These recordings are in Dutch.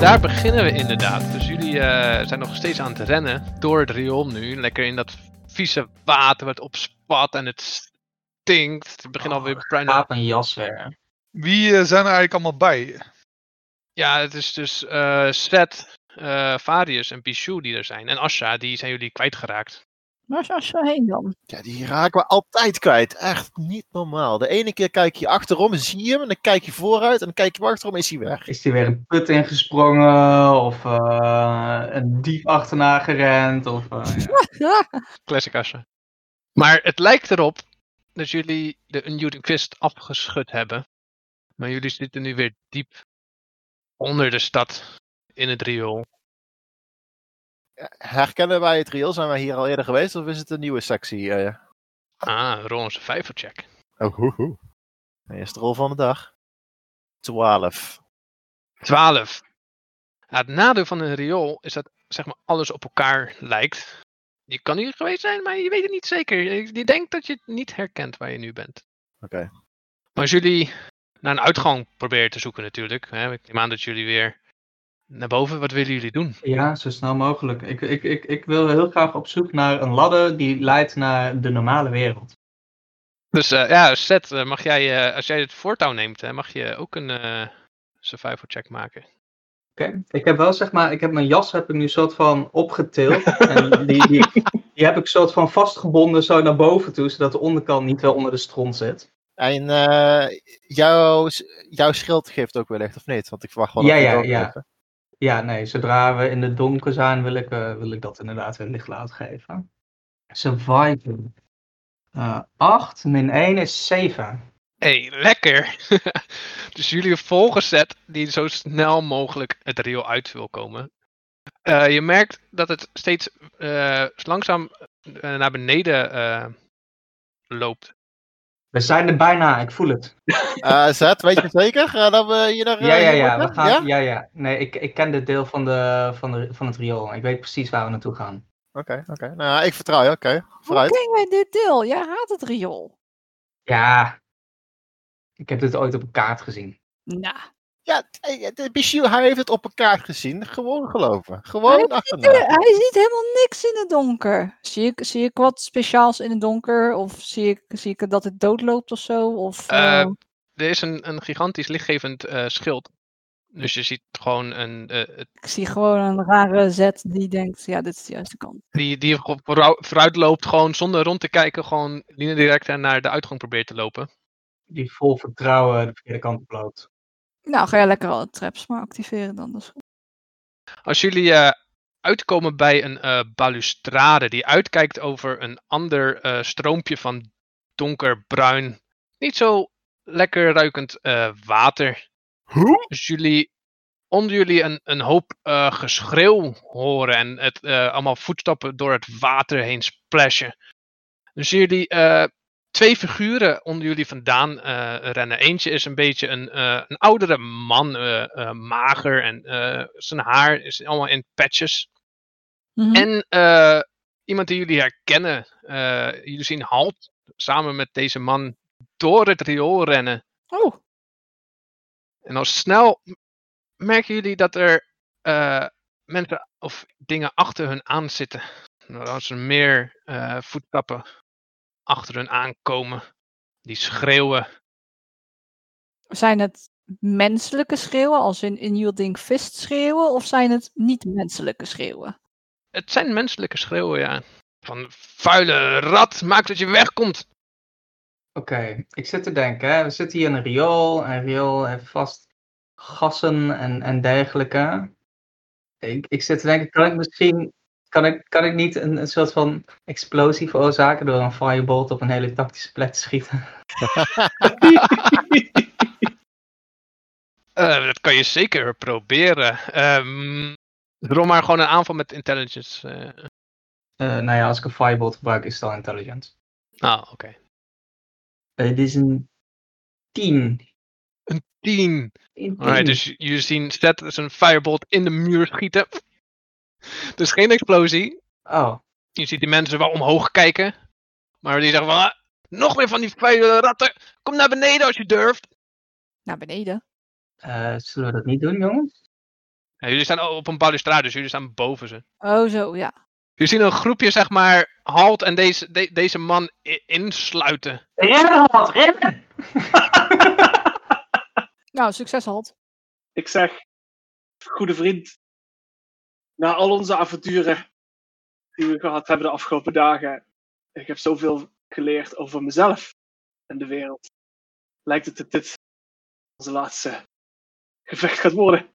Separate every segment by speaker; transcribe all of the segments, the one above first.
Speaker 1: daar beginnen we inderdaad. Dus jullie eh, zijn nog steeds aan het rennen door het riool nu. Lekker in dat vieze water wat opspat en het stinkt. Het begint
Speaker 2: Oh,
Speaker 1: alweer bruin.
Speaker 2: Slaap en jas weer.
Speaker 3: Wie eh, zijn er eigenlijk allemaal bij?
Speaker 1: Ja, het is dus eh Seth, eh, Varius en Pichu die er zijn. En Asha, die zijn jullie kwijtgeraakt.
Speaker 4: Waar is Asha heen dan?
Speaker 5: Ja, die raken we altijd kwijt. Echt niet normaal. De ene keer kijk je achterom en zie je hem. En dan kijk je vooruit en dan kijk je hem achterom en is hij weg.
Speaker 2: Is hij weer een put ingesprongen? Of eh, een diep achterna gerend? Of, eh, ja.
Speaker 1: Classic Asha. Maar het lijkt erop dat jullie de Unmuted Quist afgeschud hebben. Maar jullie zitten nu weer diep onder de stad in het riool.
Speaker 5: Herkennen wij het riool? Zijn wij hier al eerder geweest of is het een nieuwe sectie? eh?
Speaker 1: Ah, rol eens een vijvercheck.
Speaker 5: Oh, hoe, hoe. Eerste rol van de dag. 12.
Speaker 1: 12. Ja, het nadeel van een riool is dat zeg maar, alles op elkaar lijkt. Je kan hier geweest zijn, maar je weet het niet zeker. Je je denkt dat je het niet herkent waar je nu bent.
Speaker 5: Oké.
Speaker 1: Maar als jullie naar een uitgang proberen te zoeken natuurlijk. Hè, ik neem aan dat jullie weer naar boven. Wat willen jullie doen?
Speaker 2: ja, zo snel mogelijk. Ik, ik, ik, ik wil heel graag op zoek naar een ladder die leidt naar de normale wereld.
Speaker 1: Dus eh, ja, Seth, eh, mag jij, eh, als jij het voortouw neemt, hè, mag je ook een eh, survival check maken.
Speaker 2: Oké, ik heb wel zeg maar, ik heb mijn jas heb ik nu soort van opgetild. en die, die, die heb ik soort van vastgebonden zo naar boven toe, zodat de onderkant niet wel onder de stront zit.
Speaker 5: En eh, jouw, jouw schild geeft ook wellicht, of niet? Want ik verwacht wel
Speaker 2: Ja,
Speaker 5: dat
Speaker 2: ja,
Speaker 5: het ook
Speaker 2: ja.
Speaker 5: geeft, hè?
Speaker 2: Ja, nee, zodra we in het donker zijn, wil ik, eh, wil ik dat inderdaad weer licht laten geven. Surviving. Eh 8 min 1 is 7.
Speaker 1: Hé, hey, lekker! dus jullie volgen Zet die zo snel mogelijk het riool uit wil komen. Eh, je merkt dat het steeds eh, langzaam eh, naar beneden eh, loopt.
Speaker 2: We zijn er bijna, ik voel het.
Speaker 5: Eh, Zet, weet je zeker eh, dat we hier naar...
Speaker 2: Ja, ja,
Speaker 5: hier
Speaker 2: ja,
Speaker 5: moeten?
Speaker 2: we gaan, ja, ja. Nee, ik, ik ken dit deel van, de, van, de, van het riool. Ik weet precies waar we naartoe gaan.
Speaker 5: Oké, oké. Nou, ik vertrouw je. Oké,
Speaker 4: Hoe
Speaker 5: vooruit.
Speaker 4: ken jij dit deel? Jij haat het riool.
Speaker 2: Ja, ik heb dit ooit op een kaart gezien.
Speaker 4: Nou,
Speaker 5: Ja, eh, de Bichou, hij heeft het op elkaar gezien. Gewoon geloven.
Speaker 4: Hij
Speaker 5: Gewoon
Speaker 4: eh,
Speaker 5: achterna.
Speaker 4: hij ziet helemaal niks in het donker. Zie ik, zie ik wat speciaals in het donker? Of zie ik, zie ik dat het doodloopt of zo? Of,
Speaker 1: Eh,
Speaker 4: eh,
Speaker 1: Er is een, een gigantisch lichtgevend eh, schild. Dus je ziet gewoon een, eh, het-
Speaker 4: ik zie gewoon een rare zet die denkt, ja, dit is de juiste kant.
Speaker 1: die, die gewoon voorou- vooruit loopt, gewoon zonder rond te kijken, gewoon linea direct naar de uitgang probeert te lopen.
Speaker 2: Die vol vertrouwen de verkeerde kant op loopt.
Speaker 4: Nou, ga jij lekker alle traps maar activeren dan. Dat is goed.
Speaker 1: Als jullie eh, uitkomen bij een eh, balustrade die uitkijkt over een ander eh, stroompje van donkerbruin, niet zo lekker ruikend eh, water.
Speaker 5: Hoe?
Speaker 1: Dus jullie, onder jullie een, een hoop eh, geschreeuw horen en het, eh, allemaal voetstappen door het water heen splashen. Dus jullie eh, twee figuren onder jullie vandaan eh, rennen. Eentje is een beetje een, eh, een oudere man, eh, eh, mager en eh, zijn haar is allemaal in patches.
Speaker 4: Mhm.
Speaker 1: En eh, iemand die jullie herkennen, eh, jullie zien Halt samen met deze man door het riool rennen.
Speaker 4: Oh,
Speaker 1: En al snel m- merken jullie dat er eh, mensen of dingen achter hun aan zitten. Nou, Als er meer eh, voetstappen achter hun aankomen, die schreeuwen.
Speaker 4: zijn het menselijke schreeuwen, als in Unyielding Fist schreeuwen? Of zijn het niet-menselijke schreeuwen?
Speaker 1: Het zijn menselijke schreeuwen, ja. Van vuile rat, maak dat je wegkomt.
Speaker 2: Oké, ik zit te denken. Hè. We zitten hier in een riool. En riool heeft vast gassen en, en dergelijke. Ik, ik zit te denken, kan ik misschien... Kan ik, kan ik niet een, een soort van explosie veroorzaken door een firebolt op een hele tactische plek te schieten?
Speaker 1: Eh, dat kan je zeker proberen. Ehm rol maar gewoon een aanval met intelligence. eh.
Speaker 2: Eh, nou ja, als ik een firebolt gebruik is het al intelligence.
Speaker 1: Ah, oké.
Speaker 2: Eh, Het is een 10.
Speaker 1: 10. Alright, dus jullie zien Seth zijn firebolt in de muur schieten. Dus geen explosie.
Speaker 2: Oh,
Speaker 1: Je ziet die mensen wel omhoog kijken. Maar die zeggen van, "Ah, nog meer van die vuile ratten. Kom naar beneden als je durft.
Speaker 4: Naar beneden.
Speaker 2: eh, zullen we dat niet doen, jongens?
Speaker 1: Ja, jullie staan op een balustrade, dus jullie staan boven ze.
Speaker 4: Oh, zo, ja.
Speaker 1: Jullie zien een groepje, zeg maar, halt en deze, de- deze man i- insluiten.
Speaker 2: Rennen, wat rennen!
Speaker 4: Nou, succes had.
Speaker 6: Ik zeg, goede vriend, na al onze avonturen die we gehad hebben de afgelopen dagen, ik heb zoveel geleerd over mezelf en de wereld. Lijkt het dat dit onze laatste gevecht gaat worden.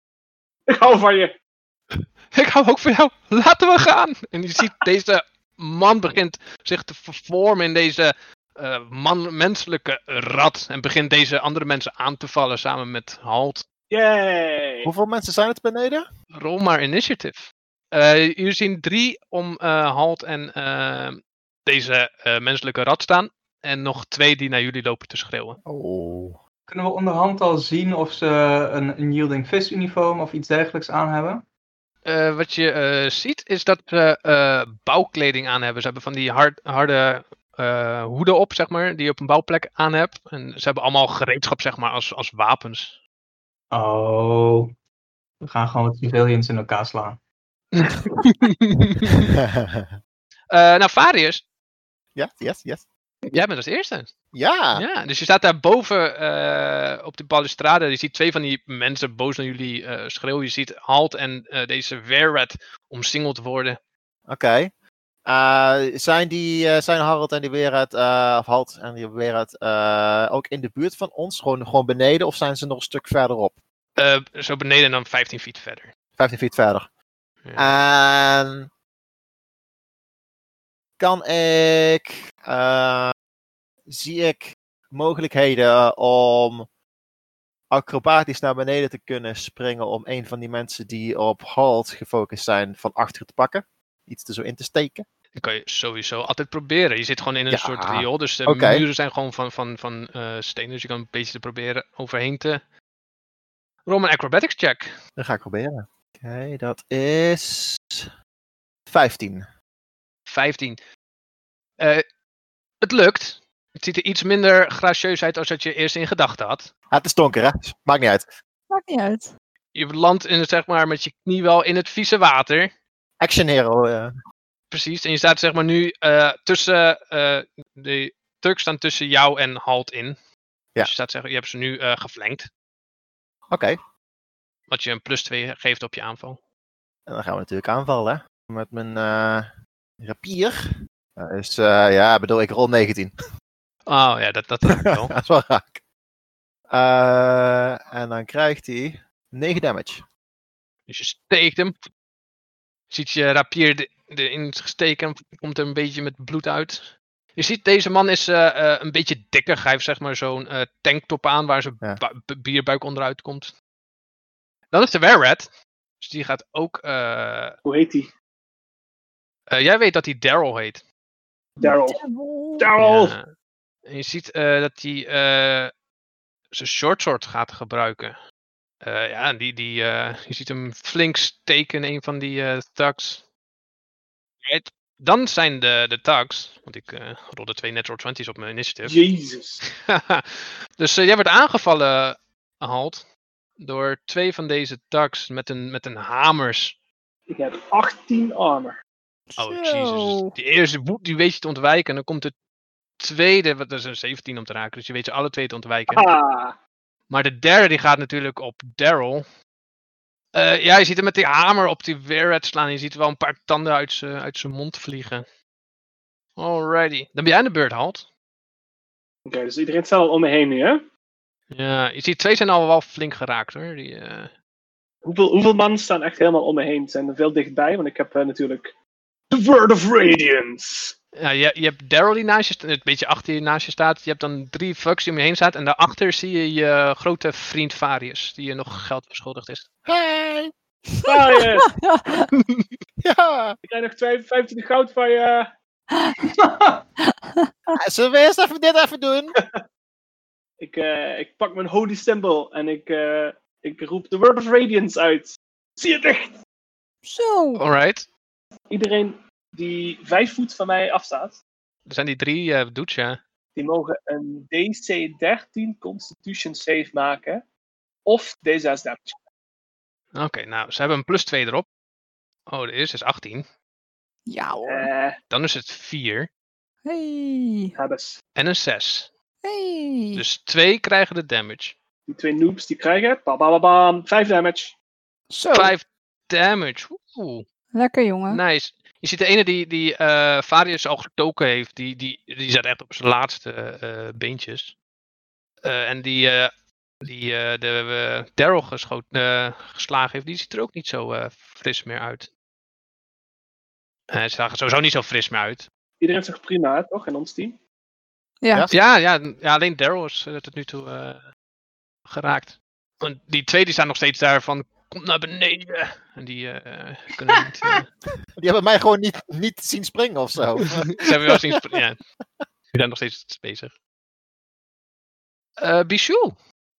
Speaker 6: Ik hou van je.
Speaker 1: Ik hou ook van jou, laten we gaan! En je ziet, deze man begint zich te vervormen in deze eh, man, menselijke rat. En begint deze andere mensen aan te vallen samen met halt.
Speaker 6: Yay!
Speaker 5: Hoeveel mensen zijn het beneden?
Speaker 1: Rol maar initiative. Eh, jullie zien drie om eh, halt en eh, deze eh, menselijke rat staan. En nog twee die naar jullie lopen te schreeuwen.
Speaker 5: Oh.
Speaker 2: Kunnen we onderhand al zien of ze een, een Yielding Fist uniform of iets dergelijks aan hebben?
Speaker 1: Eh, wat je eh, ziet is dat ze eh, bouwkleding aan hebben. Ze hebben van die hard, harde eh, hoeden op, zeg maar, die je op een bouwplek aan hebt. En ze hebben allemaal gereedschap, zeg maar, als, als wapens.
Speaker 2: Oh, we gaan gewoon wat civilians in elkaar slaan.
Speaker 1: Eh, nou, Varius,
Speaker 5: ja, yes, yes.
Speaker 1: jij bent als eerste.
Speaker 5: Ja.
Speaker 1: Ja, dus je staat daar boven eh, op de balustrade. Je ziet twee van die mensen boos naar jullie eh schreeuwen. Je ziet Halt en eh, deze Wererat omsingeld worden.
Speaker 5: Oké. Eh, zijn, die, eh, zijn Harold en die Wereld, eh, of Halt en die Wereld, eh, ook in de buurt van ons? Gewoon, gewoon beneden of zijn ze nog een stuk verderop?
Speaker 1: Eh, zo beneden en dan 15 feet verder.
Speaker 5: 15 feet verder. Ah, En Ehm, kan ik, eh, zie ik mogelijkheden om acrobatisch naar beneden te kunnen springen om een van die mensen die op halt gefocust zijn van achter te pakken? Iets er zo in te steken.
Speaker 1: Dat kan je sowieso altijd proberen. Je zit gewoon in een
Speaker 5: Ja.
Speaker 1: soort riool. Dus de
Speaker 5: Oké.
Speaker 1: muren zijn gewoon van, van, van eh steen. Dus je kan een beetje te proberen overheen te. Roll een acrobatics check.
Speaker 5: Dat ga ik proberen. Oké, dat is 15.
Speaker 1: 15. Eh, het lukt. Het ziet er iets minder gracieus uit als dat je eerst in gedachten had.
Speaker 5: Ah, het is donker, hè? Maakt niet uit.
Speaker 4: Maakt niet uit.
Speaker 1: Je landt in het, zeg maar, met je knie wel in het vieze water.
Speaker 5: Action hero. eh.
Speaker 1: Precies. En je staat zeg maar nu eh, tussen. eh, de Turks staan tussen jou en Halt in. Dus je, staat, zeg, je hebt ze nu eh geflankt.
Speaker 5: Oké,
Speaker 1: Wat je een plus 2 geeft op je aanval.
Speaker 5: en dan gaan we natuurlijk aanvallen. hè. Met mijn eh, rapier. Dat is, eh, ja, ik bedoel, ik rol 19.
Speaker 1: Oh ja, dat, dat, dat wel.
Speaker 5: dat is wel raak. Eh, en dan krijgt hij 9 damage.
Speaker 1: dus je steekt hem. Ziet je rapier de- erin steken. Komt er een beetje met bloed uit. Je ziet, deze man is eh, eh, een beetje dikker. Hij heeft zeg maar zo'n eh, tanktop aan waar zijn
Speaker 5: Ja.
Speaker 1: bu- bu- bierbuik onderuit komt. Dan is de Werrat. Dus die gaat ook. eh,
Speaker 6: Hoe heet die?
Speaker 1: eh, jij weet dat hij Daryl heet.
Speaker 6: Daryl.
Speaker 4: Daryl.
Speaker 6: Daryl!
Speaker 1: Ja. Oh. En je ziet eh, dat hij eh, zijn short sword gaat gebruiken. Eh, ja, en die, die, eh, je ziet hem flink steken in een van die eh thugs. Right. Dan zijn de, de thugs, want ik eh rolde twee natural 20's op mijn initiative.
Speaker 6: Jezus.
Speaker 1: dus eh, jij wordt aangevallen, Halt, door twee van deze thugs met een, met een hamers.
Speaker 6: Ik heb 18 armor.
Speaker 1: Oh,
Speaker 4: Zo.
Speaker 1: Jesus. Dus Die eerste woed, die weet je te ontwijken. En dan komt de tweede, wat dat is een 17 om te raken. Dus je weet ze alle twee te ontwijken.
Speaker 6: Ah,
Speaker 1: Maar de derde die gaat natuurlijk op Daryl. Eh, ja, je ziet hem met die hamer op die Weird slaan. Je ziet wel een paar tanden uit zijn uit zijn mond vliegen. Alrighty. Dan ben jij aan de beurt, Halt.
Speaker 6: Oké, dus iedereen staat al om me heen nu, hè?
Speaker 1: Ja, je ziet twee zijn al wel flink geraakt hoor. Die, eh,
Speaker 6: Hoeveel, hoeveel man staan echt helemaal om me heen? Zijn er veel dichtbij? Want ik heb eh, natuurlijk. The Word of Radiance!
Speaker 1: ja, je, je hebt Daryl die naast je staat, een beetje achter je naast je staat. Je hebt dan drie fucks die om je heen staat. En daarachter zie je je grote vriend Varius, die je nog geld verschuldigd is.
Speaker 5: Hey!
Speaker 6: Marius,
Speaker 5: Ja!
Speaker 6: Ah, ik krijg nog 25 goud van je.
Speaker 5: Eh, Zullen we eerst even dit even doen?
Speaker 6: Ik, eh, ik pak mijn holy symbol en ik, eh, ik roep The Word of Radiance uit. Zie het echt!
Speaker 4: Zo.
Speaker 1: Alright.
Speaker 6: Iedereen die vijf voet van mij afstaat,
Speaker 1: Er zijn die drie eh, dudes, ja.
Speaker 6: die mogen een DC-13 Constitution save maken. Of D6 damage.
Speaker 1: Oké, nou, ze hebben een plus 2 erop. Oh, de eerste is 18.
Speaker 4: Ja hoor.
Speaker 6: Eh,
Speaker 1: Dan is het 4
Speaker 4: Hey.
Speaker 6: hebbes.
Speaker 1: en een 6.
Speaker 4: Hey.
Speaker 1: Dus 2 krijgen de damage.
Speaker 6: Die twee noobs die krijgen. Bam, bam, bam, bam. Vijf damage.
Speaker 4: Zo.
Speaker 1: 5 damage. Oeh,
Speaker 4: Lekker jongen.
Speaker 1: nice. Je ziet de ene die, die eh, Varius al getoken heeft, die, die, die zat echt op zijn laatste eh, beentjes. Eh, en die, eh, die eh, de, eh, Daryl geschoten, eh, geslagen heeft, die ziet er ook niet zo eh, fris meer uit. Hij zag er sowieso niet zo fris meer uit.
Speaker 6: Iedereen zegt prima, hè, toch? In ons team.
Speaker 4: Ja.
Speaker 1: Ja, ja, n- ja alleen Daryl is eh, tot nu toe eh, geraakt. Want die twee die staan nog steeds daar van, kom naar beneden. En die eh, kunnen niet... eh,
Speaker 5: Die hebben mij gewoon niet, niet zien springen of zo.
Speaker 1: ze hebben wel zien... sp- Ja, die zijn nog steeds bezig. Eh Bichou.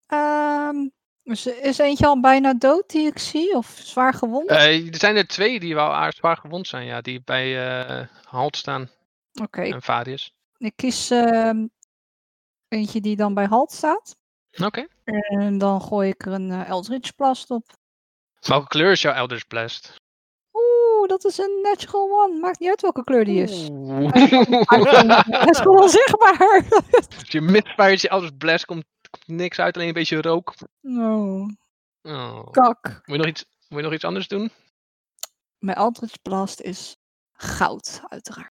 Speaker 4: Ehm, is, is eentje al bijna dood die ik zie? Of zwaar gewond?
Speaker 1: Eh, er zijn er twee die wel aardig zwaar gewond zijn, ja. Die bij eh Halt staan
Speaker 4: Oké, ik,
Speaker 1: en Varius.
Speaker 4: ik kies ehm, eentje die dan bij halt staat.
Speaker 1: Oké.
Speaker 4: En dan gooi ik er een eh, Eldritch Blast op.
Speaker 1: Welke kleur is jouw Elders Blast?
Speaker 4: Oeh, dat is een natural one. Maakt niet uit welke kleur die is.
Speaker 1: Oeh.
Speaker 4: Dat is gewoon zichtbaar.
Speaker 1: Als je misfires je Elders Blast komt, komt niks uit, alleen een beetje rook.
Speaker 4: Oh,
Speaker 1: Oh.
Speaker 4: kak.
Speaker 1: Moet je nog iets, moet je nog iets anders doen?
Speaker 4: Mijn Eldritch Blast is goud, uiteraard.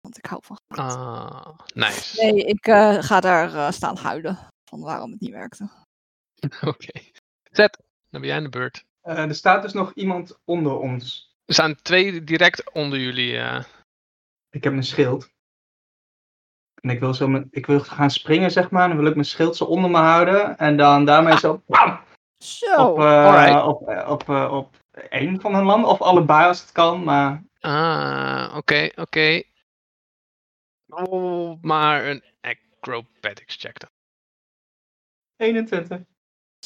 Speaker 4: Want ik hou van goud.
Speaker 1: Ah, nice.
Speaker 4: Nee, ik eh, ga daar eh, staan huilen van waarom het niet werkte.
Speaker 1: Oké. Zet, dan ben jij aan de beurt.
Speaker 2: Eh, er staat dus nog iemand onder ons.
Speaker 1: Er staan twee direct onder jullie. eh.
Speaker 2: Ik heb mijn schild. En ik wil, zo mijn, ik wil gaan springen, zeg maar. Dan wil ik mijn schild zo onder me houden. En dan daarmee zo bam,
Speaker 4: Zo.
Speaker 2: op, eh,
Speaker 1: alright.
Speaker 2: op, eh, op, eh, op één van hun landen. Of allebei als het kan. Maar
Speaker 1: Ah, oké, oké. Oh, maar een acrobatics check dan.
Speaker 2: 21.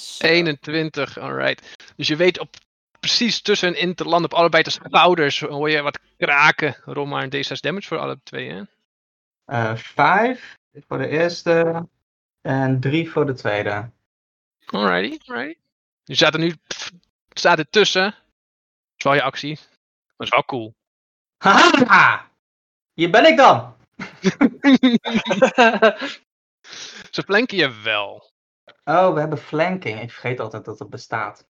Speaker 4: zo.
Speaker 1: 21, alright. Dus je weet op precies tussen in te landen, op allebei de schouders, eh, hoor je wat kraken. Rol maar een D6 damage voor alle twee, hè?
Speaker 2: Eh, vijf voor de eerste. En drie voor de tweede.
Speaker 1: Alrighty, alrighty. Je staat er nu, pff, staat er tussen. Dat is wel je actie. Dat is wel cool.
Speaker 2: Haha! Hier ben ik dan!
Speaker 1: Ze flanken je wel.
Speaker 2: Oh, we hebben flanking. Ik vergeet altijd dat dat bestaat.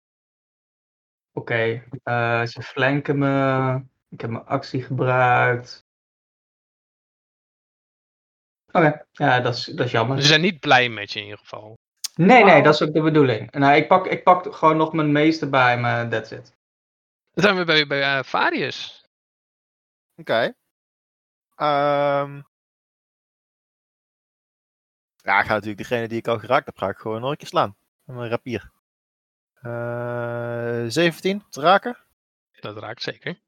Speaker 2: Oké, eh, ze flanken me. Ik heb mijn actie gebruikt. Oké, ja, dat is, dat is jammer.
Speaker 1: Ze zijn niet blij met je in ieder geval.
Speaker 2: Nee, nee,
Speaker 4: Wauw.
Speaker 2: dat is ook de bedoeling. Nou, ik pak, ik pak gewoon nog mijn meester bij me, that's it.
Speaker 1: Dan zijn we bij, bij eh, Varius.
Speaker 5: Oké. Ehm. ja, ik ga natuurlijk degene die ik al geraakt heb, ga ik gewoon nog een keer slaan. Met Een rapier. Eh 17 te raken.
Speaker 1: Dat raakt zeker.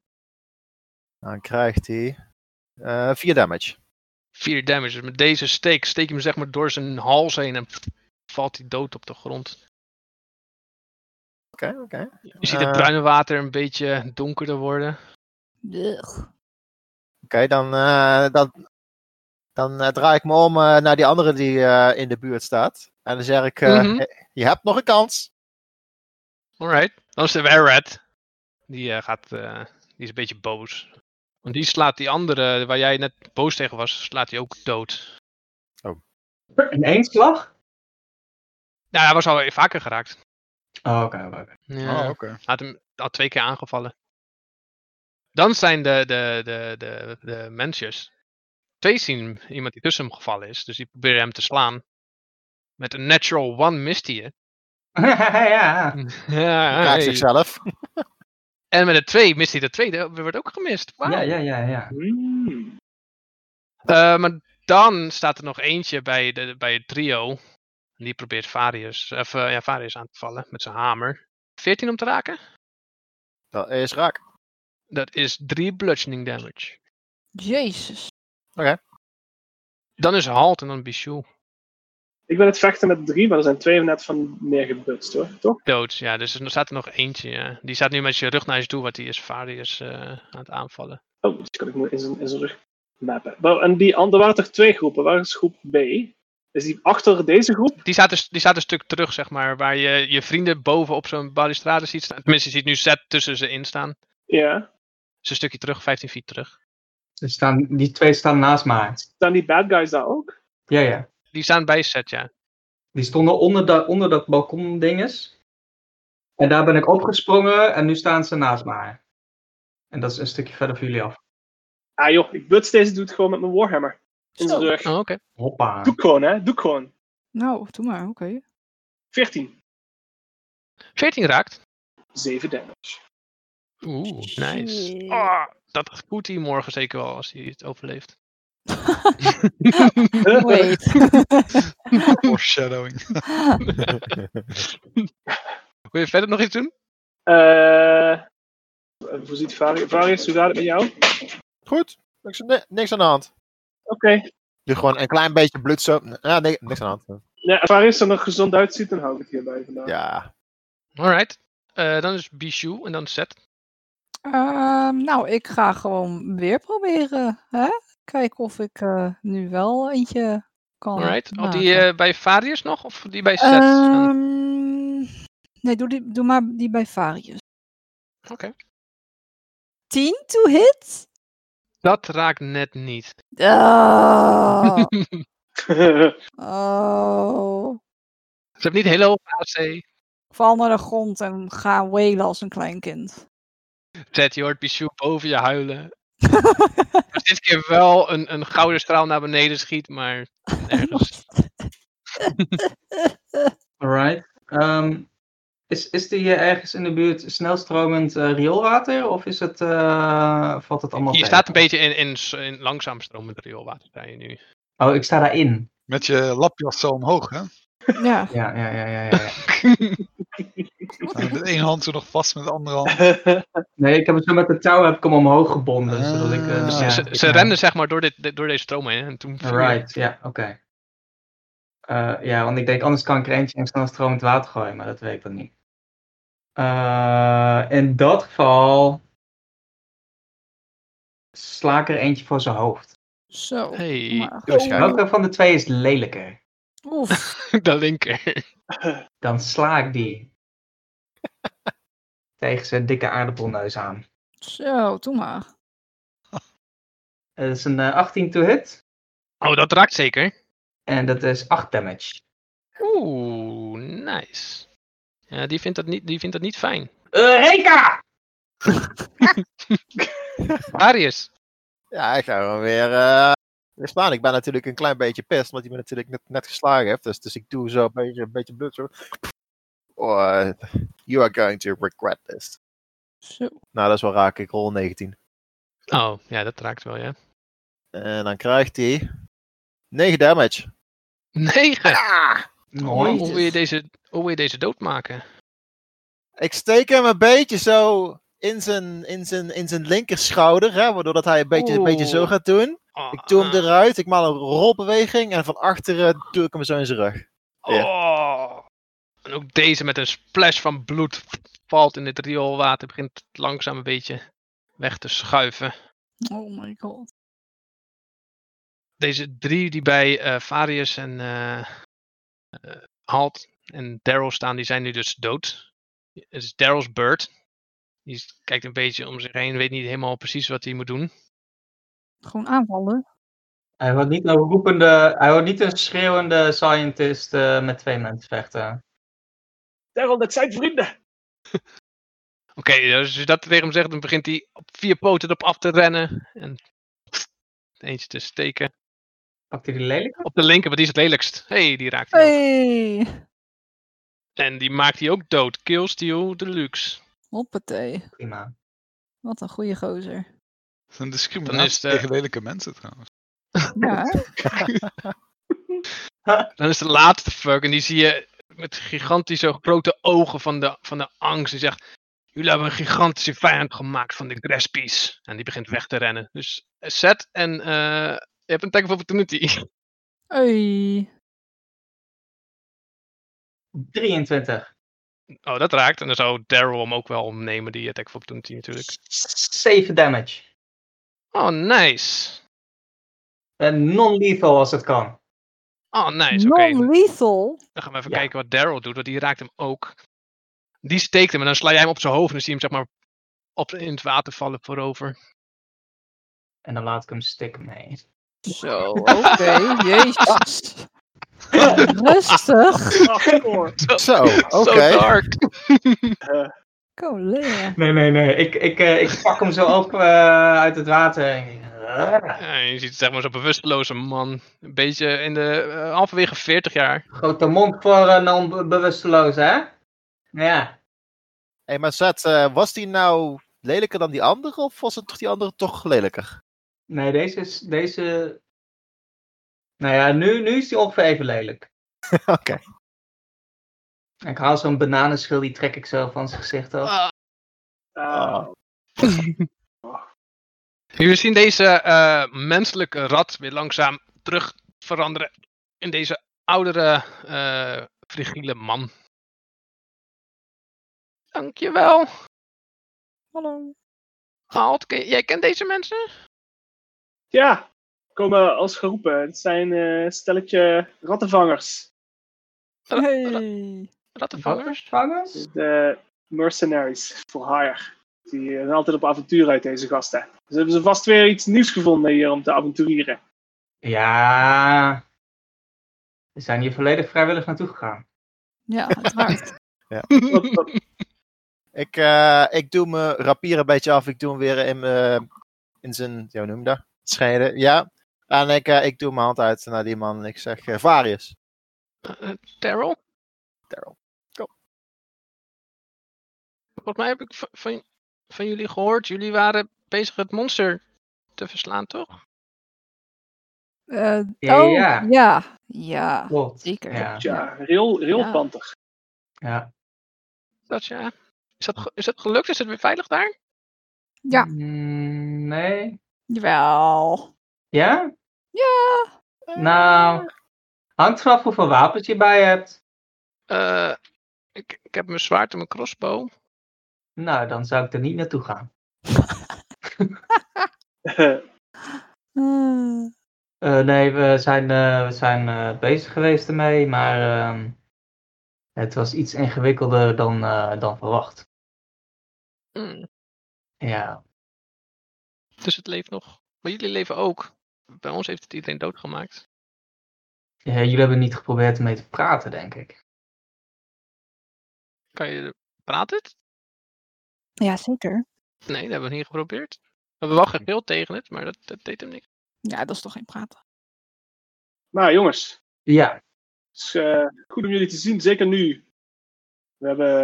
Speaker 5: Dan krijgt hij eh 4 damage.
Speaker 1: 4 damage. Dus met deze steek steek je hem zeg maar door zijn hals heen en valt hij dood op de grond.
Speaker 5: Oké, oké.
Speaker 1: Je ziet het
Speaker 5: Eh.
Speaker 1: bruine water een beetje donkerder worden.
Speaker 4: Ugh.
Speaker 5: Oké, dan, eh, dan, dan eh, draai ik me om eh, naar die andere die eh, in de buurt staat. En dan zeg ik, eh,
Speaker 1: Mhm.
Speaker 5: "Hey, je hebt nog een kans.
Speaker 1: Alright. Dan is de Red. Die, eh, gaat, eh, die is een beetje boos. Want die slaat die andere, waar jij net boos tegen was, slaat hij ook dood.
Speaker 2: In één slag?
Speaker 1: Nou, hij was al vaker geraakt.
Speaker 2: Oh, oké, oké. oké.
Speaker 1: Ja.
Speaker 3: Oh, oké.
Speaker 1: Hij had hem al twee keer aangevallen. Dan zijn de, de, de, de, de mensjes. Twee zien iemand die tussen hem gevallen is. Dus die proberen hem te slaan. Met een natural one mist hij je.
Speaker 2: ja,
Speaker 1: Ja,
Speaker 5: Raakt
Speaker 1: hey.
Speaker 5: zichzelf.
Speaker 1: En met de twee mist hij de tweede. Wordt ook gemist. Wauw.
Speaker 2: ja, ja, ja, ja.
Speaker 6: Hmm.
Speaker 1: Eh, maar dan staat er nog eentje bij, de, bij het trio. En Die probeert Varius, of, eh, ja, Varius aan te vallen met zijn hamer. 14 om te raken.
Speaker 5: Dat is raak.
Speaker 1: Dat is 3 bludgeoning damage.
Speaker 4: Jezus.
Speaker 1: Dan is Halt en dan Bichou.
Speaker 6: Ik ben het vechten met drie, maar er zijn twee net van neergebutst hoor, toch?
Speaker 1: Dood, ja. Dus er staat er nog eentje. ja. Die staat nu met je rug naar je toe, want die is Varius eh, aan het aanvallen.
Speaker 6: Oh, dus kan ik me in zijn, in zijn rug mappen. Wel, en die andere waren er twee groepen. Waar is groep B? Is die achter deze groep?
Speaker 1: Die staat, een, die staat een stuk terug, zeg maar. Waar je je vrienden boven op zo'n balustrade ziet staan. Tenminste, je ziet nu Z tussen ze in staan.
Speaker 6: Ja.
Speaker 1: Dus een stukje terug, 15 feet terug.
Speaker 2: Ze staan, die twee staan naast mij.
Speaker 6: Staan die bad guys daar ook?
Speaker 2: Ja, ja.
Speaker 1: Die staan bij Z, ja.
Speaker 2: Die stonden onder, da- onder dat balkondinges. En daar ben ik opgesprongen en nu staan ze naast mij. En dat is een stukje verder van jullie af.
Speaker 6: Ah joh, ik buts deze doet gewoon met mijn warhammer. In zijn
Speaker 4: Zo.
Speaker 6: rug.
Speaker 1: Oh, oké.
Speaker 2: Hoppa.
Speaker 6: Doe ik gewoon, hè. Doe ik gewoon.
Speaker 4: Nou, doe maar, oké.
Speaker 6: 14.
Speaker 1: 14 raakt.
Speaker 6: 7 damage.
Speaker 1: Oeh, nice.
Speaker 4: Shit.
Speaker 1: Ah, dat scoot hij morgen zeker wel als hij het overleeft.
Speaker 4: Wait.
Speaker 3: Foreshadowing.
Speaker 1: Wil je verder nog iets doen?
Speaker 6: Eh, hoe ziet Vari- Varius? Hoe gaat het met jou? Oké.
Speaker 5: Goed, niks, ni- niks aan de hand. Doe gewoon een klein beetje bloed zo. Ja, nee, niks aan de hand.
Speaker 6: Nee, als Varius er nog gezond uitziet, dan hou ik het hierbij vandaag.
Speaker 5: Ja.
Speaker 1: Alright. Eh, dan is Bijou en dan Z.
Speaker 4: Ehm, nou, ik ga gewoon weer proberen. Hè? Kijken of ik eh, nu wel eentje kan.
Speaker 1: Alright. Al die
Speaker 4: maken.
Speaker 1: eh, bij Varius nog? Of die bij Z? staan?
Speaker 4: Ehm, nee, doe, die, doe maar die bij Varius.
Speaker 1: Oké.
Speaker 4: 10 to hit?
Speaker 1: Dat raakt net niet.
Speaker 4: Oh.
Speaker 6: Ja.
Speaker 4: oh.
Speaker 1: Ze hebben niet heel hoog AC.
Speaker 4: Ik val naar de grond en ga welen als een klein kind.
Speaker 1: Zet, je hoort Bijou boven je huilen. Maar dit keer wel een, een gouden straal naar beneden schiet, maar nergens.
Speaker 2: Alright. Ehm, is, is die hier ergens in de buurt snelstromend eh, rioolwater? Of is het, eh, valt het allemaal
Speaker 1: Je
Speaker 2: tegen?
Speaker 1: staat een beetje in, in, s- in langzaam stromend rioolwater sta je nu.
Speaker 2: Oh, ik sta daarin.
Speaker 3: Met je lapjas zo omhoog, hè?
Speaker 4: ja.
Speaker 2: Ja, ja, ja, ja. ja, ja.
Speaker 3: Met de ene hand zo nog vast, met de andere hand.
Speaker 2: Nee, ik heb het zo met de touw heb ik hem omhoog gebonden. zodat ik, eh,
Speaker 3: Ah.
Speaker 1: ze
Speaker 2: ja,
Speaker 1: ze,
Speaker 2: ik,
Speaker 1: ze
Speaker 2: eh,
Speaker 1: renden zeg maar door, dit, dit- door deze stroom heen en toen viel je.
Speaker 2: Right, ja, oké. Eh, ja, want ik denk anders kan ik er eentje in snel stromend water gooien, maar dat weet ik dan niet. Eh, in dat geval sla ik er eentje voor zijn hoofd.
Speaker 4: Zo.
Speaker 1: Hey,
Speaker 4: maar-
Speaker 5: Waarschijnlijk.
Speaker 2: Welke van de twee is lelijker?
Speaker 4: Oef.
Speaker 1: de linker.
Speaker 2: Dan sla ik die tegen zijn dikke aardappelneus aan.
Speaker 4: Zo, doe maar.
Speaker 2: Dat is een eh, 18 to hit
Speaker 1: Oh, dat raakt zeker.
Speaker 2: en dat is 8 damage.
Speaker 1: Oeh, nice. Ja, die vindt dat niet, die vindt dat niet fijn.
Speaker 2: Eureka!
Speaker 1: Arius.
Speaker 5: Ja, ik ga gewoon weer. eh weer slaan. Ik ben natuurlijk een klein beetje pissed, want die me natuurlijk net, net geslagen heeft. Dus, dus ik doe zo een beetje, een beetje bloed. Zo. Oh, you are going to regret this.
Speaker 4: Zo.
Speaker 5: Nou, dat is wel raak. Ik rol 19.
Speaker 1: Oh, ja, dat raakt wel, ja.
Speaker 5: En dan krijgt hij 9 damage.
Speaker 1: 9.
Speaker 2: Mooi.
Speaker 1: Hoe wil je deze, hoe wil je deze doodmaken?
Speaker 5: Ik steek hem een beetje zo in zijn, in zijn, in zijn linkerschouder, hè, waardoor dat hij een beetje, een beetje zo
Speaker 1: Oeh.
Speaker 5: gaat doen.
Speaker 1: Oh,
Speaker 5: Ik doe hem eruit, ik maal een rolbeweging en van achteren doe ik hem zo in zijn rug. Ja.
Speaker 1: Oh. En ook deze met een splash van bloed valt in dit rioolwater. Begint het langzaam een beetje weg te schuiven.
Speaker 4: Oh my god.
Speaker 1: Deze drie die bij eh Varius en eh, eh, Halt en Daryl staan, die zijn nu dus dood. Het is Daryl's beurt. Die is- kijkt een beetje om zich heen, weet niet helemaal precies wat hij moet doen.
Speaker 4: Gewoon aanvallen.
Speaker 2: Hij wordt niet een roepende, hij wordt niet een schreeuwende scientist eh, met twee mensen vechten.
Speaker 6: Daryl, dat zijn vrienden.
Speaker 1: Oké, dus als je dat tegen hem zegt, dan begint hij op vier poten erop af te rennen. En eentje te steken.
Speaker 2: Pakt hij die lelijk?
Speaker 1: Op de linker, maar die is het lelijkst. hey, die raakt hij ook.
Speaker 4: Hey.
Speaker 1: En die maakt hij ook dood. Killsteel Deluxe.
Speaker 4: Hoppatee.
Speaker 2: Prima.
Speaker 4: Wat een goede gozer.
Speaker 3: Dat is een
Speaker 1: Dan
Speaker 3: discriminatie
Speaker 1: is de-
Speaker 3: tegen lelijke mensen, trouwens.
Speaker 4: Ja, hè?
Speaker 1: Dan is de laatste fuck. En die zie je met gigantische grote ogen van de, van de angst. Die zegt, jullie hebben een gigantische vijand gemaakt van de Graspies. En die begint weg te rennen. Dus Zet en eh, je hebt een tag of opportunity.
Speaker 4: Hey.
Speaker 2: 23.
Speaker 1: Oh, dat raakt. En dan zou Daryl hem ook wel nemen, die attack of opportunity natuurlijk.
Speaker 2: 7 damage.
Speaker 1: Oh, nice.
Speaker 2: Eh, En non-lethal als het kan.
Speaker 1: Oh, nice. Oké.
Speaker 4: Non-lethal.
Speaker 1: Dan gaan we even
Speaker 2: Ja.
Speaker 1: kijken wat Daryl doet, want die raakt hem ook. Die steekt hem en dan sla jij hem op zijn hoofd en dan zie je hem zeg maar op, in het water vallen voorover.
Speaker 2: En dan laat ik hem stikken mee.
Speaker 4: Zo, oké. Jezus. Rustig.
Speaker 6: Ah, Hardcore.
Speaker 5: Zo, oké.
Speaker 1: So dark.
Speaker 4: Colea.
Speaker 2: Nee, nee, nee. Ik, ik, eh, ik pak hem zo op eh, uit het water. en-
Speaker 1: Ja, je ziet zeg maar zo'n bewusteloze man. Een beetje in de eh, halverwege 40 jaar.
Speaker 2: Grote mond voor een non-bewusteloos, hè? Ja.
Speaker 5: Hé, maar Zet, eh, was die nou lelijker dan die andere? Of was het toch die andere toch lelijker?
Speaker 2: Nee, deze is... Deze... Nou ja, nu, nu is die ongeveer even lelijk.
Speaker 5: oké.
Speaker 2: Ik haal zo'n bananenschil, die trek ik zo van zijn gezicht af.
Speaker 1: Ah.
Speaker 6: Ah,
Speaker 1: Jullie zien deze eh, menselijke rat weer langzaam terug veranderen in deze oudere, eh frigiele man. Dankjewel.
Speaker 4: Hallo.
Speaker 1: Haalt, ken- jij kent deze mensen?
Speaker 6: ja, komen als groepen. Het zijn eh, een stelletje rattenvangers.
Speaker 1: Ra-
Speaker 4: Hey.
Speaker 1: Rattenvangers?
Speaker 2: Vangers?
Speaker 6: Dus De mercenaries for hire. Die eh, zijn altijd op avontuur uit deze gasten. Dus hebben ze vast weer iets nieuws gevonden hier om te avonturieren.
Speaker 2: Ja. Ze zijn hier volledig vrijwillig naartoe gegaan.
Speaker 4: Ja, uiteraard.
Speaker 6: Wat- wat-
Speaker 5: Ik, eh, ik doe mijn rapier een beetje af. Ik doe hem weer in, mijn- in zijn, ja, hoe noem je dat? Scheiden, ja. En ik, eh, ik doe mijn hand uit naar die man en ik zeg, eh, Varius.
Speaker 1: Eh, Daryl?
Speaker 5: Daryl,
Speaker 1: Go. Volgens mij heb ik van, van, van jullie gehoord. Jullie waren bezig het monster te verslaan, toch?
Speaker 4: Eh,
Speaker 2: Ja,
Speaker 4: oh,
Speaker 2: ja.
Speaker 4: ja. Ja,
Speaker 2: Klopt.
Speaker 4: zeker.
Speaker 2: Ja.
Speaker 6: Tja, rail, railpanter.
Speaker 2: Ja.
Speaker 1: Is Dat ja. Is dat, ge- is dat gelukt? Is het weer veilig daar?
Speaker 4: Ja.
Speaker 2: Mm, nee.
Speaker 4: Jawel.
Speaker 2: Ja?
Speaker 4: Ja.
Speaker 2: Nou. Hangt vanaf hoeveel wapens je bij hebt.
Speaker 1: Eh, ik, ik heb mijn zwaard en mijn crossbow.
Speaker 2: Nou, dan zou ik er niet naartoe gaan.
Speaker 4: Eh,
Speaker 2: Eh, nee, we zijn, eh, we zijn eh, bezig geweest ermee, maar ehm, het was iets ingewikkelder dan, eh, dan verwacht.
Speaker 1: Mm,
Speaker 2: Ja.
Speaker 1: Dus het leeft nog. Maar jullie leven ook. Bij ons heeft het iedereen doodgemaakt.
Speaker 2: Ja, jullie hebben niet geprobeerd ermee te praten, denk ik.
Speaker 1: Kan je praat het?
Speaker 4: ja, zeker.
Speaker 1: Nee, dat hebben we niet geprobeerd. We hebben wel gegild tegen het, maar dat, dat deed hem niks.
Speaker 4: Ja, dat is toch geen praten.
Speaker 6: Nou jongens,
Speaker 2: Ja.
Speaker 6: Het is eh, goed om jullie te zien, zeker nu. We hebben,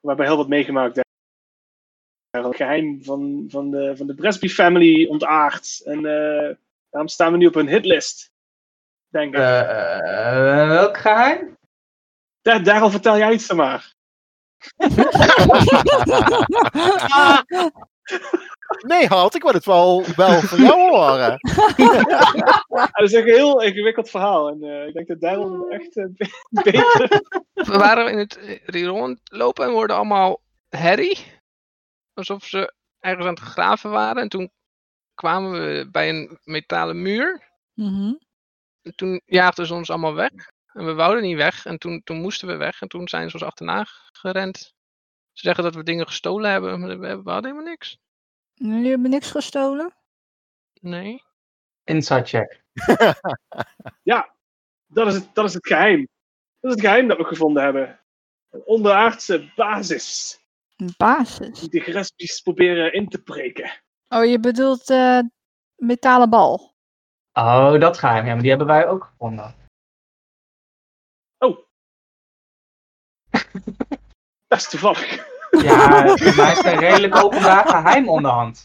Speaker 6: we hebben heel wat meegemaakt. hè. Het geheim van, van, de, van de Bresby family ontaard. En eh, daarom staan we nu op een hitlist. Denk ik.
Speaker 2: Eh, eh, welk geheim?
Speaker 6: Daar, daarom vertel jij iets dan maar.
Speaker 5: nee, Halt, ik wil het wel, wel van jou horen.
Speaker 6: Ah, dat is echt een heel ingewikkeld verhaal. En eh, ik denk dat daarom echt eh, be- beter.
Speaker 1: We waren in het eh, hier rondlopen en hoorden allemaal herrie. Alsof ze ergens aan het graven waren. En toen kwamen we bij een metalen muur.
Speaker 4: Mhm.
Speaker 1: En toen jaagden ze ons allemaal weg. En we wouden niet weg. En toen, toen moesten we weg. En toen zijn ze ons achterna gerend. Ze zeggen dat we dingen gestolen hebben. Maar we, hebben- we hadden helemaal niks.
Speaker 4: Jullie hebben niks gestolen?
Speaker 1: Nee.
Speaker 2: Inside check.
Speaker 6: Dat is, het, dat is het geheim. Dat is het geheim dat we gevonden hebben. Een onderaardse basis.
Speaker 4: Een basis.
Speaker 6: Die de Grespies proberen in te breken.
Speaker 4: Oh, je bedoelt eh, metalen bal.
Speaker 2: Oh, dat geheim. Ja, maar die hebben wij ook gevonden.
Speaker 6: Dat is toevallig.
Speaker 2: Ja, maar is een redelijk openbaar geheim onderhand.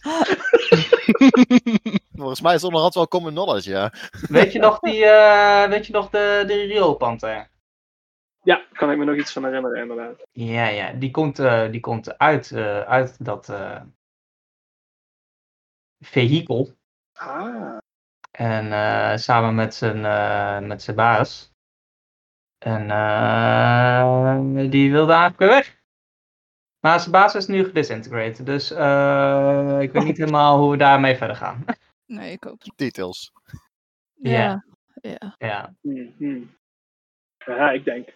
Speaker 5: Volgens mij is onderhand wel common knowledge, ja.
Speaker 2: Weet je nog, die, eh, weet je nog de, de rioolpanter?
Speaker 6: Ja, daar kan ik me nog iets van herinneren, inderdaad.
Speaker 2: Ja, ja. Die komt, eh, die komt uit, eh, uit dat eh, vehikel.
Speaker 6: Ah,
Speaker 2: En eh, samen met zijn, eh, met zijn baas. En eh, die wilde eigenlijk weer weg. Maar zijn baas is nu gedisintegrated. Dus eh, ik weet niet helemaal hoe we daarmee verder gaan.
Speaker 4: Nee, ik ook. niet.
Speaker 5: Details.
Speaker 4: Ja.
Speaker 2: Ja.
Speaker 4: Ja.
Speaker 2: Ja.
Speaker 6: Hmm, hmm. Ja, ik denk,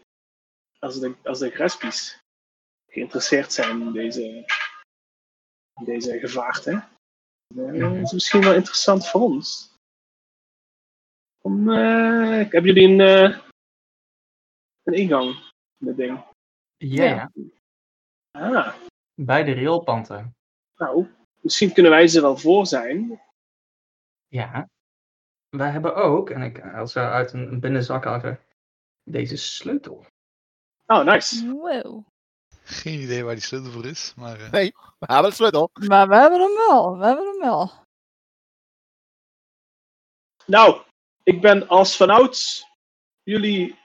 Speaker 6: als de, als de Grespies geïnteresseerd zijn in deze, in deze gevaarte, dan is het misschien wel interessant voor ons. Om, eh, hebben jullie een, eh, een ingang in het ding?
Speaker 2: Ja,
Speaker 4: Ja.
Speaker 2: ja.
Speaker 6: Ah,
Speaker 2: Bij de railpanten.
Speaker 6: nou, misschien kunnen wij ze wel voor zijn.
Speaker 2: Ja. Wij hebben ook, en ik haal ze uit een, een binnenzak uit, deze sleutel.
Speaker 6: Oh, nice.
Speaker 4: Wow.
Speaker 3: Geen idee waar die sleutel voor is, maar... eh,
Speaker 5: We hebben de sleutel.
Speaker 4: Maar we hebben hem wel. We hebben hem wel.
Speaker 6: Nou, ik ben als vanouds jullie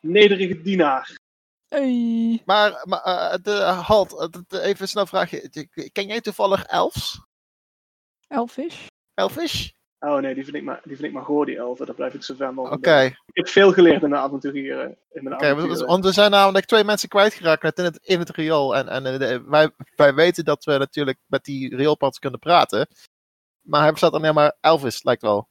Speaker 6: nederige dienaar.
Speaker 4: Hey.
Speaker 5: Maar, maar eh, de, halt, eh, de- de- even snel vraagje. Ken jij toevallig elfs?
Speaker 4: Elvis.
Speaker 5: Elfish?
Speaker 6: Oh nee, die vind ik maar, die vind ik maar goor, die elfen. Daar blijf ik zo ver
Speaker 5: Oké,
Speaker 6: mogelijk bij. Ik heb veel geleerd in de avonturieren. In mijn
Speaker 5: oké,
Speaker 6: avonturen.
Speaker 5: want er zijn namelijk twee mensen kwijtgeraakt net in het, in het riool. En, en eh, de- wij, wij weten dat we natuurlijk met die rioolpad kunnen praten. Maar hij bestaat alleen maar Elvis, lijkt wel.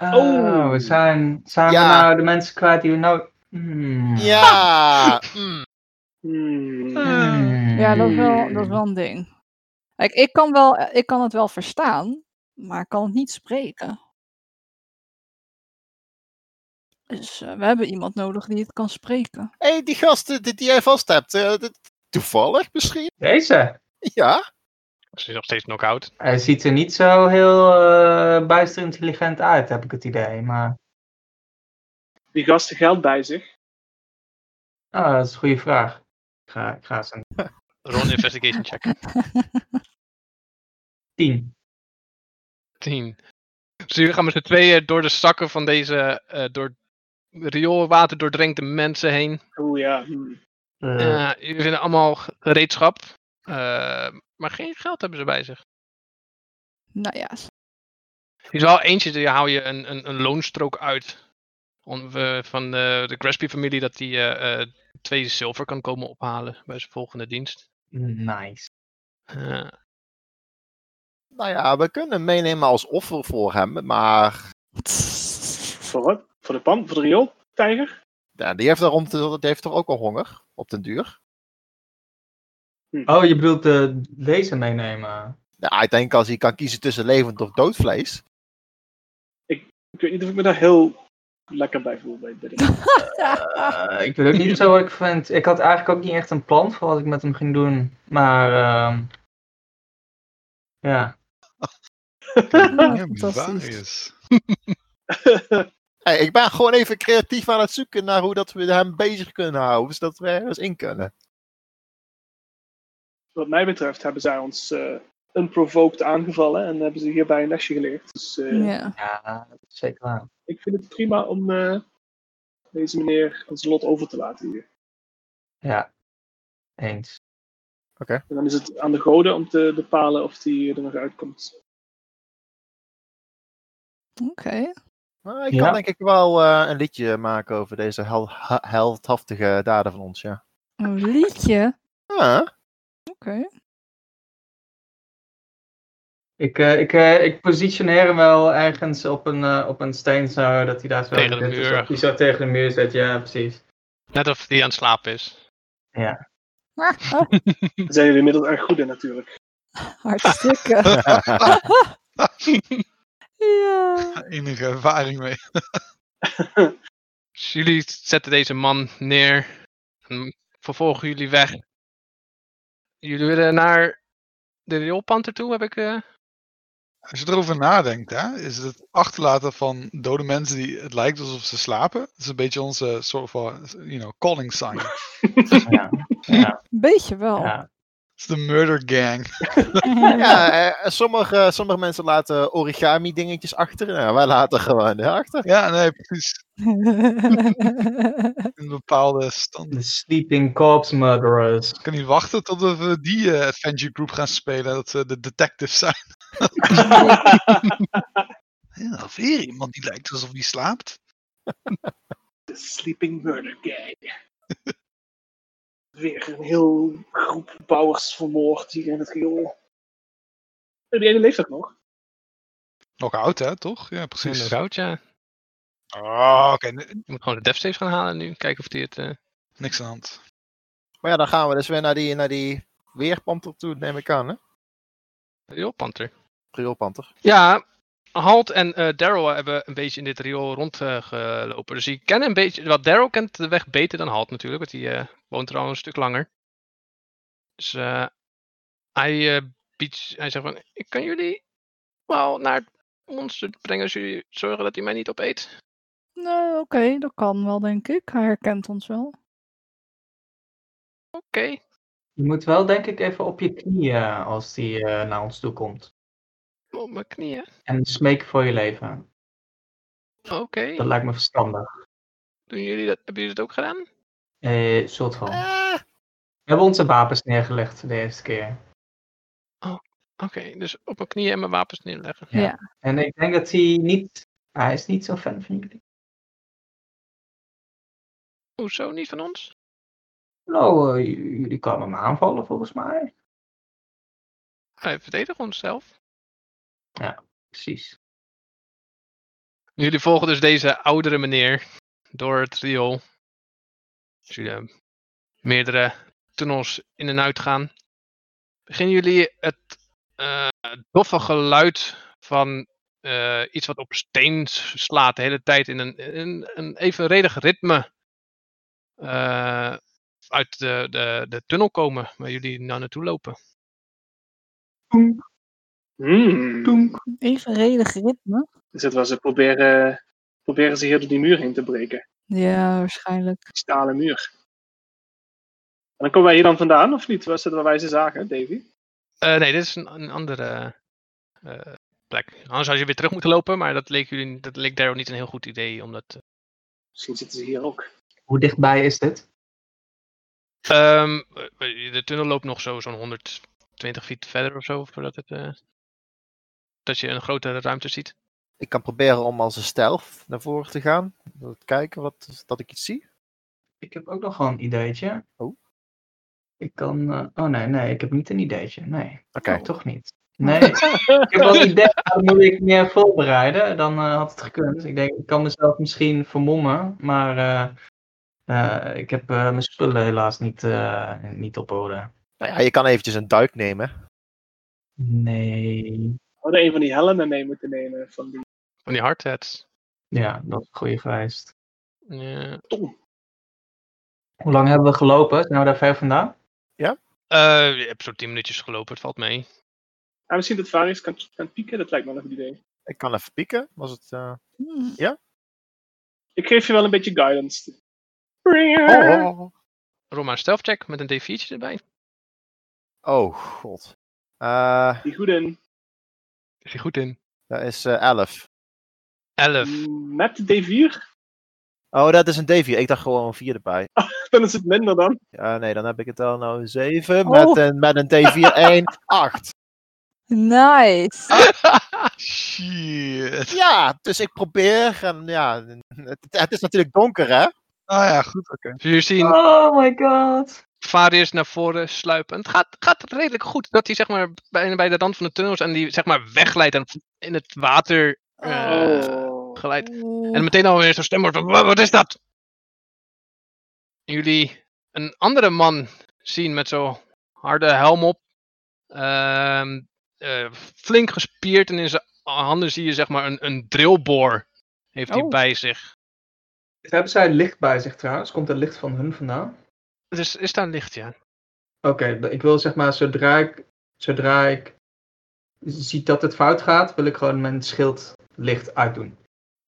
Speaker 2: Oh, we zijn, zijn
Speaker 5: Ja.
Speaker 2: we nou de mensen kwijt die we nou... Hmm.
Speaker 1: Ah.
Speaker 5: Ja! mm.
Speaker 6: Hmm.
Speaker 2: Hmm.
Speaker 4: Ja, dat is, wel, dat is wel een ding. Kijk, ik kan, wel, eh, ik kan het wel verstaan, maar ik kan het niet spreken. Dus eh, we hebben iemand nodig die het kan spreken.
Speaker 5: Hé, hey, die gast die, die jij vast hebt. eh, dat- toevallig misschien?
Speaker 2: Deze.
Speaker 5: Ja.
Speaker 1: Ze is nog steeds knock-out.
Speaker 2: Hij ziet er niet zo heel eh, bijster intelligent uit, heb ik het idee. Maar
Speaker 6: Die gasten geld bij zich.
Speaker 2: ah, dat is een goede vraag. Ik ga, ik ga zijn
Speaker 1: Roll een investigation check.
Speaker 2: tien.
Speaker 1: 10. Dus jullie gaan met z'n tweeën door de zakken van deze eh, door rioolwater doordrenkte mensen heen.
Speaker 6: Oeh ja. hmm.
Speaker 2: Eh,
Speaker 1: Eh, jullie vinden allemaal gereedschap. eh, maar geen geld hebben ze bij zich.
Speaker 4: Nou ja, s-
Speaker 1: Er is wel eentje, daar hou je een, een, een loonstrook uit. Om, eh, van de, de Gresby-familie dat die eh, eh, twee zilver kan komen ophalen bij zijn volgende dienst.
Speaker 2: Nice.
Speaker 1: Eh,
Speaker 5: Nou ja, we kunnen hem meenemen als offer voor hem. Maar
Speaker 6: Voor wat? Voor de pan? Voor de riool? Tijger?
Speaker 5: ja, die, heeft daarom, te- die heeft toch ook al honger? Op den duur?
Speaker 2: Oh, je bedoelt eh, deze meenemen?
Speaker 5: Ja, Nou, ik denk als hij kan kiezen tussen levend of dood vlees.
Speaker 6: Ik weet niet of ik me daar heel lekker bij voel. Bij dit.
Speaker 1: Ah.
Speaker 2: Eh, ik weet ook niet zo wat ik vind. Ik had eigenlijk ook niet echt een plan voor wat ik met hem ging doen. Maar ehm, ja,
Speaker 4: Ja,
Speaker 3: ja,
Speaker 4: fantastisch.
Speaker 3: Bivarius.
Speaker 5: Hey, ik ben gewoon even creatief aan het zoeken naar hoe dat we hem bezig kunnen houden, zodat we ergens eh, in kunnen.
Speaker 6: wat mij betreft hebben zij ons eh unprovoked aangevallen. En hebben ze hierbij een lesje geleerd. Dus eh,
Speaker 4: ja.
Speaker 2: ja dat is zeker waar.
Speaker 6: ik vind het prima om eh, deze meneer ons lot over te laten hier.
Speaker 2: Ja, eens.
Speaker 6: En dan is het aan de goden om te bepalen of die er nog uitkomt.
Speaker 4: oké.
Speaker 5: Maar ik
Speaker 2: Ja.
Speaker 5: kan denk ik wel eh, een liedje maken over deze hel- ha- heldhaftige daden van ons, ja.
Speaker 4: Een liedje.
Speaker 5: Ah,
Speaker 4: Oké.
Speaker 2: Ik, eh, ik, eh, ik positioneer hem wel ergens op een, eh, op een steen zo, dat hij daar zo...
Speaker 1: Tegen de
Speaker 2: dit is,
Speaker 1: muur.
Speaker 2: dat hij zo tegen de muur zit, ja, precies.
Speaker 1: net of die aan het slapen is.
Speaker 4: Ah, ah,
Speaker 6: Daar zijn jullie inmiddels erg goed in natuurlijk.
Speaker 4: hartstikke. ja.
Speaker 3: Enige ervaring mee.
Speaker 1: Dus jullie zetten deze man neer. En vervolgen jullie weg. Jullie willen naar de rioolpanter toe, heb ik... eh,
Speaker 3: Als je erover nadenkt, hè, is het, het achterlaten van dode mensen die het lijkt alsof ze slapen. Dat is een beetje onze soort van, you know, calling sign. Het
Speaker 2: Ja,
Speaker 4: Beetje
Speaker 1: Oh.
Speaker 4: wel.
Speaker 2: ja.
Speaker 3: is de murder gang.
Speaker 5: ja, eh, sommige, sommige mensen laten origami dingetjes achter. Nou, wij laten gewoon hè, achter.
Speaker 3: Ja, nee, precies. Een bepaalde stand.
Speaker 2: De Sleeping Corpse Murderers.
Speaker 3: Ik kan niet wachten tot we die eh, adventure group gaan spelen. Dat ze de detectives zijn. Ja, weer iemand die lijkt alsof hij slaapt.
Speaker 6: De Sleeping Murder Gang. Weer een heel groep bouwers vermoord hier in het riool. Die ene leeft ook nog.
Speaker 3: Nog oud, hè, toch? Ja, precies.
Speaker 1: Inderdaad, ja.
Speaker 3: Oh, oké. n-
Speaker 1: Je moet gewoon de dev saves gaan halen nu. Kijken of die het... eh,
Speaker 3: Niks aan de hand.
Speaker 5: Maar ja, dan gaan we dus weer naar die, naar die weerpanter toe, neem ik aan, hè?
Speaker 1: Riool Panther.
Speaker 5: Rioolpanter.
Speaker 1: Ja, Halt en eh, Daryl hebben een beetje in dit riool rondgelopen. dus die kennen een beetje... Wat Daryl kent de weg beter dan Halt natuurlijk. Want die eh, woont er al een stuk langer. Dus eh, hij, eh, biedt, hij zegt van... Ik kan jullie wel naar het monster brengen... als jullie zorgen dat hij mij niet opeet.
Speaker 4: Nou, oké, dat kan wel, denk ik. Hij herkent ons wel.
Speaker 1: Oké.
Speaker 2: Je moet wel denk ik even op je knieën als die eh, naar ons toe komt.
Speaker 1: Op mijn knieën.
Speaker 2: En smeken voor je leven.
Speaker 1: Oké.
Speaker 2: Dat lijkt me verstandig.
Speaker 1: Doen jullie dat? Hebben jullie dat ook gedaan?
Speaker 2: Eh, soort van. We
Speaker 5: Ah,
Speaker 2: hebben onze wapens neergelegd de eerste keer.
Speaker 1: Oké, dus op mijn knieën en mijn wapens neerleggen.
Speaker 2: En ik denk dat hij niet... Hij is niet zo fan van jullie.
Speaker 1: Hoezo niet van ons?
Speaker 2: Nou, eh, j- jullie kwamen hem aanvallen volgens mij.
Speaker 1: Wij verdedigen onszelf.
Speaker 2: Precies.
Speaker 1: Jullie volgen dus deze oudere meneer door het riool. Dus jullie eh, meerdere tunnels in en uit gaan. Beginnen jullie het eh, doffe geluid van eh, iets wat op steen s- slaat de hele tijd in een, in een evenredig ritme eh, uit de, de, de tunnel komen waar jullie naar naartoe lopen.
Speaker 6: Hmm.
Speaker 2: Toenk.
Speaker 4: Evenredig ritme.
Speaker 6: Dus dat was het proberen, proberen ze hier door die muur heen te breken.
Speaker 4: Ja, waarschijnlijk.
Speaker 6: Die stalen muur. En dan komen wij hier dan vandaan, of niet? Was dat waar wij ze zagen, Davy?
Speaker 1: Eh, nee, dit is een, een andere eh, plek. Anders had je weer terug moeten lopen, maar dat leek, jullie, dat leek Daryl niet een heel goed idee. Omdat,
Speaker 6: Misschien zitten ze hier ook.
Speaker 2: Hoe dichtbij is dit?
Speaker 1: Ehm, eh, de tunnel loopt nog zo, zo'n 120 feet verder of zo, voordat het, eh, dat je een grotere ruimte ziet.
Speaker 5: ik kan proberen om als een stealth naar voren te gaan. Om te Kijken wat, dat ik iets zie.
Speaker 2: Ik heb ook nog wel een ideetje.
Speaker 5: Oh.
Speaker 2: Ik kan. eh, oh nee, nee, ik heb niet een ideetje. Nee.
Speaker 5: Oké.
Speaker 2: Oh, toch niet. Nee. ik heb wel een idee, maar dan moet ik meer voorbereiden. Dan eh, had het gekund. Ik denk, ik kan mezelf misschien vermommen, maar. eh, eh, ik heb eh, mijn spullen helaas niet, eh, niet op orde.
Speaker 5: Nou ja, je kan eventjes een duik nemen.
Speaker 2: Nee.
Speaker 6: We hadden een van die helmen mee moeten nemen van die
Speaker 1: Van die hardheads.
Speaker 2: Ja, dat is een goede geweest.
Speaker 1: Ja.
Speaker 2: Hoe lang hebben we gelopen? Zijn we daar ver vandaan?
Speaker 1: Eh, je hebt zo'n 10 minuutjes gelopen, het valt mee.
Speaker 6: Ja, misschien Ah, dat Varius kan, kan pieken, dat lijkt me wel een goed idee.
Speaker 5: Ik kan even pieken. Was het, eh,
Speaker 4: Hm.
Speaker 6: Ik geef je wel een beetje guidance.
Speaker 5: Oh, oh, oh.
Speaker 1: Rol maar een stealth check met een D4'tje erbij.
Speaker 5: Oh, god. Eh,
Speaker 6: Die goede
Speaker 1: Is hij goed in?
Speaker 5: dat is eh, 11.
Speaker 1: 11.
Speaker 6: met de D4,
Speaker 5: Oh, dat is een D4. Ik dacht gewoon een 4 erbij.
Speaker 6: dan is het minder dan.
Speaker 5: Ja, nee, dan heb ik het al nou 7
Speaker 4: Oh.
Speaker 5: met, een, met een D4 1, 8.
Speaker 4: Nice.
Speaker 1: Ah.
Speaker 3: Shit.
Speaker 5: Ja, dus ik probeer. En ja, het, het is natuurlijk donker, hè?
Speaker 3: Ah ja, goed, oké.
Speaker 1: Dus jullie zien
Speaker 2: Oh my god.
Speaker 1: Varius naar voren sluipen. Het gaat, gaat redelijk goed dat hij zeg maar, bij, bij de rand van de tunnel is en die zeg maar, wegleidt en in het water
Speaker 4: Ah.
Speaker 1: eh,
Speaker 6: Oh.
Speaker 1: glijdt.
Speaker 4: Oeh.
Speaker 1: En meteen alweer zo'n stem wordt van, "Wa- wat is dat? Jullie een andere man zien met zo'n harde helm op. Ehm, eh, flink gespierd en in zijn handen zie je zeg maar een, een drillboor heeft hij
Speaker 4: Oh.
Speaker 1: bij zich.
Speaker 2: Hebben zij licht bij zich trouwens? Komt het licht van hun vandaan?
Speaker 1: Dus is daar licht, ja.
Speaker 2: Oké, d- ik wil zeg maar zodra ik, zodra ik zie dat het fout gaat, wil ik gewoon mijn schild licht uitdoen.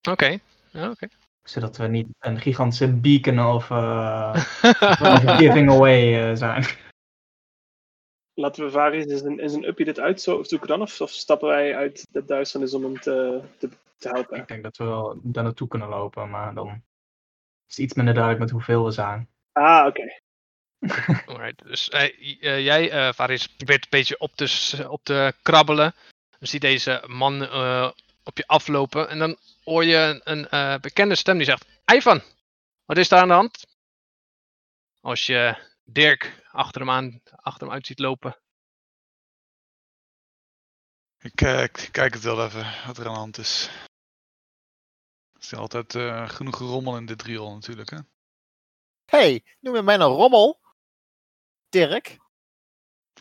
Speaker 1: Oké. Ja, oké.
Speaker 2: Zodat we niet een gigantische beacon of, eh, of giving away eh, zijn.
Speaker 6: Laten we Varius in zijn, in zijn uppie dit uitzoeken dan, of, of stappen wij uit de duisternis om hem te, te, te helpen?
Speaker 2: Ik denk dat we wel daar naartoe kunnen lopen, maar dan is het iets minder duidelijk met hoeveel we zijn.
Speaker 6: Ah, oké.
Speaker 1: Alright, dus eh, j- eh, jij, eh Faris, probeert een beetje op te, s- op te krabbelen. Dan zie deze man eh, op je aflopen. En dan hoor je een, een, eh, bekende stem die zegt... Ivan, wat is daar aan de hand? Als je Dirk achter hem, aan, achter hem uit ziet lopen.
Speaker 3: Ik eh, k- kijk het wel even wat er aan de hand is. Er is altijd eh, genoeg rommel in dit riool natuurlijk. Hè?
Speaker 5: hey, noem je mij nou rommel? Dirk?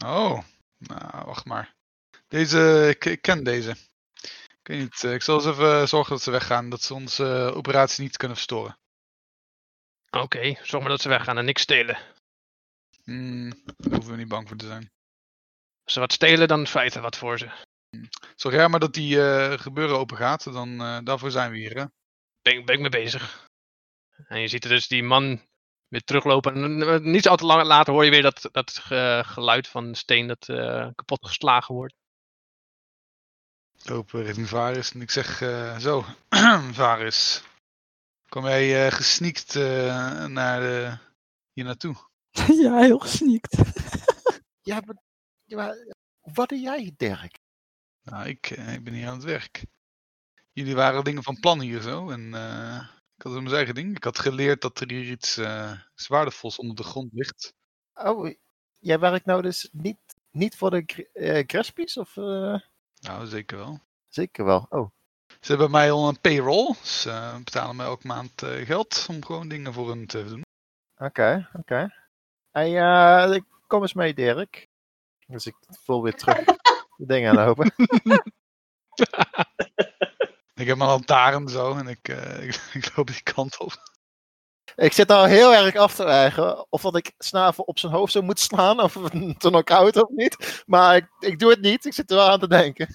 Speaker 3: Oh, nou, wacht maar. Deze, ik, ik ken deze. Ik weet niet, eh, ik zal eens even zorgen dat ze weggaan, dat ze onze eh, operatie niet kunnen verstoren.
Speaker 1: Oké, zorg maar dat ze weggaan en niks stelen.
Speaker 3: Hmm, daar hoeven we niet bang voor te zijn.
Speaker 1: Als ze wat stelen, dan feiten wat voor ze.
Speaker 3: Zorg jij maar dat die eh, gebeuren open gaat, dan eh, daarvoor zijn we hier. Hè?
Speaker 1: Ben, ben ik mee bezig. En je ziet er dus die man weer teruglopen. En eh, niet zo al te lang later hoor je weer dat, dat ge- geluid van steen dat eh, kapot geslagen wordt.
Speaker 3: Loop eh, richting Varus en ik zeg eh, zo, Varus, kom jij eh, gesneakt eh, naar de, hier naartoe?
Speaker 4: ja, heel gesneakt.
Speaker 5: Ja, maar, ja, maar wat doe jij, Dirk?
Speaker 3: Nou, ik, eh, ik ben hier aan het werk. Jullie waren dingen van plan hier zo. En eh, ik had mijn eigen ding. Ik had geleerd dat er hier iets eh iets waardevols onder de grond ligt.
Speaker 5: Oh, jij werkt nou dus niet, niet voor de Gr- eh Crespies? Of, eh,
Speaker 3: Nou, zeker wel.
Speaker 5: Zeker wel. Oh,
Speaker 3: Ze hebben mij al een payroll. Ze eh, betalen mij elke maand eh, geld om gewoon dingen voor hun te doen.
Speaker 5: oké, oké. Hey, eh, kom eens mee, Dirk. Dus ik voel weer terug de dingen aanlopen.
Speaker 3: Ik heb mijn lantaarn zo en ik, eh, ik, ik loop die kant op.
Speaker 5: Ik zit nou heel erg af te eigen of dat ik snavel op zijn hoofd zou moeten slaan of een knock-out of niet. Maar ik, ik doe het niet, ik zit er wel aan te denken.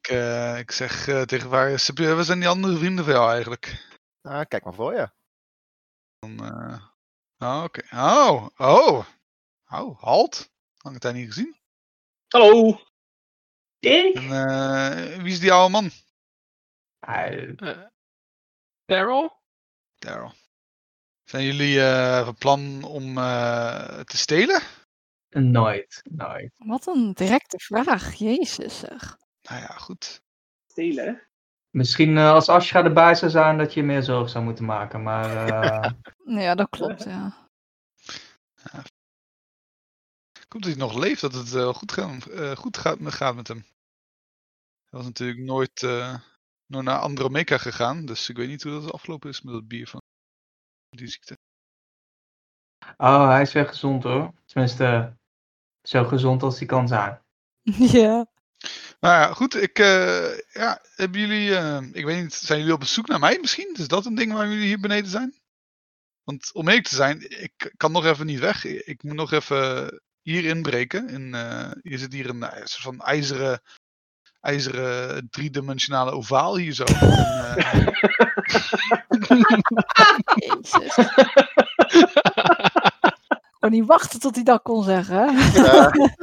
Speaker 3: Ik, eh, ik zeg eh, tegen Varus, "Heb je- waar zijn die andere vrienden van jou eigenlijk?
Speaker 5: Nou, kijk maar voor je.
Speaker 3: Dan, eh, oh, oké. Oh, oh. Oh, halt. Lang het daar niet gezien.
Speaker 6: Hallo!
Speaker 3: En
Speaker 2: Dirk?
Speaker 3: eh, wie is die oude man?
Speaker 2: Ah,
Speaker 1: Daryl?
Speaker 3: Daryl. Zijn jullie eh, van plan om eh, te stelen?
Speaker 2: nooit, nooit.
Speaker 4: Wat een directe vraag, jezus zeg.
Speaker 3: Nou ja, goed.
Speaker 6: Stelen, hè?
Speaker 2: Misschien eh, als Ashra erbij zou zijn, dat je meer zorg zou moeten maken. Maar eh,
Speaker 4: Nou Ja, dat klopt, ja.
Speaker 3: Komt dat hij nog leeft, dat het wel goed, gaan, eh, goed gaat, met- gaat met hem. Hij was natuurlijk nooit, eh, nooit naar Andromeda gegaan, dus ik weet niet hoe dat afgelopen is met dat bier van die ziekte.
Speaker 2: oh, hij is weer gezond hoor. Tenminste, zo gezond als hij kan zijn.
Speaker 4: ja.
Speaker 3: Nou ja, goed, ik, eh, ja, hebben jullie, eh, ik weet niet, zijn jullie op zoek naar mij misschien? Is dat een ding waarom jullie hier beneden zijn? Want om eerlijk te zijn, ik kan nog even niet weg. I- Ik moet nog even hier inbreken. In, eh hier zit hier een eh, soort van ijzeren, ijzeren driedimensionale ovaal hier zo. En, eh,
Speaker 4: Jezus. Ik kon niet wachten tot hij dat kon zeggen. hè?
Speaker 5: Eh,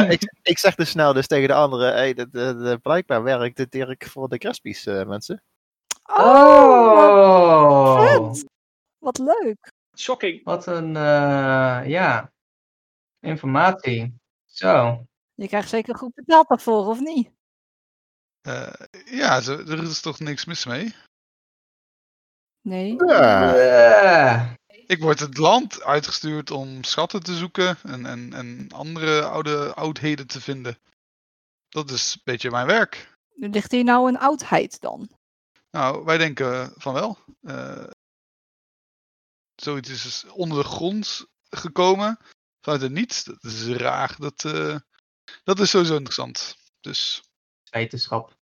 Speaker 5: eh, ik, ik zeg dus snel dus tegen de anderen, hey, de, de, de- blijkbaar werkt de Dirk voor de Crespies, eh, mensen.
Speaker 4: wat-
Speaker 2: Oh!
Speaker 4: vet. Oh, Wat leuk.
Speaker 6: Shocking.
Speaker 2: Wat een, eh, ja, informatie. Zo.
Speaker 4: Je krijgt zeker goed betaald daarvoor, of niet?
Speaker 3: eh, ja, ze- er is toch niks mis mee?
Speaker 4: Nee.
Speaker 5: Ja.
Speaker 2: Eh,
Speaker 3: Ik word het land uitgestuurd om schatten te zoeken en, en, en andere oude oudheden te vinden. Dat is een beetje mijn werk.
Speaker 4: Nu Ligt hier nou een oudheid dan?
Speaker 3: Nou, wij denken van wel. Eh, zoiets is dus onder de grond gekomen. Vanuit het niets. Dat is raar. Dat, eh, dat is sowieso interessant. Dus
Speaker 2: wetenschap.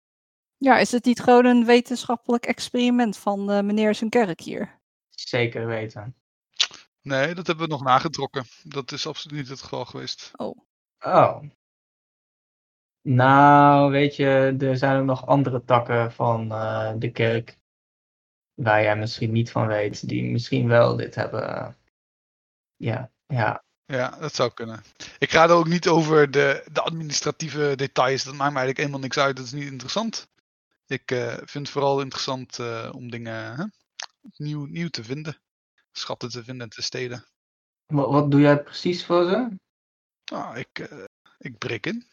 Speaker 4: Ja, is het niet gewoon een wetenschappelijk experiment van eh, meneer zijn kerk hier?
Speaker 2: Zeker weten.
Speaker 3: nee, dat hebben we nog nagetrokken. Dat is absoluut niet het geval geweest.
Speaker 4: Oh,
Speaker 2: Oh. Nou, weet je, er zijn ook nog andere takken van eh, de kerk. Waar jij misschien niet van weet, die misschien wel dit hebben. Ja, ja.
Speaker 3: Ja, dat zou kunnen. Ik ga er ook niet over de, de administratieve details. Dat maakt me eigenlijk helemaal niks uit. Dat is niet interessant. Ik eh, vind het vooral interessant eh, om dingen hè, nieuw, nieuw te vinden. Schatten te vinden en te steden.
Speaker 2: Wat, wat doe jij precies voor ze?
Speaker 3: Nou, ik, eh, ik breek in.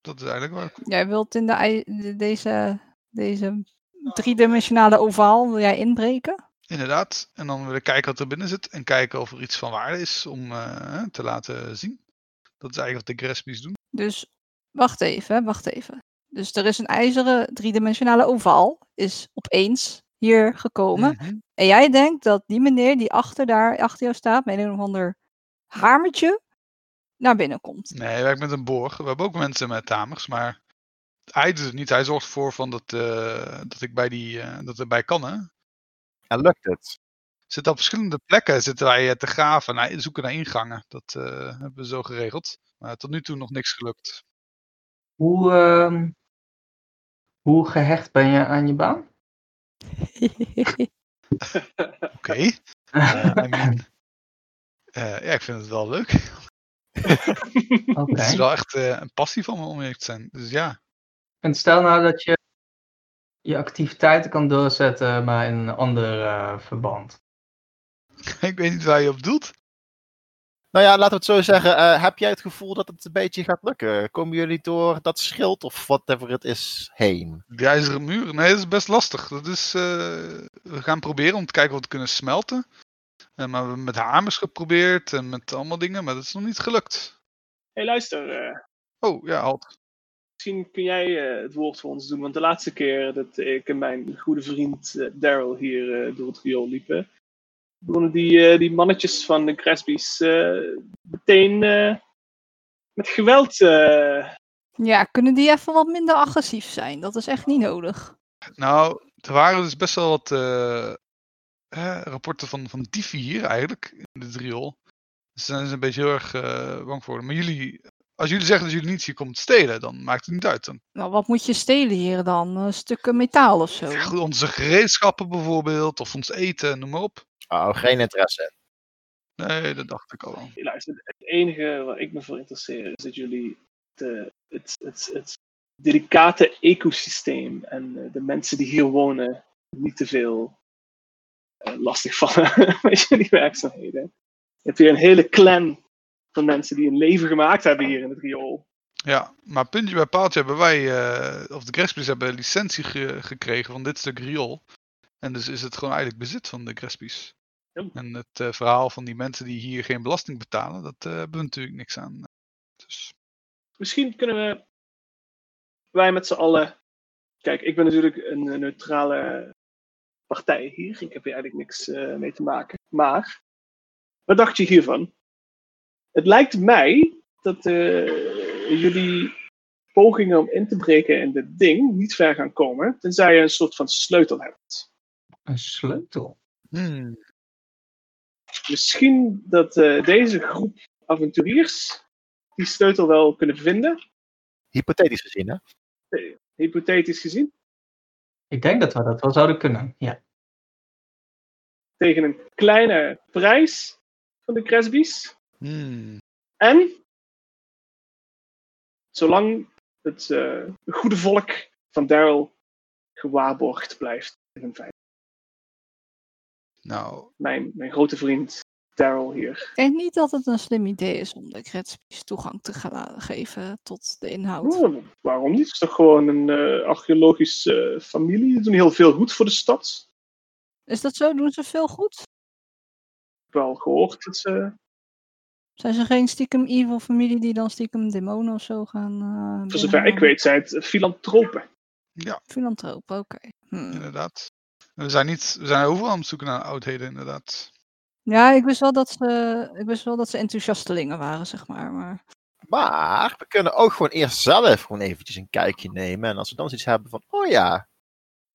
Speaker 3: Dat is eigenlijk waar. ik-
Speaker 4: jij wilt in de, ei- de- deze, deze driedimensionale ovaal wil jij inbreken?
Speaker 3: Inderdaad. En dan willen kijken wat er binnen zit. En kijken of er iets van waarde is om eh, te laten zien. Dat is eigenlijk wat de Grespies doen.
Speaker 4: Dus wacht even, wacht even. Dus er is een ijzeren driedimensionale ovaal, is opeens hier gekomen.
Speaker 3: Mhm.
Speaker 4: En jij denkt dat die meneer die achter, daar, achter jou staat, met een of ander hamertje, naar binnen komt.
Speaker 3: Nee, hij werkt met een borg. We hebben ook mensen met tamers, maar hij doet het niet. Hij zorgt ervoor van dat, eh, dat ik bij die, eh, dat erbij kan, hè.
Speaker 5: En lukt het?
Speaker 3: Zitten op verschillende plekken zitten wij eh, te graven, naar, zoeken naar ingangen. Dat eh, hebben we zo geregeld. Maar tot nu toe nog niks gelukt.
Speaker 2: Hoe, ehm, hoe gehecht ben je aan je baan?
Speaker 3: Oké. Eh, I mean, eh, ja, ik vind het wel leuk.
Speaker 2: Oké.
Speaker 3: Het is wel echt eh, een passie van me om eerlijk te zijn. Dus ja,
Speaker 2: En stel nou dat je je activiteiten kan doorzetten, maar in een ander eh, verband.
Speaker 3: ik weet niet waar je op doelt.
Speaker 5: Nou ja, laten we het zo zeggen. eh, heb jij het gevoel dat het een beetje gaat lukken? Komen jullie door dat schild of whatever het is heen?
Speaker 3: De ijzeren muur? Nee, dat is best lastig. Dat is, eh, we gaan proberen om te kijken of we het kunnen smelten. Eh, maar we hebben met hamers geprobeerd en met allemaal dingen, maar dat is nog niet gelukt.
Speaker 6: hey, luister, eh,
Speaker 3: Oh, ja, halt.
Speaker 6: misschien kun jij eh, het woord voor ons doen. Want de laatste keer dat ik en mijn goede vriend eh, Daryl hier eh, door het riool liepen, begonnen die, eh, die mannetjes van de Cresby's eh, meteen eh, met geweld. eh,
Speaker 4: ja, kunnen die even wat minder agressief zijn? Dat is echt niet nodig.
Speaker 3: Nou, er waren dus best wel wat eh, eh, rapporten van, van dieven hier eigenlijk, in dit riool. Dus daar zijn ze een beetje heel erg eh, bang voor. Maar jullie, als jullie zeggen dat jullie niet hier komt stelen, dan maakt het niet uit. Dan
Speaker 4: Nou, wat moet je stelen hier dan? Eh, stukken metaal of zo?
Speaker 3: Ja, goed, onze gereedschappen bijvoorbeeld, of ons eten, noem maar op.
Speaker 5: Oh, geen interesse.
Speaker 3: Nee, dat dacht ik al wel.
Speaker 6: luister, het enige waar ik me voor interesseer is dat jullie de, het, het, het delicate ecosysteem en eh, de mensen die hier wonen niet te veel eh, lastig vallen met jullie werkzaamheden. Je hebt hier een hele clan van mensen die een leven gemaakt hebben hier in het riool.
Speaker 3: Ja, maar puntje bij paaltje hebben wij, eh, of de Crespies hebben licentie ge- gekregen van dit stuk riool. En dus is het gewoon eigenlijk bezit van de Crespies.
Speaker 6: Ja.
Speaker 3: En het eh, verhaal van die mensen die hier geen belasting betalen, dat eh, hebben we natuurlijk niks aan. Dus
Speaker 6: Misschien kunnen we wij met z'n allen. Kijk, ik ben natuurlijk een eh, neutrale partij hier. Ik heb hier eigenlijk niks eh, mee te maken. Maar, wat dacht je hiervan? Het lijkt mij dat eh, jullie pogingen om in te breken in dit ding niet ver gaan komen, tenzij je een soort van sleutel hebt.
Speaker 2: Een sleutel.
Speaker 3: hmm,
Speaker 6: Misschien dat eh, deze groep avonturiers die sleutel wel kunnen vinden,
Speaker 5: Hypothetisch gezien, hè?
Speaker 6: hypothetisch gezien.
Speaker 2: Ik denk dat we dat wel zouden kunnen. Ja.
Speaker 6: tegen een kleine prijs van de Cresby's.
Speaker 3: hmm.
Speaker 6: En zolang het eh, goede volk van Daryl gewaarborgd blijft. in hun veiligheid.
Speaker 3: Nou,
Speaker 6: Mijn, mijn grote vriend Daryl hier.
Speaker 4: Ik denk niet dat het een slim idee is om de Kretspies toegang te gaan la- geven tot de inhoud.
Speaker 6: Oh, waarom niet? Het is toch gewoon een eh, archeologische eh, familie. Ze doen heel veel goed voor de stad.
Speaker 4: Is dat zo? Doen ze veel goed?
Speaker 6: Ik heb wel gehoord dat ze...
Speaker 4: Zijn ze geen stiekem evil familie die dan stiekem demonen of zo gaan... eh,
Speaker 6: Voor zover ik
Speaker 4: binnenhalen?
Speaker 6: weet zijn het filantropen.
Speaker 4: Filantropen, oké. Hmm.
Speaker 3: inderdaad. We zijn, niet, we zijn overal aan het zoeken naar oudheden, inderdaad.
Speaker 4: Ja, ik wist, wel dat ze, ik wist wel dat ze enthousiastelingen waren, zeg maar. maar...
Speaker 5: Maar we kunnen ook gewoon eerst zelf gewoon eventjes een kijkje nemen. En als we dan zoiets hebben van, oh ja,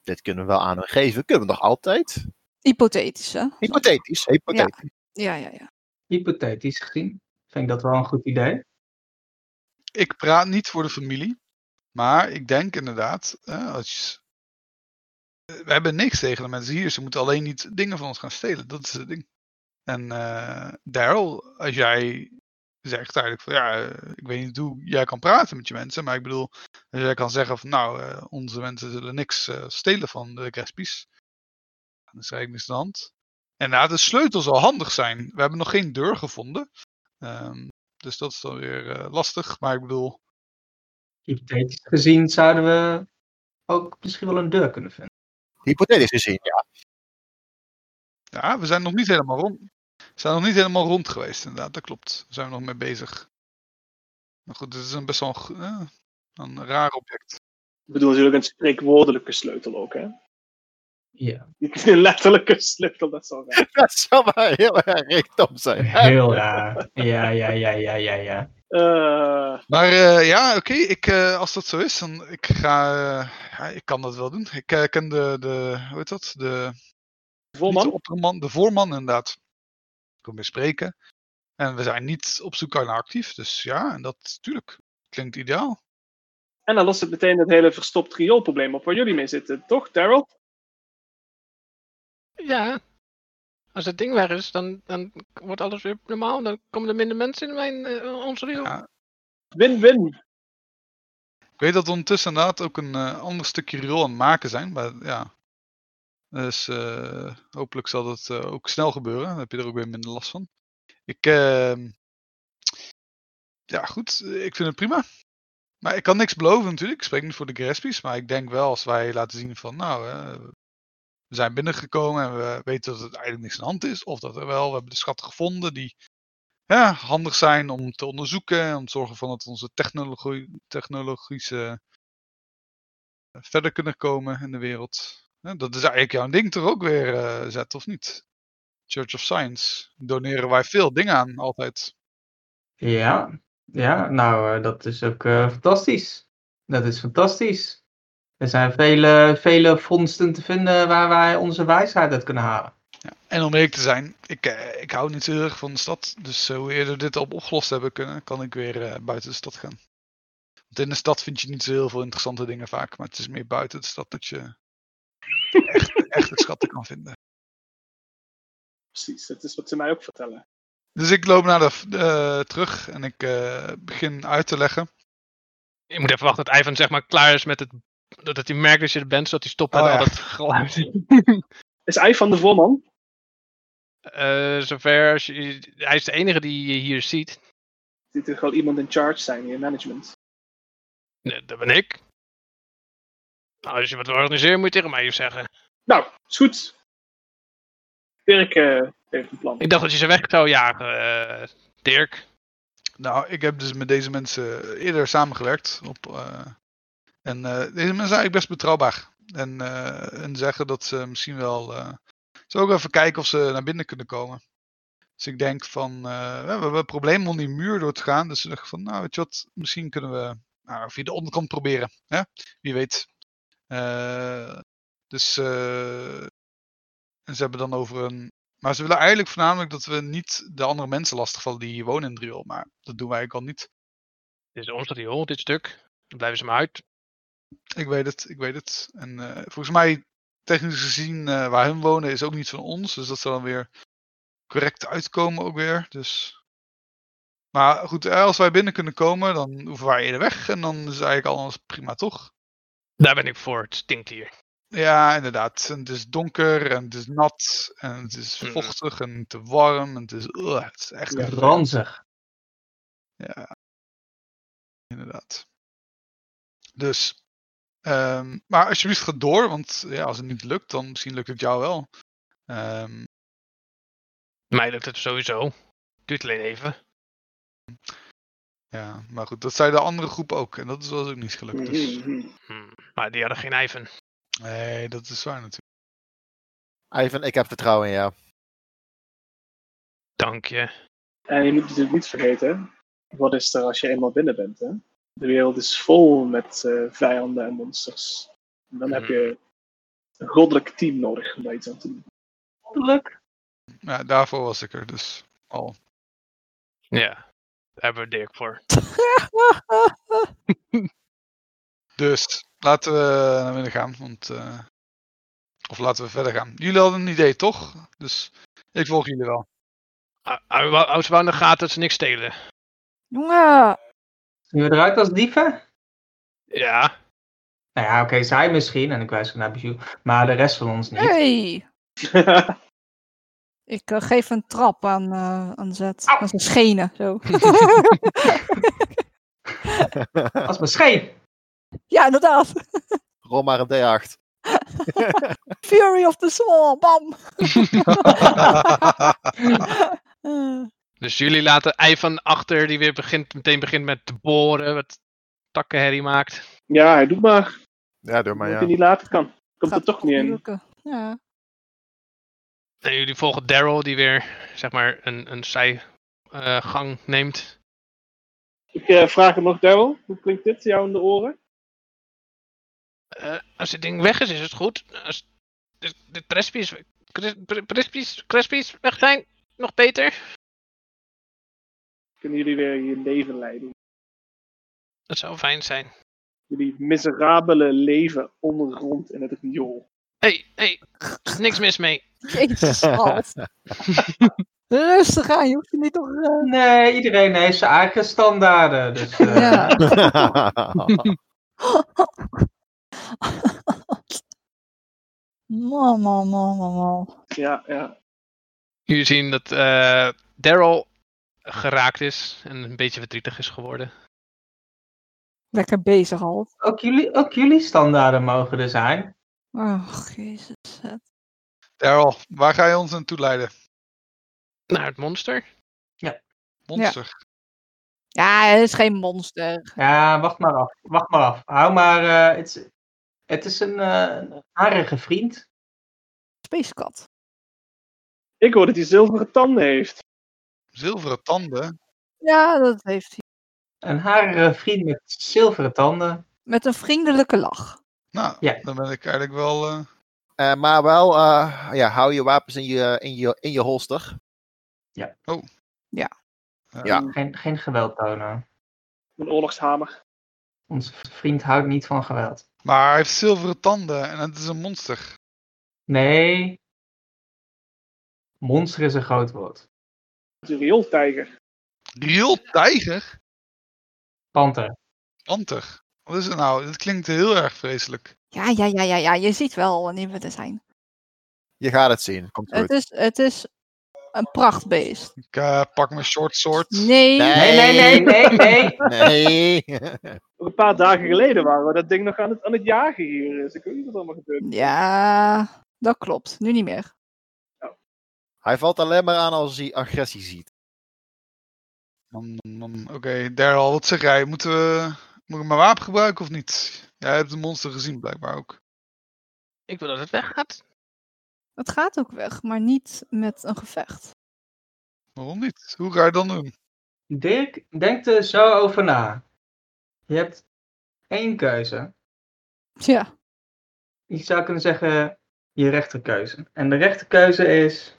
Speaker 5: dit kunnen we wel aan hen geven. Kunnen we nog altijd?
Speaker 4: Hypothetisch, hè?
Speaker 5: Hypothetisch, hypothetisch.
Speaker 4: Ja, ja, ja.
Speaker 2: Hypothetisch gezien. Vind ik dat wel een goed idee.
Speaker 3: Ik praat niet voor de familie, maar ik denk inderdaad, eh, als je- we hebben niks tegen de mensen hier. Ze moeten alleen niet dingen van ons gaan stelen. Dat is het ding. En eh, Daryl, als jij zegt eigenlijk van ja, eh, ik weet niet hoe jij kan praten met je mensen, maar ik bedoel, als jij kan zeggen van nou, eh, onze mensen zullen niks eh, stelen van de Crespies, dan is er eigenlijk niks aan de hand. En nou, de sleutel zal handig zijn. We hebben nog geen deur gevonden. Ehm, dus dat is dan weer eh, lastig. Maar ik bedoel,
Speaker 2: Hypothetisch gezien zouden we ook misschien wel een deur kunnen vinden.
Speaker 5: Hypothetisch gezien, ja.
Speaker 3: ja, we zijn nog niet helemaal rond. We zijn nog niet helemaal rond geweest, inderdaad. Dat klopt. Daar zijn we nog mee bezig. Maar goed, dit is een best wel een, g- eh, een raar object.
Speaker 6: Ik bedoel natuurlijk een spreekwoordelijke sleutel ook, hè?
Speaker 2: Ja,
Speaker 6: Niet een letterlijke sleutel, dat zou raar.
Speaker 5: Dat zou maar heel erg rechtop zijn.
Speaker 2: heel raar. Ja, ja, ja, ja, ja, ja.
Speaker 6: Eh,
Speaker 3: Maar eh, ja, oké, ik, eh, als dat zo is, dan ik ga, eh, ja, ik kan dat wel doen. Ik eh, ken de, de, hoe heet dat? De, niet de
Speaker 6: voorman?
Speaker 3: opperman, de voorman inderdaad. Ik kom weer spreken. En we zijn niet op zoek naar actief, dus ja, en dat tuurlijk. Klinkt ideaal.
Speaker 6: En dan lost het meteen het hele verstopt rioolprobleem op waar jullie mee zitten, toch, Daryl?
Speaker 1: Ja. Als dat ding weg is, dan, dan wordt alles weer normaal. Dan komen er minder mensen in mijn, eh, ons riool.
Speaker 3: Ja.
Speaker 6: Win-win.
Speaker 3: Ik weet dat we ondertussen inderdaad ook een eh, ander stukje rol aan het maken zijn, maar ja. Dus eh, hopelijk zal dat eh, ook snel gebeuren. Dan heb je er ook weer minder last van. Ik, ehm, ja goed, eh, ik vind het prima. Maar ik kan niks beloven natuurlijk. Ik spreek niet voor de Grespies, maar ik denk wel als wij laten zien van, nou, eh, we zijn binnengekomen en we weten dat het eigenlijk niks aan de hand is, of dat er wel, we hebben de schatten gevonden die ja, handig zijn om te onderzoeken, om te zorgen van dat onze technologie, technologische eh, verder kunnen komen in de wereld. Ja, dat is eigenlijk jouw ding toch ook weer, eh Zet, of niet? Church of Science. Doneren wij veel dingen aan, altijd.
Speaker 2: Ja, ja nou, eh, dat is ook eh, fantastisch. Dat is fantastisch. Er zijn vele, vele vondsten te vinden waar wij onze wijsheid uit kunnen halen.
Speaker 3: En om eerlijk te zijn, ik, eh, ik hou niet zo heel erg van de stad. Dus eh, hoe eerder we dit op opgelost hebben kunnen, kan ik weer eh, buiten de stad gaan. Want in de stad vind je niet zo heel veel interessante dingen vaak. Maar het is meer buiten de stad dat je echt, echt de schatten kan vinden.
Speaker 6: Precies, dat is wat ze mij ook vertellen.
Speaker 3: Dus ik loop naar de, v- eh, terug en ik eh, begin uit te leggen.
Speaker 1: Je moet even wachten tot Ivan zeg maar klaar is met het... Dat dat hij merkt dat je er bent, zodat hij stopt met
Speaker 3: Oh, ja.
Speaker 1: al dat geluid.
Speaker 6: Is Ei van de voorman?
Speaker 1: Eh, zover als je- Hij is de enige die je hier ziet.
Speaker 6: Dit er gewoon iemand in charge zijn, in management.
Speaker 1: Nee, dat ben ik. Nou, als je wat wil organiseren, moet je tegen mij zeggen.
Speaker 6: Nou, is goed. Dirk eh, heeft een plan.
Speaker 1: Ik dacht dat je ze weg zou jagen, eh, Dirk.
Speaker 3: Nou, ik heb dus met deze mensen eerder samengewerkt. Op, eh, en eh, deze mensen zijn eigenlijk best betrouwbaar. En, eh, en zeggen dat ze misschien wel. eh ze ook even kijken of ze naar binnen kunnen komen. Dus ik denk van. eh, ja, we hebben een probleem om die muur door te gaan. Dus ik dacht van. Nou, weet je wat. Misschien kunnen we. Nou, via de onderkant proberen. Hè? Wie weet. Eh, dus. eh, en ze hebben dan over een maar ze willen eigenlijk voornamelijk dat we niet de andere mensen lastigvallen die hier wonen in Driel. Maar dat doen wij eigenlijk al niet.
Speaker 1: Dit is ons riool, dit stuk. Dan blijven ze maar uit.
Speaker 3: Ik weet het, ik weet het. En eh, volgens mij, technisch gezien, eh, waar hun wonen is ook niet van ons. Dus dat zal dan weer correct uitkomen ook weer. Dus... Maar goed, eh, als wij binnen kunnen komen, dan hoeven wij eerder weg. En dan is eigenlijk alles prima, toch?
Speaker 1: Daar ben ik voor, het stinkt hier.
Speaker 3: Ja, inderdaad. En het is donker en het is nat. En het is
Speaker 1: Mm.
Speaker 3: vochtig en te warm. En het is, Ugh, het is echt een
Speaker 2: Ranzig.
Speaker 3: Ja, inderdaad. Dus, ehm, maar alsjeblieft ga door, want ja, als het niet lukt, dan misschien lukt het jou wel. Ehm,
Speaker 1: Mij lukt het sowieso. Duurt alleen even.
Speaker 3: ja, maar goed, dat zei de andere groep ook en dat is wel ook niet gelukt. Dus.
Speaker 6: Mhm.
Speaker 1: Hm, Maar die hadden geen Ivan.
Speaker 3: Nee, dat is waar natuurlijk.
Speaker 5: Ivan, ik heb vertrouwen in jou.
Speaker 1: Dank je.
Speaker 6: En je moet natuurlijk niet vergeten, wat is er als je eenmaal binnen bent? Hè? De wereld is vol met eh, vijanden en monsters. En dan heb je een goddelijk team nodig om daar iets aan te doen.
Speaker 2: Goddelijk.
Speaker 3: Ja, daarvoor was ik er dus al.
Speaker 1: Ja, daar hebben we Dirk voor.
Speaker 3: Dus, laten we naar binnen gaan, want... eh, of laten we verder gaan. Jullie hadden een idee, toch? Dus ik volg jullie wel.
Speaker 1: Ah, ah, wou- Als we aan de gaten dat ze niks stelen.
Speaker 4: Jongen,
Speaker 2: Zien we eruit als dieven?
Speaker 1: Ja,
Speaker 2: Nou ja, oké, zij misschien, en ik wijs ook naar Bijou, maar de rest van ons niet.
Speaker 4: hey! Ik eh, geef een trap aan, eh aan Zet. Aan zijn schenen, zo.
Speaker 2: Als mijn scheen.
Speaker 4: ja, inderdaad.
Speaker 5: Rol maar een D8.
Speaker 4: Fury of the Soul, bam! Eh,
Speaker 1: dus jullie laten Ivan achter, die weer begint, meteen begint met te boren, wat takkenherrie maakt.
Speaker 6: ja, hij doet maar.
Speaker 5: Ja, doe maar
Speaker 6: Omdat
Speaker 5: ja.
Speaker 6: je niet later kan. Komt er
Speaker 4: Gaat
Speaker 6: toch niet
Speaker 4: niet
Speaker 6: in.
Speaker 4: lukken. Ja.
Speaker 1: En jullie volgen Daryl, die weer zeg maar een, een zijgang neemt.
Speaker 6: Ik eh, vraag hem nog, Daryl. Hoe klinkt dit jou in de oren?
Speaker 1: Eh, als dit ding weg is, is het goed. Als de, de Crespies, Cres- Cres- Crespies, Crespies weg zijn, nog beter.
Speaker 6: Kunnen jullie weer je leven leiden?
Speaker 1: Dat zou fijn zijn.
Speaker 6: Jullie miserabele leven ondergrond in het riool.
Speaker 1: Hé, hey, hey, niks mis mee.
Speaker 4: Jezus, Ralf. Rustig aan, je hoeft je niet toch... eh,
Speaker 2: Nee, iedereen heeft zijn eigen standaarden. Dus, eh,
Speaker 4: Ja. Man, man, man, man, man.
Speaker 6: Ja, ja.
Speaker 1: Jullie zien dat eh, Daryl geraakt is en een beetje verdrietig is geworden.
Speaker 4: Lekker bezig, Ralf.
Speaker 2: Ook, jullie, ook jullie standaarden mogen er zijn.
Speaker 4: Oh, jezus. eh.
Speaker 3: Daryl, waar ga je ons naartoe leiden?
Speaker 1: Naar het monster.
Speaker 3: Monster.
Speaker 4: Ja, het is geen monster.
Speaker 2: Ja, wacht maar af. Wacht maar af. Hou maar. eh, het, is- het is een eh, een harige vriend.
Speaker 4: Spacekat.
Speaker 6: Ik hoor dat hij zilveren tanden heeft.
Speaker 3: Zilveren tanden.
Speaker 4: Ja, dat heeft hij.
Speaker 2: Een harige vriend met zilveren tanden.
Speaker 4: Met een vriendelijke lach.
Speaker 3: Nou,
Speaker 2: Ja.
Speaker 3: dan ben ik eigenlijk wel... eh,
Speaker 5: Eh, maar wel, eh, ja, hou je wapens in je, in je, in je holster.
Speaker 3: eh,
Speaker 5: Ja.
Speaker 2: Geen, geen geweld tonen.
Speaker 6: Een oorlogshamer.
Speaker 2: Onze vriend houdt niet van geweld.
Speaker 3: Maar hij heeft zilveren tanden en het is een monster.
Speaker 2: Nee. Monster is een groot woord.
Speaker 6: Het is een riooltijger.
Speaker 3: Riel tijger?
Speaker 2: Panter.
Speaker 3: Panter. Wat is het nou? Dit klinkt heel erg vreselijk.
Speaker 4: Ja, ja, ja, ja, ja. Je ziet wel wanneer we er zijn.
Speaker 5: Je gaat het zien. Komt goed.
Speaker 4: Het is, het is een prachtbeest.
Speaker 3: Ik eh, pak mijn short sword.
Speaker 4: Nee.
Speaker 5: Nee.
Speaker 2: Nee, nee, nee, nee, nee.
Speaker 5: Nee.
Speaker 6: Nog Een paar dagen geleden waren we dat ding nog aan het, aan het jagen hier. Dus ik weet niet wat er allemaal gebeurt.
Speaker 4: Ja, dat klopt. Nu niet meer.
Speaker 5: hij valt alleen maar aan als hij agressie ziet.
Speaker 3: Nom, nom, nom. Oké, Daryl, wat zeg jij? Moeten we... Moet ik mijn wapen gebruiken of niet? Jij hebt een monster gezien, blijkbaar ook.
Speaker 1: Ik wil dat het weggaat.
Speaker 4: Het gaat ook weg, maar niet met een gevecht.
Speaker 3: Waarom niet? Hoe ga je het dan doen?
Speaker 2: Dirk, denk er zo over na. Je hebt één keuze.
Speaker 4: Ja,
Speaker 2: Je zou kunnen zeggen je rechterkeuze. En de rechterkeuze is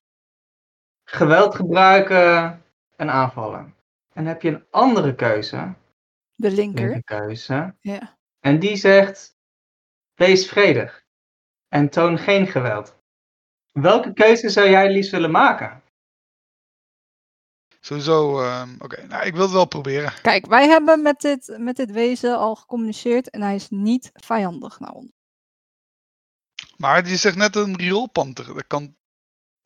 Speaker 2: geweld gebruiken en aanvallen. En heb je een andere keuze,
Speaker 4: de linker.
Speaker 2: linkerkeuze,
Speaker 4: Ja.
Speaker 2: en die zegt wees vredig en toon geen geweld. Welke keuze zou jij liefst willen maken?
Speaker 3: Sowieso, ehm, oké. Nou, ik wil het wel proberen.
Speaker 4: Kijk, wij hebben met dit, met dit wezen al gecommuniceerd en hij is niet vijandig naar ons.
Speaker 3: Maar je zegt net een rioolpanter. Dat kan...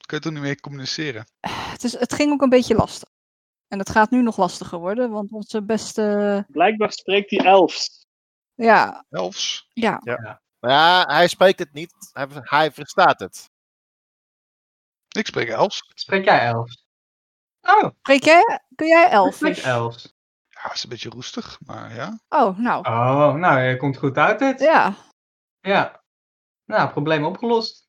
Speaker 3: Kun je toch niet mee communiceren?
Speaker 4: Het, is, het ging ook een beetje lastig. En het gaat nu nog lastiger worden, want onze beste.
Speaker 6: Blijkbaar spreekt hij elfs.
Speaker 4: Ja,
Speaker 3: Elfs?
Speaker 4: ja.
Speaker 5: Maar ja, hij spreekt het niet. Hij, hij verstaat het.
Speaker 3: Ik spreek elfs.
Speaker 2: Spreek jij elfs? Oh,
Speaker 4: Spreek jij? Kun jij elf?
Speaker 2: spreek elfs.
Speaker 3: Ja, is een beetje roestig, maar ja.
Speaker 4: Oh, nou.
Speaker 2: Oh, nou, je komt goed uit dit.
Speaker 4: Ja.
Speaker 2: Ja. Nou, probleem opgelost.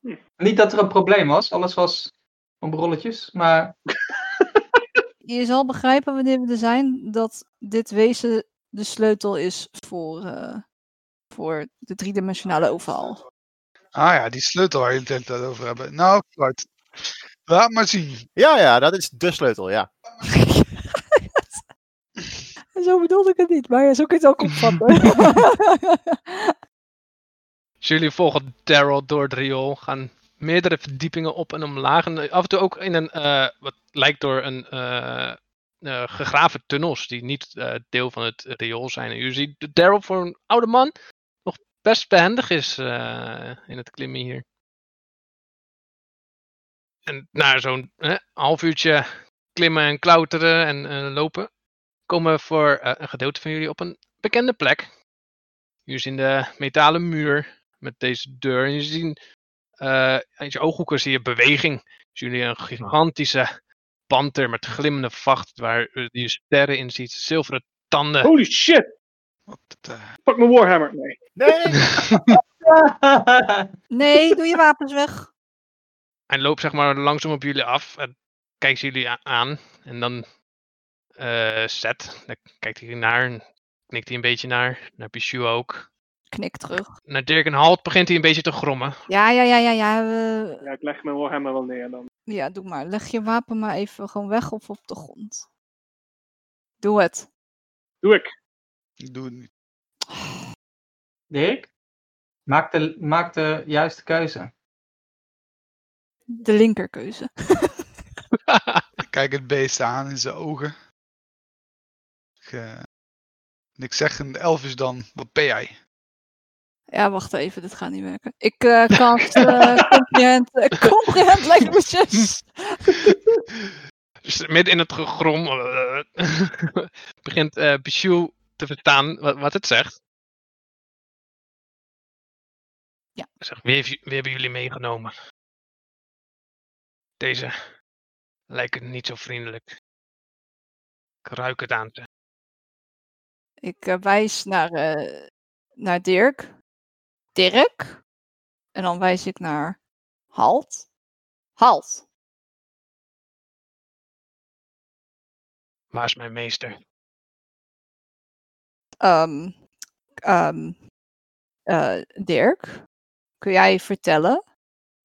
Speaker 6: Hm.
Speaker 2: Niet dat er een probleem was, alles was op rolletjes, maar
Speaker 4: Je zal begrijpen wanneer we er zijn dat dit wezen de sleutel is voor, eh, voor de driedimensionale overhaal.
Speaker 3: Ah ja, die sleutel waar jullie het de hele tijd over hebben. Nou, vooruit. Laat maar zien.
Speaker 5: Ja, ja, dat is de sleutel, ja.
Speaker 4: Zo bedoelde ik het niet, maar zo kun je het ook opvatten.
Speaker 1: Dus jullie volgen Daryl door het riool, gaan meerdere verdiepingen op en omlaag. En af en toe ook in een, eh, wat lijkt door een eh, eh, gegraven tunnels, die niet eh, deel van het riool zijn. En jullie zien dat Daryl voor een oude man nog best behendig is eh, in het klimmen hier. En na zo'n hè, half uurtje klimmen en klauteren en eh, lopen, komen we voor eh, een gedeelte van jullie op een bekende plek. Jullie zien de metalen muur met deze deur. En je ziet, eh, uit je ooghoeken zie je beweging. Zien jullie een gigantische panter met glimmende vacht, waar eh, je sterren in ziet, zilveren tanden.
Speaker 6: Holy shit!
Speaker 3: Wat, eh,
Speaker 6: Pak mijn Warhammer. Nee.
Speaker 5: Nee!
Speaker 4: Nee, doe je wapens weg.
Speaker 1: Hij loopt zeg maar langzaam op jullie af. En kijkt jullie a- aan. En dan eh Seth. Daar kijkt hij naar. en Knikt hij een beetje naar. Naar Pichu ook.
Speaker 4: Knik terug.
Speaker 1: Naar Dirk en Halt begint hij een beetje te grommen.
Speaker 4: Ja, ja, ja, ja, ja. we-
Speaker 6: Ja, ik leg mijn Warhammer wel neer dan.
Speaker 4: Ja, doe maar. Leg je wapen maar even gewoon weg of op de grond. Doe het.
Speaker 6: Doe ik.
Speaker 3: Ik doe het niet.
Speaker 2: Dirk? Maak de, maak de juiste keuze.
Speaker 4: De linkerkeuze.
Speaker 3: Ik kijk het beest aan in zijn ogen. Ik, eh, en ik zeg een elvis dan, wat ben jij?
Speaker 4: Ja, wacht even, dit gaat niet werken. Ik eh cast eh comprehend, eh, comprehend languages.
Speaker 1: Dus midden in het gegrom eh, begint eh Pichu te verstaan wat, wat het zegt.
Speaker 4: Ja.
Speaker 1: Zeg, wie, heeft, ju- wie hebben jullie meegenomen? Deze lijken niet zo vriendelijk. Ik ruik het aan ze.
Speaker 4: Ik eh, wijs naar, eh, naar Dirk. Dirk. En dan wijs ik naar Halt. Halt.
Speaker 1: Waar is mijn meester?
Speaker 4: Ehm, ehm, eh, Dirk, kun jij vertellen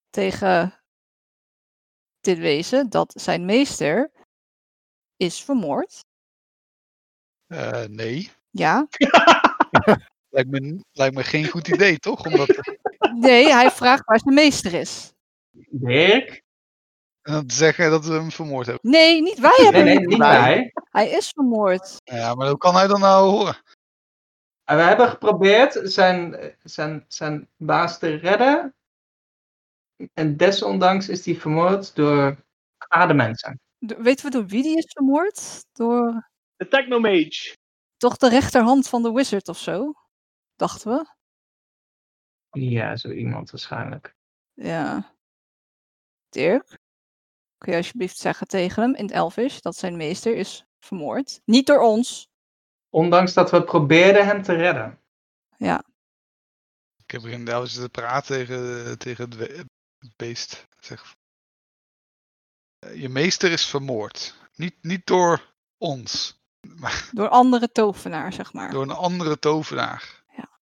Speaker 4: tegen dit wezen dat zijn meester is vermoord?
Speaker 3: Eh, nee,
Speaker 4: Ja.
Speaker 3: lijkt me, lijkt me geen goed idee, toch? Omdat,
Speaker 4: Nee, hij vraagt waar zijn meester is.
Speaker 2: Dirk?
Speaker 3: en dan te zeggen dat we hem vermoord hebben.
Speaker 4: Nee, niet wij hebben
Speaker 2: Nee,
Speaker 4: hem
Speaker 2: nee,
Speaker 4: niet
Speaker 2: niet
Speaker 4: vermoord.
Speaker 2: wij.
Speaker 4: Hij is vermoord.
Speaker 3: Ja, maar hoe kan hij dan nou horen?
Speaker 2: En We hebben geprobeerd zijn, zijn, zijn baas te redden. En desondanks is hij vermoord door aardemensen.
Speaker 4: Do- Weten we door wie die is vermoord? Door
Speaker 6: De Technomage.
Speaker 4: toch de rechterhand van de wizard of zo? Dachten we.
Speaker 2: Ja, zo iemand waarschijnlijk.
Speaker 4: Ja. Dirk, kun je alsjeblieft zeggen tegen hem in het Elvish dat zijn meester is vermoord? Niet door ons.
Speaker 2: Ondanks dat we probeerden hem te redden.
Speaker 3: Ik heb begin de elvis te praten tegen, tegen het we- het beest. Ik Zeg, eh, je meester is vermoord. Niet, niet door ons,
Speaker 4: Door andere tovenaar, zeg maar.
Speaker 3: door een andere tovenaar.
Speaker 4: Ja.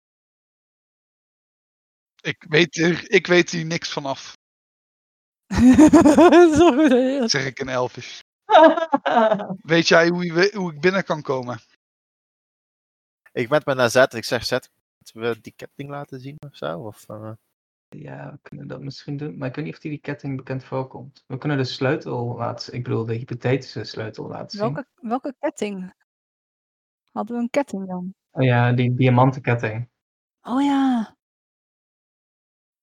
Speaker 3: Ik weet, er, ik weet hier niks van af,
Speaker 4: Dat is wel goed, hè?
Speaker 3: zeg ik in elvis. Weet jij hoe, je we- hoe ik binnen kan komen?
Speaker 5: Ik wend me naar Zet. Ik zeg Zet, moeten we die ketting laten zien of zo? Of, eh,
Speaker 2: ja, we kunnen dat misschien doen. Maar ik weet niet of die, die ketting bekend voorkomt. We kunnen de sleutel laten Ik bedoel, de hypothetische sleutel laten zien.
Speaker 4: welke, welke ketting? Hadden we een ketting dan?
Speaker 2: Oh ja, die diamantenketting.
Speaker 4: Oh ja.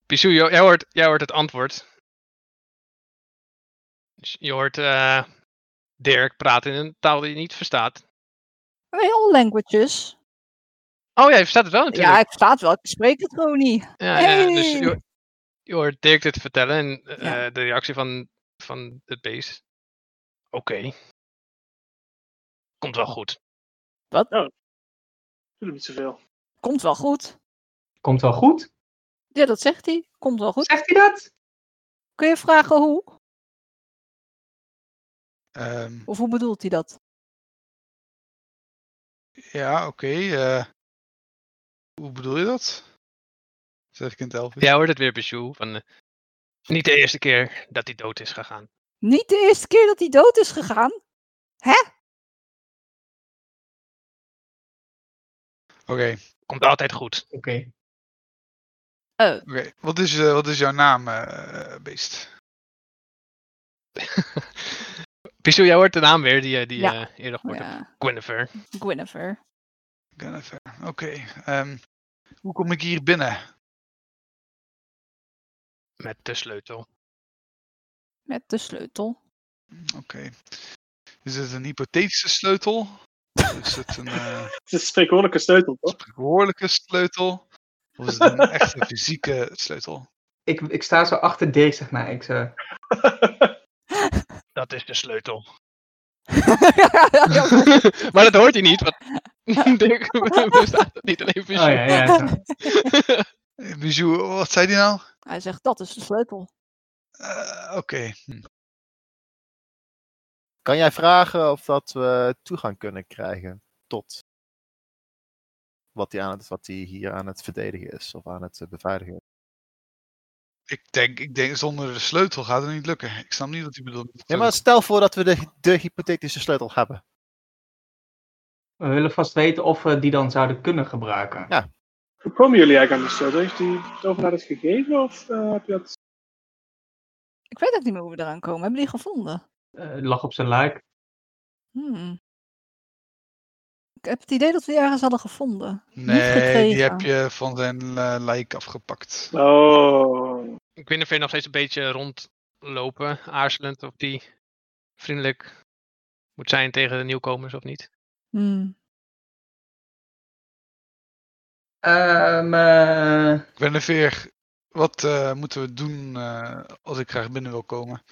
Speaker 1: Pichu, jou- jij hoort, jij hoort het antwoord. Dus je hoort eh, Dirk praten in een taal die je niet verstaat.
Speaker 4: Nee, all languages.
Speaker 1: Oh, jij verstaat het wel natuurlijk.
Speaker 4: Ja, ik staat wel. Ik spreek het gewoon niet.
Speaker 1: Ja, ja, dus je,
Speaker 4: Hey!
Speaker 1: hoort- je hoort Dirk dit vertellen en
Speaker 4: Ja.
Speaker 1: eh, de reactie van, van het beest. Oké. Komt wel goed.
Speaker 6: Doe hem niet zoveel.
Speaker 4: Komt wel goed.
Speaker 2: Komt wel goed?
Speaker 4: Ja, dat zegt hij. Komt wel goed.
Speaker 2: Zegt hij dat?
Speaker 4: Kun je vragen hoe?
Speaker 3: Ehm,
Speaker 4: Of hoe bedoelt hij dat?
Speaker 3: ja, oké. eh, hoe bedoel je dat? Zeg ik in het Elvis.
Speaker 1: Jij hoort het weer, Pichu. Van, eh, niet de eerste keer dat hij dood is gegaan.
Speaker 4: Niet de eerste keer dat hij dood is gegaan.
Speaker 3: Oké,
Speaker 1: Komt altijd goed.
Speaker 2: Oké.
Speaker 4: Oh,
Speaker 3: oké. Wat, is, eh, wat is jouw naam, eh, beest?
Speaker 1: Pichu, jij hoort de naam weer die je die,
Speaker 4: Ja.
Speaker 1: je eerder gehoord hebt.
Speaker 4: Oh ja.
Speaker 1: Guinevere.
Speaker 4: Guinevere.
Speaker 3: Guinevere. Oké. ehm, hoe kom ik hier binnen?
Speaker 1: Met de sleutel.
Speaker 4: Met de sleutel.
Speaker 3: Oké. Is het een hypothetische sleutel? Is het een eh
Speaker 6: Het is een spreekwoordelijke sleutel, toch?
Speaker 3: spreekwoordelijke sleutel? Of is het een echte fysieke sleutel?
Speaker 2: Ik, ik sta zo achter Dirk, zeg maar. Ik eh, oh zo...
Speaker 1: Dat is de sleutel. maar dat hoort hij niet, want Dirk bestaat het niet, alleen
Speaker 2: Oh
Speaker 1: Bijou.
Speaker 2: ja, ja. zo.
Speaker 3: Eh, Bijou, wat zei die nou?
Speaker 4: Hij zegt, dat is de sleutel.
Speaker 3: Eh, Oké. Hm.
Speaker 5: Kan jij vragen of dat we toegang kunnen krijgen tot wat hij, aan het, wat hij hier aan het verdedigen is of aan het eh, beveiligen? is?
Speaker 3: Ik denk, ik denk, zonder de sleutel gaat het niet lukken. Ik snap niet wat hij bedoelt. met
Speaker 5: Ja, maar stel voor dat we de, de hypothetische sleutel hebben.
Speaker 2: We willen vast weten of we die dan zouden kunnen gebruiken.
Speaker 6: Hoe komen jullie eigenlijk aan die sleutel? Heeft die tovenaar dat gegeven? Of eh, heb je dat...
Speaker 4: Ik weet ook niet meer hoe we eraan komen. Hebben we die gevonden?
Speaker 2: Eh, lag op zijn lijk.
Speaker 4: Hmm. Ik heb het idee dat we die ergens hadden gevonden.
Speaker 3: sleutel. Nee, die
Speaker 4: gekregen.
Speaker 3: heb je van zijn eh, lijk afgepakt.
Speaker 6: Oh.
Speaker 1: Ik weet niet of je nog steeds een beetje rondlopen, aarzelend of die vriendelijk moet zijn tegen de nieuwkomers of niet.
Speaker 4: Hmm.
Speaker 2: Ehm, eh,
Speaker 3: Ik ben een veer. Wat eh, moeten we doen eh, als ik graag binnen wil komen?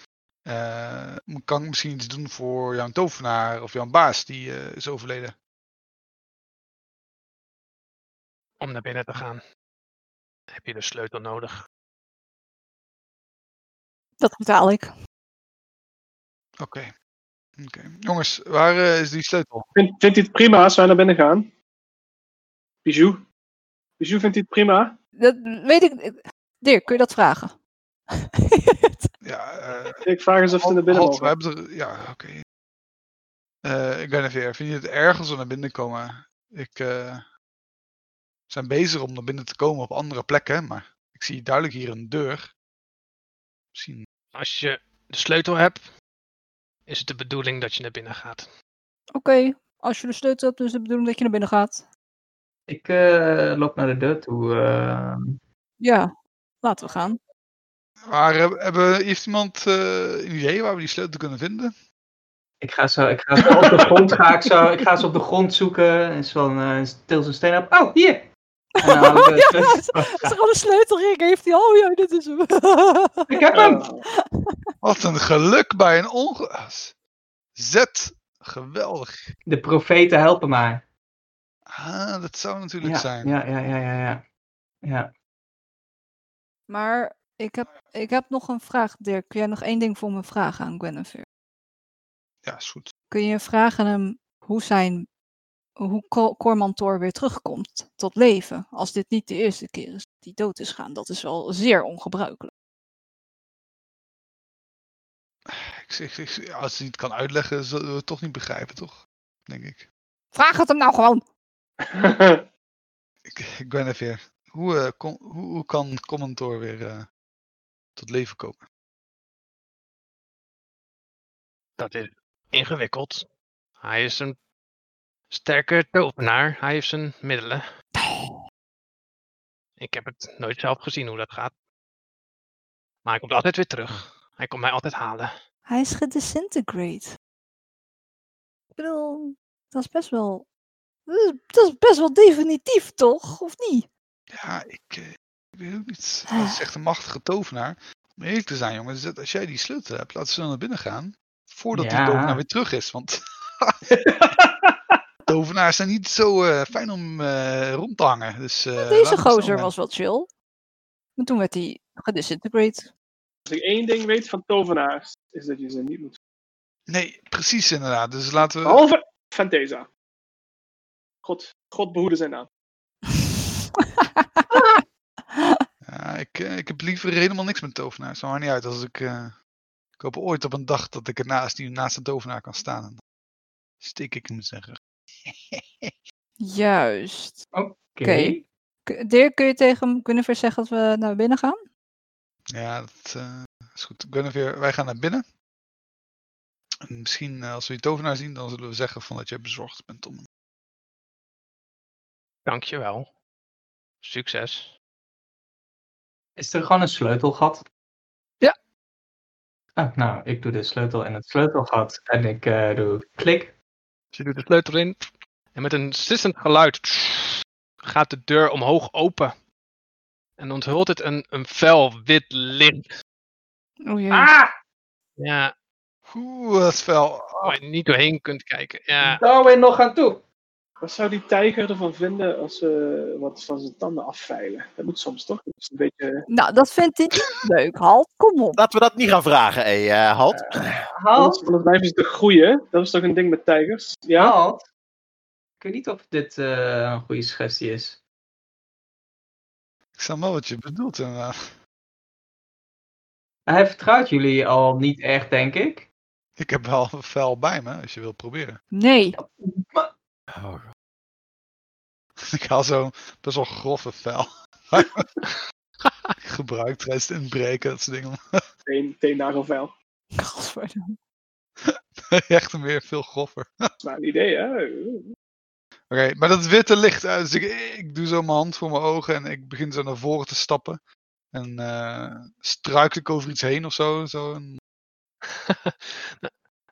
Speaker 3: Eh, mo- kan ik misschien iets doen voor jouw tovenaar of jouw baas die eh, is overleden?
Speaker 1: Om naar binnen te gaan heb je de sleutel nodig.
Speaker 4: Dat betaal ik.
Speaker 3: Oké. Oké. Jongens, waar eh, is die sleutel?
Speaker 6: Vind, vindt hij het prima als wij naar binnen gaan? Bijou? Bijou vindt hij het prima?
Speaker 4: Dat weet ik. ik- Dirk, kun je dat vragen?
Speaker 3: Ja, eh,
Speaker 6: Ik vraag eens of ze naar binnen
Speaker 3: halt, we
Speaker 6: mogen.
Speaker 3: hebben er- Ja, oké. Eh, ik ben een veer. Vind je het erg als we naar binnen komen? Ik eh, we zijn bezig om naar binnen te komen op andere plekken, maar ik zie duidelijk hier een deur. Misschien
Speaker 1: Als je de sleutel hebt, is het de bedoeling dat je naar binnen gaat.
Speaker 4: Oké, als je de sleutel hebt, dus de bedoeling dat je naar binnen gaat.
Speaker 2: ik eh, loop naar de deur toe. eh.
Speaker 4: Ja, laten we gaan.
Speaker 3: Maar heb- hebben, heeft iemand eh, een idee waar we die sleutel kunnen vinden?
Speaker 2: ik, ga zo, ik ga zo op de grond ga ik zo, ik ga ze op de grond zoeken. En zo van, eh til zijn steen op. Oh, hier! En dan eh, dus, haal ik de
Speaker 4: Ja, dat is- Als er al een sleutelring heeft, hij. Oh ja, dit is hem.
Speaker 2: Ik heb hem!
Speaker 6: Oh.
Speaker 3: Wat een geluk bij een onge... Zet. Geweldig.
Speaker 2: De profeten helpen mij.
Speaker 3: Ah, dat zou natuurlijk
Speaker 2: Ja,
Speaker 3: zijn.
Speaker 2: ja, ja, ja, ja. ja. ja.
Speaker 4: maar ik heb, ik heb nog een vraag, Dirk. Kun jij nog één ding voor me vragen aan Guinevere?
Speaker 3: Ja, is goed.
Speaker 4: Kun je vragen aan hem hoe zijn... Hoe Cor- Cormantor weer terugkomt tot leven. Als dit niet de eerste keer is dat hij dood is gaan. Dat is wel zeer ongebruikelijk.
Speaker 3: Ik, zeg- ik, zeg- als hij het kan uitleggen, zullen we het toch niet begrijpen, toch? Denk ik.
Speaker 4: Vraag het hem nou gewoon.
Speaker 3: Ik, ik ben er weer. Hoe, eh, kom- hoe, hoe kan Commentor weer eh, tot leven komen?
Speaker 1: Dat is ingewikkeld. Hij is een sterke tovenaar. Hij heeft zijn middelen. Ik heb het nooit zelf gezien hoe dat gaat. Maar hij komt altijd weer terug. Hij komt mij altijd halen.
Speaker 4: Hij is gedisintegrate. Ik bedoel, dat is best wel... Dat is, dat is best wel definitief, toch? Of niet?
Speaker 3: Ja, ik, eh, ik weet ook niet.
Speaker 4: Ah.
Speaker 3: Hij is echt een machtige tovenaar. Om eerlijk te zijn, jongens, dat- als jij die sleutel hebt, laten ze dan naar binnen gaan. Voordat die
Speaker 2: Ja.
Speaker 3: tovenaar weer terug is. Want tovenaars zijn niet zo eh, fijn om eh, rond te hangen. Dus, eh, laten
Speaker 4: Deze
Speaker 3: we snel
Speaker 4: gozer
Speaker 3: gaan.
Speaker 4: was wel chill. Maar toen werd hij gedisintegrate.
Speaker 6: Als ik één ding weet van tovenaars, is dat je ze niet moet...
Speaker 3: Nee, precies inderdaad. Dus laten
Speaker 4: Oh.
Speaker 3: we.
Speaker 6: Behalve Fantesa. God, God behoede nou. zijn naam.
Speaker 3: Ja, ik, eh, ik heb liever helemaal niks met tovenaars. Dat maakt niet uit. Als ik, eh, ik hoop ooit op een dag dat ik ernaast, die naast een tovenaar kan staan. En dan steek ik hem zeggen.
Speaker 4: Juist.
Speaker 2: Oké.
Speaker 4: Oké. K- Dirk, kun je tegen hem kunnen zeggen dat we naar binnen gaan?
Speaker 3: Ja, dat eh, is goed. Guinevere, wij gaan naar binnen. En misschien eh, als we die tovenaar zien, dan zullen we zeggen van dat jij bezorgd bent om. hem.
Speaker 1: Dankjewel. Succes.
Speaker 2: Is er gewoon een sleutelgat?
Speaker 1: Ja.
Speaker 2: Ah, nou, ik doe de sleutel in het sleutelgat. En ik eh, doe klik.
Speaker 1: Ze doet de sleutel in. En met een sissend geluid gaat de deur omhoog open. En onthult het een, een fel wit licht.
Speaker 4: Oh jee.
Speaker 2: Ah!
Speaker 1: Ja,
Speaker 3: Oeh, dat is fel. Oh.
Speaker 1: waar je niet doorheen kunt kijken. Ja,
Speaker 2: Darwin nog aan toe.
Speaker 6: Wat zou die tijger ervan vinden als we wat van zijn tanden afveilen? Dat moet soms toch? Dat is een beetje...
Speaker 4: Nou, dat vindt hij niet leuk. Halt, kom op.
Speaker 5: Laten we dat niet gaan vragen, hé, eh, Halt.
Speaker 2: Halt,
Speaker 6: Anders anders blijven ze te groeien. Dat is toch een ding met tijgers? Ja?
Speaker 2: halt. Ik weet niet of dit eh, een goede suggestie is.
Speaker 3: Ik snap wel wat je bedoelt, inderdaad.
Speaker 2: Hij vertrouwt jullie al niet echt, denk ik.
Speaker 3: Ik heb wel een vuil bij me, als je wilt proberen.
Speaker 4: Nee.
Speaker 5: Oh,
Speaker 3: Ik haal zo best wel grove vuil. Gebruikt tijdens het inbreken, dat soort dingen.
Speaker 6: Teen, teennagelveil.
Speaker 4: Godverdomme.
Speaker 3: Echt meer veel grover.
Speaker 6: Dat is maar Nou, een idee, hè?
Speaker 3: Oké, maar dat witte licht uit. Dus ik, ik doe zo mijn hand voor mijn ogen en ik begin zo naar voren te stappen. En eh struikel ik over iets heen of zo. zo en,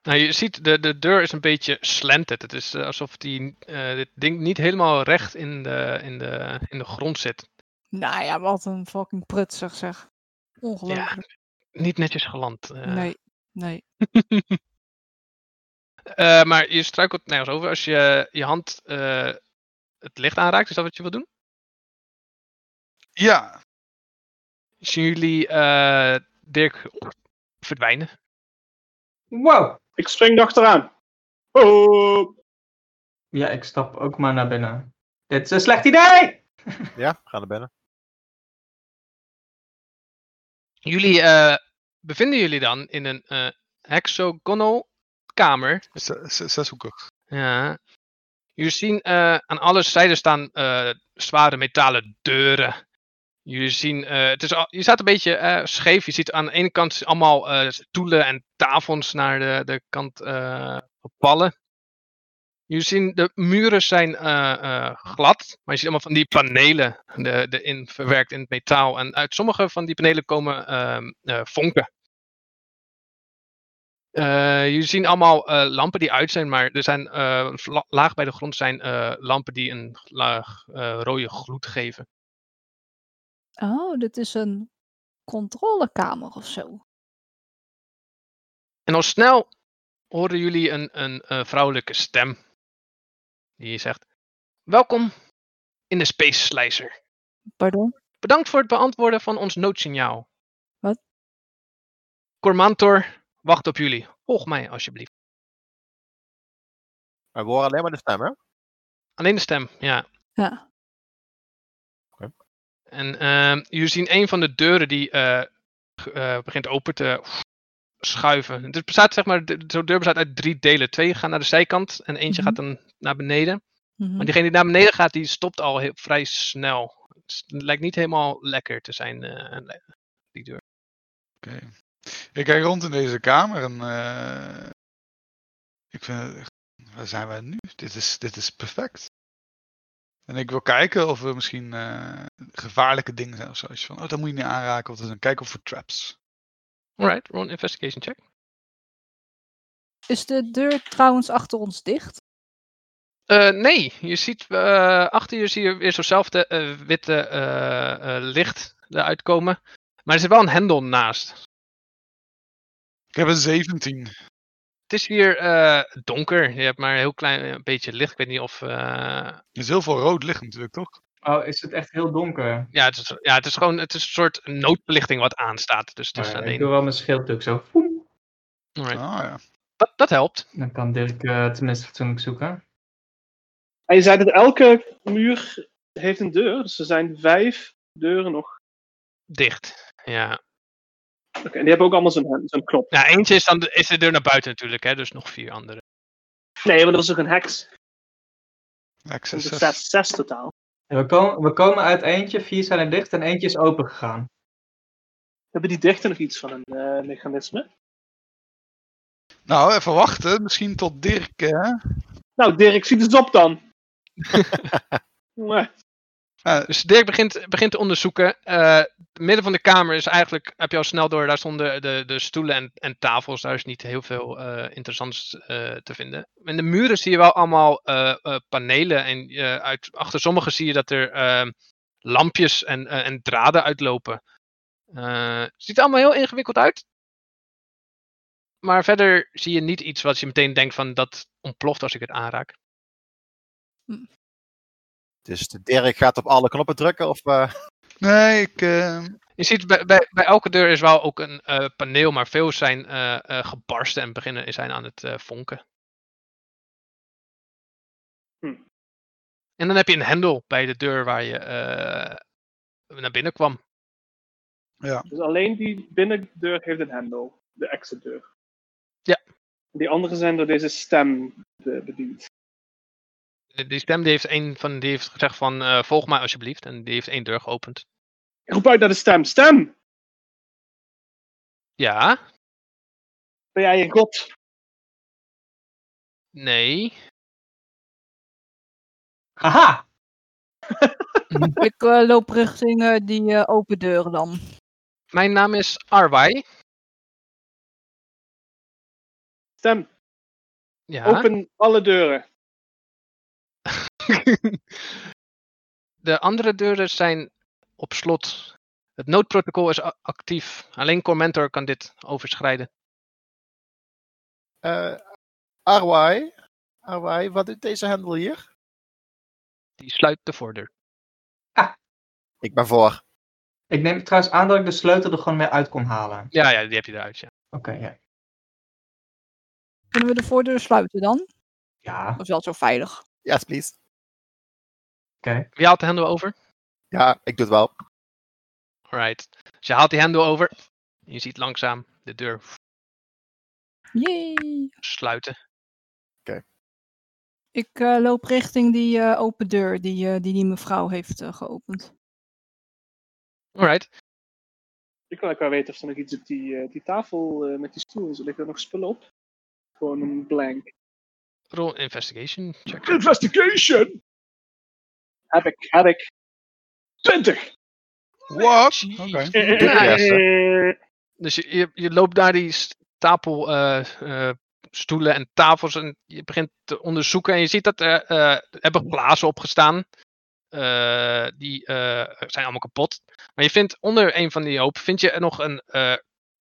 Speaker 1: nou, je ziet, de, de deur is een beetje slanted. Het is eh, alsof die, eh, dit ding niet helemaal recht in de, in de, in de grond zit.
Speaker 4: Nou ja, wat een fucking prutsig zeg. Ongelooflijk.
Speaker 1: Niet netjes geland. eh.
Speaker 4: Nee, nee.
Speaker 1: Eh, maar je struikelt nergens over. Als je je hand eh, het licht aanraakt, is dat wat je wilt doen?
Speaker 3: ja,
Speaker 1: Zien jullie eh, Dirk verdwijnen?
Speaker 2: Wow.
Speaker 6: Ik spring erachteraan. Oh,
Speaker 2: Ja, ik stap ook maar naar binnen. Dit is een slecht idee!
Speaker 5: Ja, we gaan naar binnen.
Speaker 1: Jullie eh, bevinden jullie dan in een eh, hexagonal kamer.
Speaker 3: ze- ze- zeshoekig.
Speaker 1: Ja. Jullie zien eh, aan alle zijden staan eh, zware metalen deuren. Jullie zien, eh, het is al- je staat een beetje eh, scheef. Je ziet aan de ene kant allemaal eh, stoelen en tafels naar de, de kant eh, vallen. Jullie zien, de muren zijn eh, eh, glad, maar je ziet allemaal van die panelen de, de in, verwerkt in het metaal. En uit sommige van die panelen komen ehm, eh, vonken. Eh, jullie zien allemaal eh, lampen die uit zijn, maar er zijn eh, vla- laag bij de grond zijn eh, lampen die een laag eh, rode gloed geven.
Speaker 4: Oh, dit is een controlekamer of zo.
Speaker 1: En al snel horen jullie een, een eh, vrouwelijke stem. Die zegt: Welkom in de Space Slicer.
Speaker 4: Pardon?
Speaker 1: Bedankt voor het beantwoorden van ons noodsignaal.
Speaker 4: Wat?
Speaker 1: Cormantor wacht op jullie. Volg mij alsjeblieft.
Speaker 5: Maar we horen alleen maar de stem, hè?
Speaker 1: Alleen de stem, ja.
Speaker 4: Ja.
Speaker 1: En ehm, jullie zien een van de deuren die eh, g- eh, begint open te schuiven. Het bestaat, zeg maar, de- zo'n deur bestaat uit drie delen. Twee gaan naar de zijkant en eentje
Speaker 4: Mhm.
Speaker 1: gaat dan naar beneden.
Speaker 4: Mhm.
Speaker 1: Maar diegene die naar beneden gaat, die stopt al heel, vrij snel. Het lijkt niet helemaal lekker te zijn, eh, le- die deur.
Speaker 3: Oké. Ik kijk rond in deze kamer en eh, ik vind het echt, waar zijn wij nu? Dit is, dit is perfect. En ik wil kijken of er misschien eh, gevaarlijke dingen zijn of zo. Als je van, oh, dat moet je niet aanraken. Of dat is een kijk of voor traps.
Speaker 1: Alright, roll an investigation check.
Speaker 4: Is de deur trouwens achter ons dicht?
Speaker 1: Eh, nee, je ziet eh, achter je zie je weer zo'nzelfde eh, witte eh, eh, licht eruit komen. Maar er zit wel een hendel naast.
Speaker 3: Ik heb een 17.
Speaker 1: Het is hier eh, donker. Je hebt maar een heel klein eh, beetje licht. Ik weet niet of. eh,
Speaker 3: Er is heel veel rood licht natuurlijk, toch?
Speaker 2: Oh, is het echt heel donker?
Speaker 1: ja, het is, ja, het is gewoon het is een soort noodbelichting wat aanstaat. Dus het is
Speaker 2: Maar Oh Ik
Speaker 1: alleen.
Speaker 2: doe wel mijn schildtuk zo. Foem.
Speaker 1: Alright.
Speaker 3: Ah, ja.
Speaker 1: Dat, dat helpt.
Speaker 2: Dan kan Dirk eh, tenminste fatsoenlijk zoeken.
Speaker 6: En je zei dat elke muur heeft een deur. Dus er zijn vijf deuren nog.
Speaker 1: Dicht. Ja.
Speaker 6: Oké, en die hebben ook allemaal zo'n zo'n knop.
Speaker 1: Nou, eentje is dan de, is de deur naar buiten natuurlijk, hè? Dus nog vier andere.
Speaker 6: Nee, maar dat is ook een heks.
Speaker 3: Ja, ik zeg
Speaker 6: Dus er
Speaker 3: zes.
Speaker 6: staat zes totaal.
Speaker 2: En we, komen, we komen uit eentje, vier zijn er dicht en eentje is open gegaan.
Speaker 6: Hebben die dichter nog iets van een eh, mechanisme?
Speaker 3: Nou, even wachten. Misschien tot Dirk. Hè?
Speaker 6: Nou, Dirk, ziet het op dan. Maar
Speaker 1: Dus Dirk begint, begint te onderzoeken. Eh, het midden van de kamer is eigenlijk, heb je al snel door, daar stonden de, de stoelen en, en tafels. Daar is niet heel veel eh, interessants eh, te vinden. In de muren zie je wel allemaal eh, eh, panelen. En eh, uit, achter sommige zie je dat er eh, lampjes en, eh, en draden uitlopen. Eh, ziet er allemaal heel ingewikkeld uit. Maar verder zie je niet iets wat je meteen denkt van dat ontploft als ik het aanraak.
Speaker 4: Hm.
Speaker 5: Dus de Dirk gaat op alle knoppen drukken of... eh,
Speaker 3: Nee, ik... eh,
Speaker 1: Je ziet bij, bij, bij elke deur is wel ook een eh, paneel, maar veel zijn eh, eh, gebarsten en beginnen zijn aan het eh, vonken.
Speaker 6: Hm.
Speaker 1: En dan heb je een hendel bij de deur waar je eh, naar binnen kwam.
Speaker 6: Dus alleen die binnendeur heeft een hendel. De exitdeur.
Speaker 1: Ja.
Speaker 6: Die andere zijn door deze stem eh, bediend.
Speaker 1: Eh, Die stem die heeft, een van, die heeft gezegd van eh, volg mij alsjeblieft. En die heeft één deur geopend.
Speaker 6: Ik roep uit naar de stem. Stem!
Speaker 1: Ja,
Speaker 6: Ben jij een god?
Speaker 1: nee.
Speaker 2: Haha!
Speaker 4: Ik eh, loop richting eh, die eh, open deuren dan.
Speaker 1: Mijn naam is Arwai.
Speaker 6: Stem,
Speaker 1: Ja.
Speaker 6: open alle deuren.
Speaker 1: De andere deuren zijn op slot. Het noodprotocol is a- actief. Alleen Cormentor kan dit overschrijden.
Speaker 5: eh Arwai? Arwai, wat doet deze hendel hier?
Speaker 1: Die sluit de voordeur.
Speaker 5: Ik ben voor.
Speaker 2: Ik neem trouwens aan dat ik de sleutel er gewoon mee uit kon halen.
Speaker 1: Ja, ja, die heb je eruit. Ja.
Speaker 2: Oké, ja.
Speaker 4: Kunnen we de voordeur sluiten dan?
Speaker 2: Ja,
Speaker 4: Dat is wel zo veilig.
Speaker 5: Yes, please.
Speaker 1: Wie haalt de hendel over?
Speaker 5: Ja, ik doe het wel.
Speaker 1: Alright. Dus je haalt die hendel over. En je ziet langzaam de deur
Speaker 4: Jee.
Speaker 1: sluiten.
Speaker 4: Ik eh, loop richting die eh, open deur die, eh, die die mevrouw heeft eh, geopend.
Speaker 1: Alright.
Speaker 6: Ik wil ook wel weten of er nog iets op die, eh, die tafel eh, met die stoel is. Ligt er nog spullen op? Gewoon een blank.
Speaker 1: Roll investigation check.
Speaker 6: Investigation! Heb ik, heb ik. Twintig!
Speaker 3: What? Oké.
Speaker 6: Eh,
Speaker 5: Yes,
Speaker 1: Dus je, je, je loopt daar die stapel eh, eh, stoelen en tafels en je begint te onderzoeken. En je ziet dat er, eh, er hebben glazen opgestaan. Eh, die eh, zijn allemaal kapot. Maar je vindt onder een van die hoop vind je nog een eh,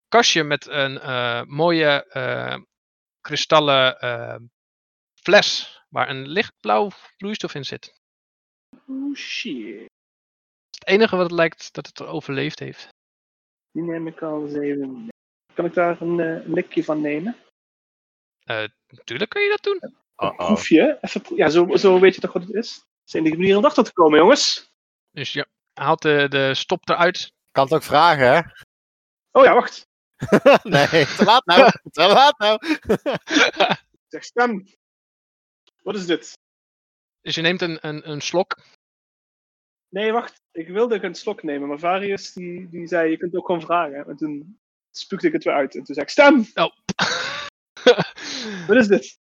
Speaker 1: kastje met een eh, mooie eh, kristallen eh, fles. Waar een lichtblauw vloeistof in zit. Het
Speaker 6: Oh shit.
Speaker 1: is het enige wat het lijkt dat het overleefd heeft.
Speaker 6: Die neem ik al eens even mee. Kan ik daar een eh, een likje van nemen?
Speaker 1: Natuurlijk kun je dat doen.
Speaker 6: Een proefje. Even pro- ja, zo, zo weet je toch wat het is? Het is de enige manier om erachter te komen, jongens.
Speaker 1: Dus je haalt de, de stop eruit.
Speaker 5: Kan het ook vragen, hè?
Speaker 6: Oh ja, wacht.
Speaker 5: nee, te laat nou. te laat nou.
Speaker 6: Ik Zeg stem. Wat is dit?
Speaker 1: Dus je neemt een, een, een slok.
Speaker 6: Nee, wacht. Ik wilde een slok nemen, maar Varius die, die zei, je kunt ook gewoon vragen. En toen spuugde ik het weer uit. En toen zei ik, stem! Wat is dit?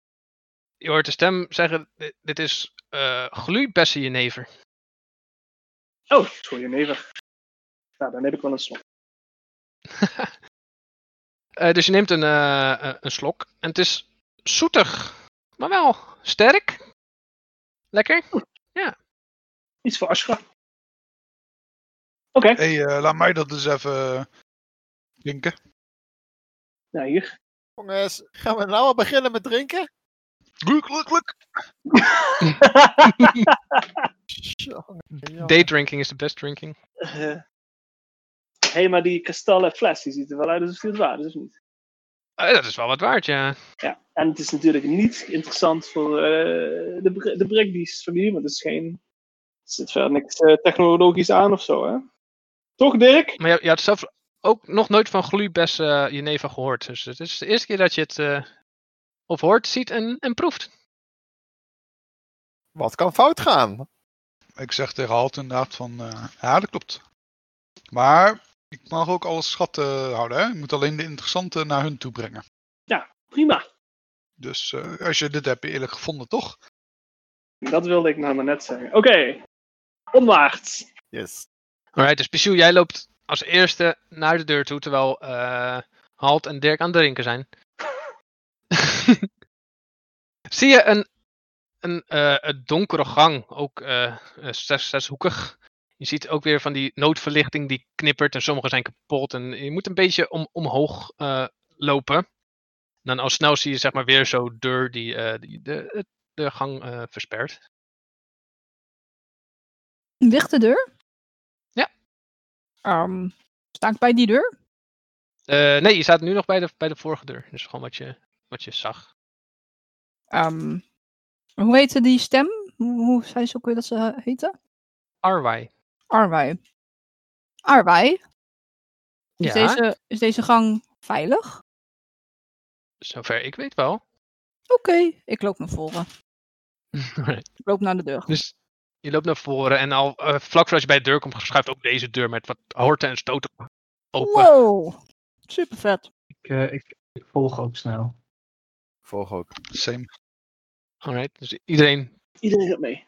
Speaker 1: je hoort de stem zeggen: Dit, dit is eh gloeibessenjenever.
Speaker 6: Oh, sorry, never. Nou, dan heb ik wel een slok.
Speaker 1: Eh dus je neemt een, eh, eh, een slok. En het is zoetig, maar wel sterk. Lekker.
Speaker 6: Iets voor Ashra. Oké,
Speaker 3: Hé, eh, laat mij dat dus even drinken.
Speaker 6: nou hier.
Speaker 5: Jongens, gaan we nou al beginnen met drinken?
Speaker 3: Gluk, gluk, gluk.
Speaker 5: Jongen, jongen.
Speaker 1: Daydrinking is the best drinking.
Speaker 6: Eh, Hé, maar die kristallen fles, die ziet er wel uit alsof die het waard is, of niet?
Speaker 1: Eh, dat is wel wat waard, ja.
Speaker 6: Ja, en het is natuurlijk niet interessant voor eh, de, Br- de Brigdies van hier, want het is geen... Er zit verder niks eh, technologisch aan of zo, hè? Toch, Dirk?
Speaker 1: Maar je, je had zelf ook nog nooit van gloeibessenjenever gehoord. Dus het is de eerste keer dat je het eh, of hoort, ziet en, en proeft.
Speaker 5: Wat kan fout gaan?
Speaker 3: Ik zeg tegen Halt inderdaad van, eh, ja, dat klopt. Maar ik mag ook alles schatten houden, hè. Ik moet alleen de interessante naar hun toe brengen.
Speaker 6: Prima.
Speaker 3: Dus eh, als je dit hebt eerlijk gevonden, toch?
Speaker 6: Dat wilde ik nou maar net zeggen. Oké. Onwaarts.
Speaker 5: Yes.
Speaker 1: Alright, dus Pichu, jij loopt als eerste naar de deur toe, terwijl eh, Halt en Dirk aan het drinken zijn. Zie je een, een, eh, een donkere gang, ook eh, eh, zes, zeshoekig. Je ziet ook weer van die noodverlichting die knippert en sommige zijn kapot. En je moet een beetje om, omhoog eh, lopen. En dan al snel zie je zeg maar weer zo'n deur die, eh, die de, de gang eh, verspert.
Speaker 4: Ligt de deur?
Speaker 1: Ja.
Speaker 4: Ehm, sta ik bij die deur?
Speaker 1: Eh, nee, je staat nu nog bij de, bij de vorige deur. Dus gewoon wat je, wat je zag.
Speaker 4: Ehm, hoe heette die stem? Hoe, hoe zei ze ook weer dat ze eh, heette?
Speaker 1: Arwai.
Speaker 4: Arwei. Arwei,
Speaker 1: Ja,
Speaker 4: is, deze, is deze gang veilig?
Speaker 1: zover ik weet wel.
Speaker 4: Oké, ik loop naar voren.
Speaker 1: Alright.
Speaker 4: Ik loop naar de deur.
Speaker 1: Dus je loopt naar voren en al eh, vlak voordat je bij de deur komt, schuift ook deze deur met wat horten en stoten open.
Speaker 4: Wow, super vet.
Speaker 2: Ik, eh, ik, ik volg ook snel.
Speaker 5: Volg ook.
Speaker 3: Same.
Speaker 1: Alright, dus iedereen
Speaker 6: Iedereen gaat mee.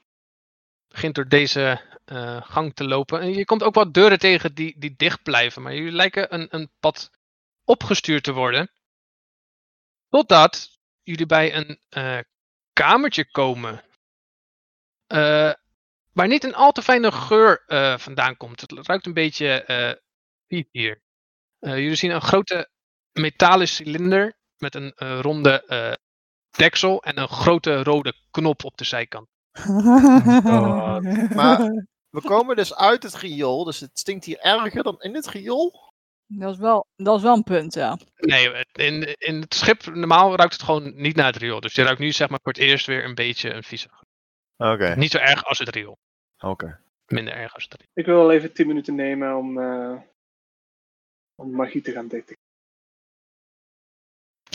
Speaker 1: begint door deze eh, gang te lopen. En je komt ook wat deuren tegen die, die dicht blijven. Maar jullie lijken een, een pad opgestuurd te worden. Totdat jullie bij een eh, kamertje komen. Eh, waar niet een al te fijne geur eh, vandaan komt. Het ruikt een beetje eh vies hier. Eh, jullie zien een grote metalen cilinder met een eh, ronde eh, deksel en een grote rode knop op de zijkant.
Speaker 2: God.
Speaker 5: Maar- We komen dus uit het riool, dus het stinkt hier erger dan in het riool.
Speaker 4: dat, is wel, dat is wel een punt, ja.
Speaker 1: Nee, het- in, in het schip normaal ruikt het gewoon niet naar het riool. Dus je ruikt nu zeg maar voor het eerst weer een beetje een vieze. geur.
Speaker 5: Oké,
Speaker 1: Niet zo erg als het riool.
Speaker 5: oké.
Speaker 1: Minder erg als het riool.
Speaker 6: Ik wil wel even 10 minuten nemen om, eh, om magie te gaan detecteren.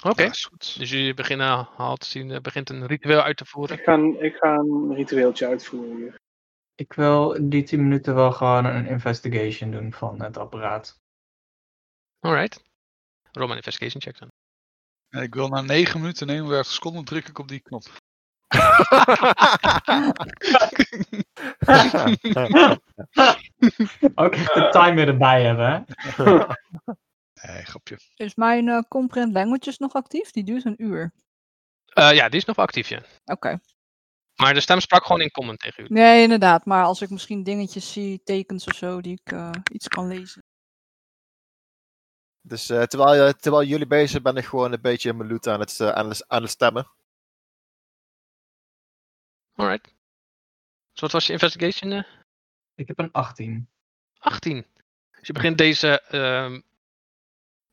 Speaker 1: Oké.
Speaker 3: Ja, is goed.
Speaker 1: Dus jullie beginnen haalt zien, eh, begint een ritueel uit te voeren.
Speaker 6: Ik ga, een- ik ga een ritueeltje uitvoeren hier.
Speaker 2: Ik wil die 10 minuten wel gewoon een investigation doen van het apparaat.
Speaker 1: Alright. Roll mijn investigation check dan.
Speaker 3: En Eh, ik wil na 9 minuten nemen we ergens seconden druk ik op die knop.
Speaker 2: Ook echt de timer erbij hebben, hè?
Speaker 3: Nee, grapje.
Speaker 4: Is mijn eh, Comprehend Languages nog actief? Die duurt een uur.
Speaker 1: Eh, ja, die is nog wel actief, ja.
Speaker 4: Oké.
Speaker 1: Maar de stem sprak gewoon in common tegen jullie.
Speaker 4: Nee, inderdaad. Maar als ik misschien dingetjes zie, tekens of zo, die ik eh, iets kan lezen.
Speaker 5: dus eh, terwijl, je- terwijl jullie bezig zijn, ben ik gewoon een beetje in mijn loot aan het, eh, aan het, aan het stemmen.
Speaker 1: Alright. Dus wat was je investigation? eh?
Speaker 2: Ik heb een 18.
Speaker 1: 18. Dus je begint deze ehm,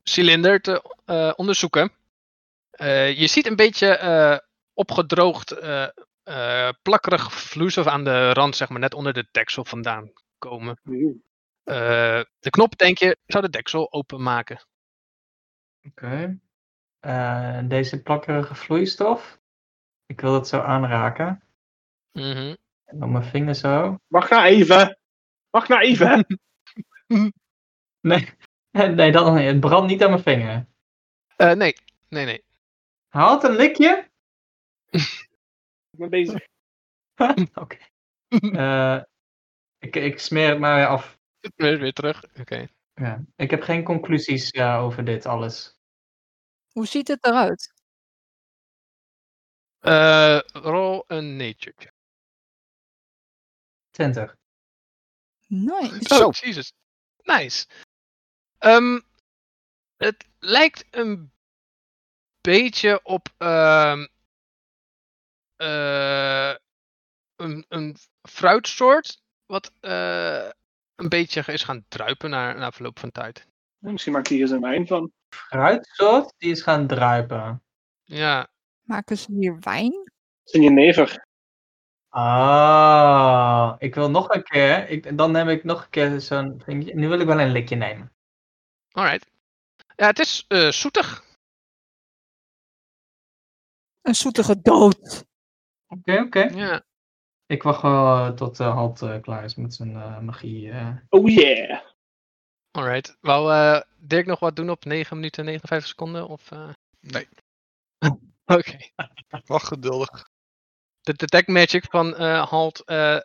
Speaker 1: cilinder te eh, onderzoeken. Eh, je ziet een beetje eh, opgedroogd, eh, eh, plakkerig vloeistof aan de rand, zeg maar, net onder de deksel vandaan komen.
Speaker 6: Oeh.
Speaker 1: Eh, de knop, denk je, zou de deksel openmaken.
Speaker 2: Oké. Eh, deze plakkerige vloeistof. Ik wil dat zo aanraken.
Speaker 1: Mhm.
Speaker 2: En dan mijn vinger zo.
Speaker 6: Wacht nou even! Wacht nou even!
Speaker 2: Nee, nee dat, het brandt niet aan mijn vinger.
Speaker 1: Eh, nee, nee, nee.
Speaker 2: Haalt een likje?
Speaker 6: ik ben bezig.
Speaker 2: Oké. Eh, ik, ik smeer het maar weer af.
Speaker 1: Weer, weer terug. Oké.
Speaker 2: Ja. Ik heb geen conclusies ja, over dit alles.
Speaker 4: Hoe ziet het eruit?
Speaker 1: Eh, roll een nature check.
Speaker 2: 20.
Speaker 4: Nice.
Speaker 5: Zo.
Speaker 1: Oh, Jesus. Nice. Ehm, het lijkt een beetje op ehm, eh, een, een fruitsoort wat eh, een beetje is gaan druipen na, na verloop van tijd.
Speaker 6: Misschien maakt hij hier zijn wijn van.
Speaker 2: Fruitsoort, die is gaan druipen.
Speaker 1: Ja,
Speaker 4: Maken ze hier wijn?
Speaker 6: Zijn jenever.
Speaker 2: Ah, ik wil nog een keer. Ik, dan neem ik nog een keer zo'n vingertje. Nu wil ik wel een likje nemen.
Speaker 1: alright. Ja, het is eh, zoetig.
Speaker 4: Een zoetige dood.
Speaker 2: Oké, oké.
Speaker 1: Ja.
Speaker 2: Ik wacht wel eh, tot eh Halt eh, klaar is met zijn eh, magie. eh.
Speaker 6: Oh yeah!
Speaker 1: Alright. Wou eh, Dirk nog wat doen op 9 minuten en 59 seconden? Of, eh?
Speaker 3: Nee.
Speaker 1: Oké.
Speaker 3: Wacht geduldig.
Speaker 1: de detect magic van eh, Halt eh,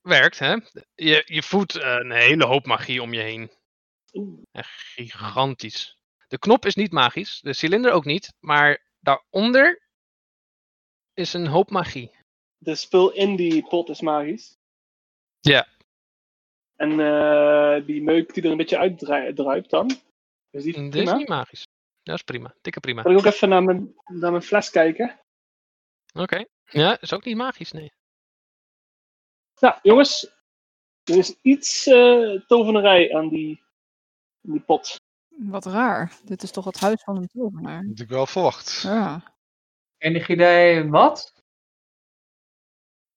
Speaker 1: werkt, hè? Je, je voelt eh, een hele hoop magie om je heen.
Speaker 6: Oeh.
Speaker 1: Echt gigantisch. De knop is niet magisch, de cilinder ook niet, maar daaronder is een hoop magie.
Speaker 6: De spul in die pot is magisch.
Speaker 1: Ja.
Speaker 6: En eh, die meuk die er een beetje uitdruipt dan. Is die
Speaker 1: Dit is
Speaker 6: prima?
Speaker 1: niet magisch. Dat is prima, dikke prima.
Speaker 6: Kan ik ook even naar mijn, naar mijn fles kijken?
Speaker 1: Oké. Ja, is ook niet magisch, nee.
Speaker 6: Nou, jongens. Er is iets eh, tovenarij aan die, aan die pot.
Speaker 4: Wat raar. Dit is toch het huis van een tovenaar.
Speaker 3: Had ik wel verwacht.
Speaker 4: Ja.
Speaker 2: Enig idee wat?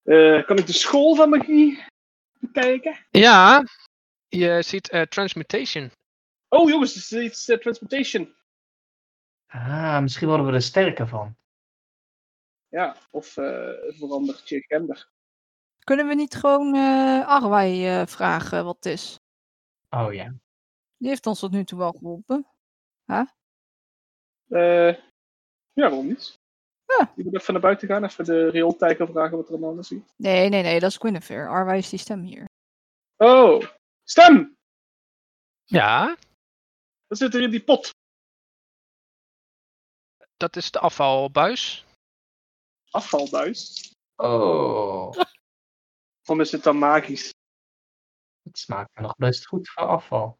Speaker 6: Eh, kan ik de school van magie bekijken?
Speaker 1: Ja, je ziet eh, Transmutation.
Speaker 6: Oh, jongens, er is iets eh, transportation.
Speaker 2: Ah, misschien worden we er sterker van.
Speaker 6: Ja, of eh verandert je gender.
Speaker 4: Kunnen we niet gewoon eh Arwai eh, vragen wat het is?
Speaker 2: Oh ja.
Speaker 4: Die heeft ons tot nu toe wel geholpen.
Speaker 6: Eh, ja, waarom niet?
Speaker 4: Ja.
Speaker 6: Je moet even naar buiten gaan, even de riooltijger vragen wat er allemaal is. hier.
Speaker 4: Nee, nee, nee, dat is Guinevere. Arwai is die stem hier.
Speaker 6: Oh, stem!
Speaker 1: Ja,
Speaker 6: Wat zit er in die pot?
Speaker 1: dat is de afvalbuis.
Speaker 6: Afvalbuis.
Speaker 2: Oh,
Speaker 6: Waarom is het dan magisch?
Speaker 2: het smaakt me nog best goed voor afval.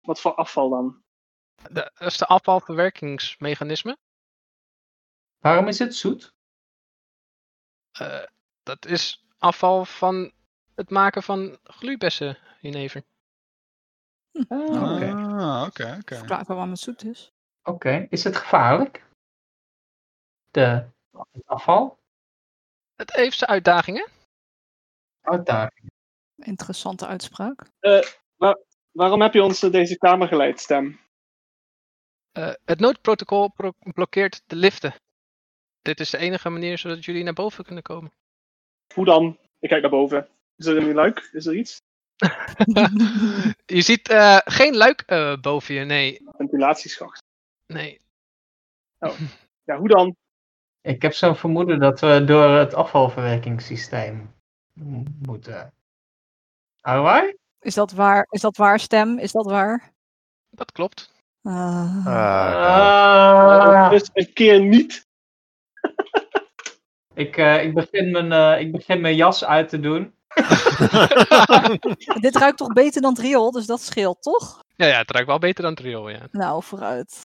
Speaker 6: Wat voor afval dan?
Speaker 1: De- dat is de afvalverwerkingsmechanisme.
Speaker 2: Waarom is het zoet?
Speaker 1: Eh, dat is afval van het maken van glubessen in even.
Speaker 2: Ah, Oké, oké.
Speaker 3: Ah, oké, oké.
Speaker 4: Verklaar waarom het zoet is.
Speaker 2: Is het gevaarlijk? De het afval?
Speaker 1: Het heeft zijn uitdagingen.
Speaker 2: Uitdaging.
Speaker 4: Interessante uitspraak.
Speaker 6: Waarom heb je ons naar deze kamer geleid, stem?
Speaker 1: Eh, het noodprotocol pro- blokkeert de liften. Dit is de enige manier zodat jullie naar boven kunnen komen.
Speaker 6: Hoe dan? Ik kijk naar boven. Is er een luik? Is er iets?
Speaker 1: je ziet eh, geen luik eh, boven je, nee.
Speaker 6: Ventilatieschacht.
Speaker 1: nee.
Speaker 6: Ja, hoe dan?
Speaker 2: Ik heb zo'n vermoeden dat we door het afvalverwerkingssysteem m- moeten. Arwai?
Speaker 4: Is dat waar? Is dat waar, stem? Is dat waar?
Speaker 1: Dat klopt.
Speaker 4: Ah.
Speaker 5: Ah,
Speaker 2: Ah.
Speaker 6: Dus een keer niet.
Speaker 2: Ik, eh, ik, begin mijn, eh, ik begin mijn jas uit te doen.
Speaker 4: Dit ruikt toch beter dan Driol, dus dat scheelt toch?
Speaker 1: Ja, ja het ruikt wel beter dan trio, ja.
Speaker 4: Nou, vooruit.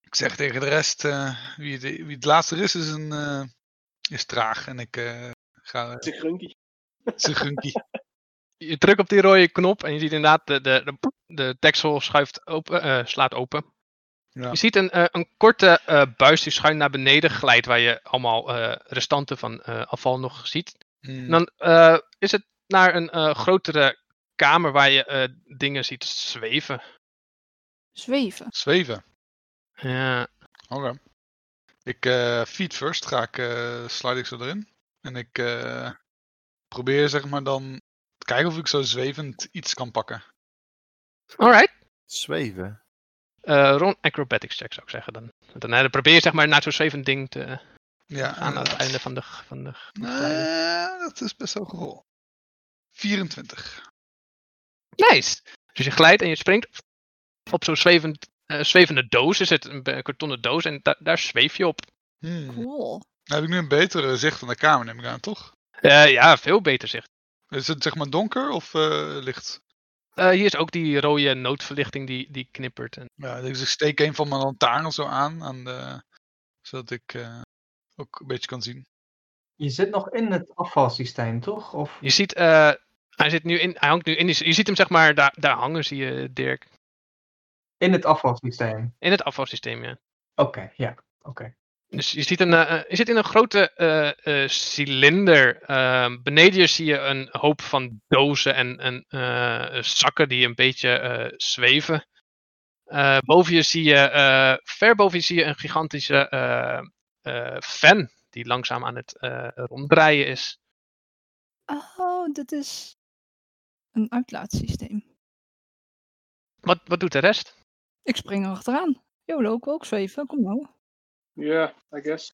Speaker 3: Ik zeg tegen de rest, eh, wie, de- wie het laatste is, is, een, eh, is traag. En ik eh, ga
Speaker 6: Het is een grunkie.
Speaker 3: zijn gunkie.
Speaker 1: Je drukt op die rode knop en je ziet inderdaad de, de, de, de deksel schuift open, eh, slaat open.
Speaker 3: Ja.
Speaker 1: Je ziet een, eh, een korte eh, buis die schuin naar beneden glijdt, waar je allemaal eh, restanten van eh, afval nog ziet.
Speaker 3: Hmm.
Speaker 1: En dan eh, is het naar een eh, grotere kamer waar je eh, dingen ziet zweven.
Speaker 4: Zweven.
Speaker 3: Zweven.
Speaker 1: Ja.
Speaker 3: Oké. Ik eh feed first, ga ik, eh, slide ik zo erin. En ik eh, probeer zeg maar dan te kijken of ik zo zwevend iets kan pakken.
Speaker 1: Alright.
Speaker 5: zweven.
Speaker 1: Eh rond acrobatics check zou ik zeggen dan. Want Dan eh, probeer je zeg maar naar zo'n zwevend ding te
Speaker 3: Ja,
Speaker 1: aan aan het
Speaker 3: inderdaad.
Speaker 1: einde van de... Van de van de glijden.
Speaker 3: Eh, dat is best wel cool. 24.
Speaker 1: Nice! Dus je glijdt en je springt op zo'n zwevend, eh, zwevende doos. Is het een be- kartonnen doos en da- daar zweef je op.
Speaker 3: Hmm.
Speaker 4: Cool.
Speaker 3: Dan heb ik nu een betere zicht van de kamer, neem ik aan, toch?
Speaker 1: Eh, ja, veel beter zicht.
Speaker 3: Is het zeg maar donker of eh, licht?
Speaker 1: Eh, hier is ook die rode noodverlichting die, die knippert. En,
Speaker 3: Ja, dus ik steek een van mijn lantaarns zo aan, aan de, zodat ik eh, ook een beetje kan zien.
Speaker 2: Je zit nog in het afvalsysteem, toch? Of...
Speaker 1: je ziet, eh, hij, zit nu in, hij hangt nu in. die- Je ziet hem zeg maar daar, daar hangen, zie je Dirk.
Speaker 2: In het afvalsysteem.
Speaker 1: In het afvalsysteem, ja.
Speaker 2: Oké, ja. Oké.
Speaker 1: Dus je, ziet een, eh, eh, je zit in een grote eh, eh, cilinder. Ehm, beneden je zie je een hoop van dozen en, en eh, zakken die een beetje eh, zweven. Eh, boven je zie je, eh, ver boven je zie je een gigantische eh, eh, fan die langzaam aan het eh, ronddraaien is.
Speaker 4: Oh, dat is een uitlaatsysteem.
Speaker 1: Wat, wat doet de rest?
Speaker 4: Ik spring er achteraan. Jolo, ik wil ook zweven. Kom nou.
Speaker 6: Ja, I guess.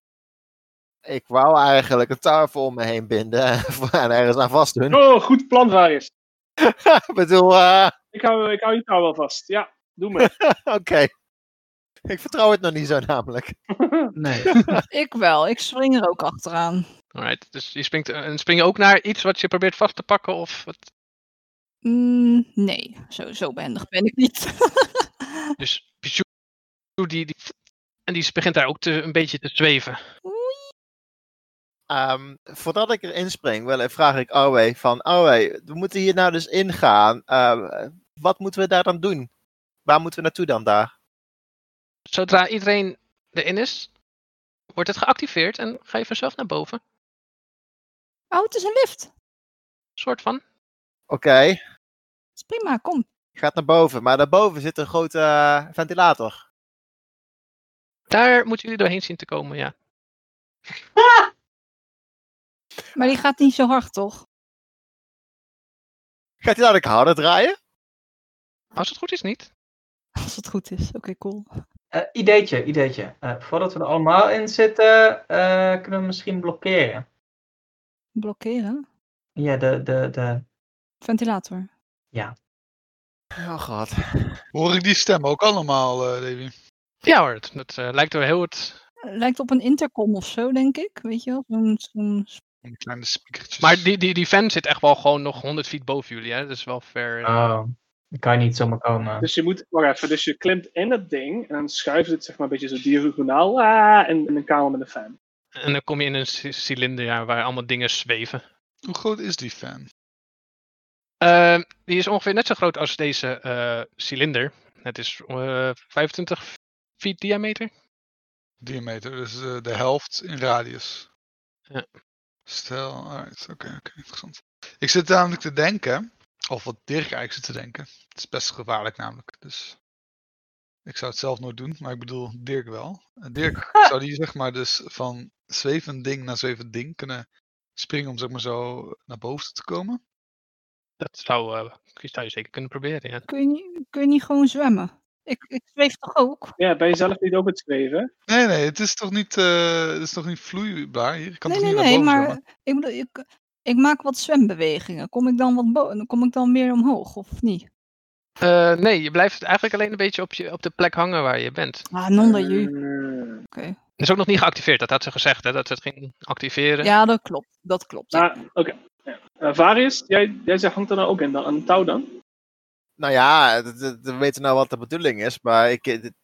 Speaker 5: Ik wou eigenlijk een tafel om me heen binden en ergens aan vastdoen.
Speaker 6: Oh, goed plan, Varius.
Speaker 5: ik bedoel, eh,
Speaker 6: Ik hou, ik hou je touw wel vast. Ja, doe maar.
Speaker 5: oké. Ik vertrouw het nog niet zo namelijk.
Speaker 2: Nee.
Speaker 4: Ik wel. Ik spring er ook achteraan.
Speaker 1: Alright, dus je springt, eh, en spring je ook naar iets wat je probeert vast te pakken? Of wat?
Speaker 4: Mm, nee, zo, zo behendig ben ik niet.
Speaker 1: Dus Pichu, die, die, en die begint daar ook te, een beetje te zweven.
Speaker 5: Ehm, voordat ik erin spring, wil, vraag ik Arwe van... Arwe, we moeten hier nou dus ingaan. Ehm, wat moeten we daar dan doen? Waar moeten we naartoe dan daar?
Speaker 1: Zodra iedereen erin is, wordt het geactiveerd en ga je vanzelf naar boven.
Speaker 4: Oh, het is een lift.
Speaker 1: soort van.
Speaker 5: Oké,
Speaker 4: is prima, kom.
Speaker 5: gaat naar boven. Maar daarboven zit een grote eh, ventilator.
Speaker 1: Daar moeten jullie doorheen zien te komen, ja.
Speaker 4: Maar die gaat niet zo hard, toch?
Speaker 5: Gaat hij dadelijk harder draaien?
Speaker 1: Als het goed is niet.
Speaker 4: Als het goed is. Oké, cool.
Speaker 2: Eh, ideetje, ideetje. Eh, voordat we er allemaal in zitten, eh, kunnen we misschien blokkeren.
Speaker 4: Blokkeren.
Speaker 2: Ja, de, de, de...
Speaker 4: Ventilator.
Speaker 5: Oh god.
Speaker 3: Hoor ik die stem ook allemaal, eh Davy?
Speaker 1: Ja hoor, het, het, eh, lijkt wel heel het.
Speaker 4: Lijkt op een intercom of zo, denk ik. Weet je wel? Zo'n- zo'n-
Speaker 3: Die kleine spiekertjes.
Speaker 1: Maar die, die, die fan zit echt wel gewoon nog 100 feet boven jullie, hè? Dat is wel ver. eh.
Speaker 2: Oh, dat kan je niet zomaar komen.
Speaker 6: Dus je moet, wacht even, dus je klimt in het ding en dan schuift het zeg maar een beetje zo diagonaal ah, in, in een kamer met een fan.
Speaker 1: En dan kom je in een c- cilinder ja, waar allemaal dingen zweven.
Speaker 3: Hoe groot is die fan?
Speaker 1: Eh, die is ongeveer net zo groot als deze eh, cilinder. Het is eh, 25 feet diameter.
Speaker 3: Diameter, dus eh, de helft in radius.
Speaker 1: Ja.
Speaker 3: Stel, alright, oké, oké, interessant. Ik zit namelijk te denken, of wat Dirk eigenlijk zit te denken. Het is best gevaarlijk namelijk, dus... Ik zou het zelf nooit doen, maar ik bedoel Dirk wel. Eh, Dirk, zou die zeg maar dus van zwevend ding naar zwevend ding kunnen springen om zeg maar zo naar boven te komen?
Speaker 1: Dat zou, eh, die zou je zeker kunnen proberen, ja.
Speaker 4: Kun, je niet, kun je niet gewoon zwemmen? Ik, ik zweef toch ook?
Speaker 6: Ja, ben je zelf niet ook het zweven?
Speaker 3: Nee, nee, het is toch niet, eh, het is toch niet vloeibaar hier? Ik kan
Speaker 4: nee,
Speaker 3: toch
Speaker 4: nee,
Speaker 3: niet
Speaker 4: nee,
Speaker 3: naar boven
Speaker 4: maar
Speaker 3: zwemmen?
Speaker 4: ik, bedoel, ik, ik maak wat zwembewegingen. Kom ik dan, wat bo- kom ik dan meer omhoog, of niet?
Speaker 1: Eh, nee, je blijft eigenlijk alleen een beetje op, je, op de plek hangen waar je bent.
Speaker 4: Ah, non
Speaker 6: Eh,
Speaker 4: dat je.
Speaker 6: Hmm.
Speaker 4: Oké.
Speaker 1: Het is ook nog niet geactiveerd, dat had ze gezegd, hè? Dat ze het ging activeren.
Speaker 4: Ja, dat klopt. Dat klopt.
Speaker 6: Nou, oké. Ja. Eh, Varius, jij, jij zegt, hangt er nou ook in dan, aan een touw dan?
Speaker 5: Nou ja, d- d- d- we weten nou wat de bedoeling is, maar ik, eh, dit-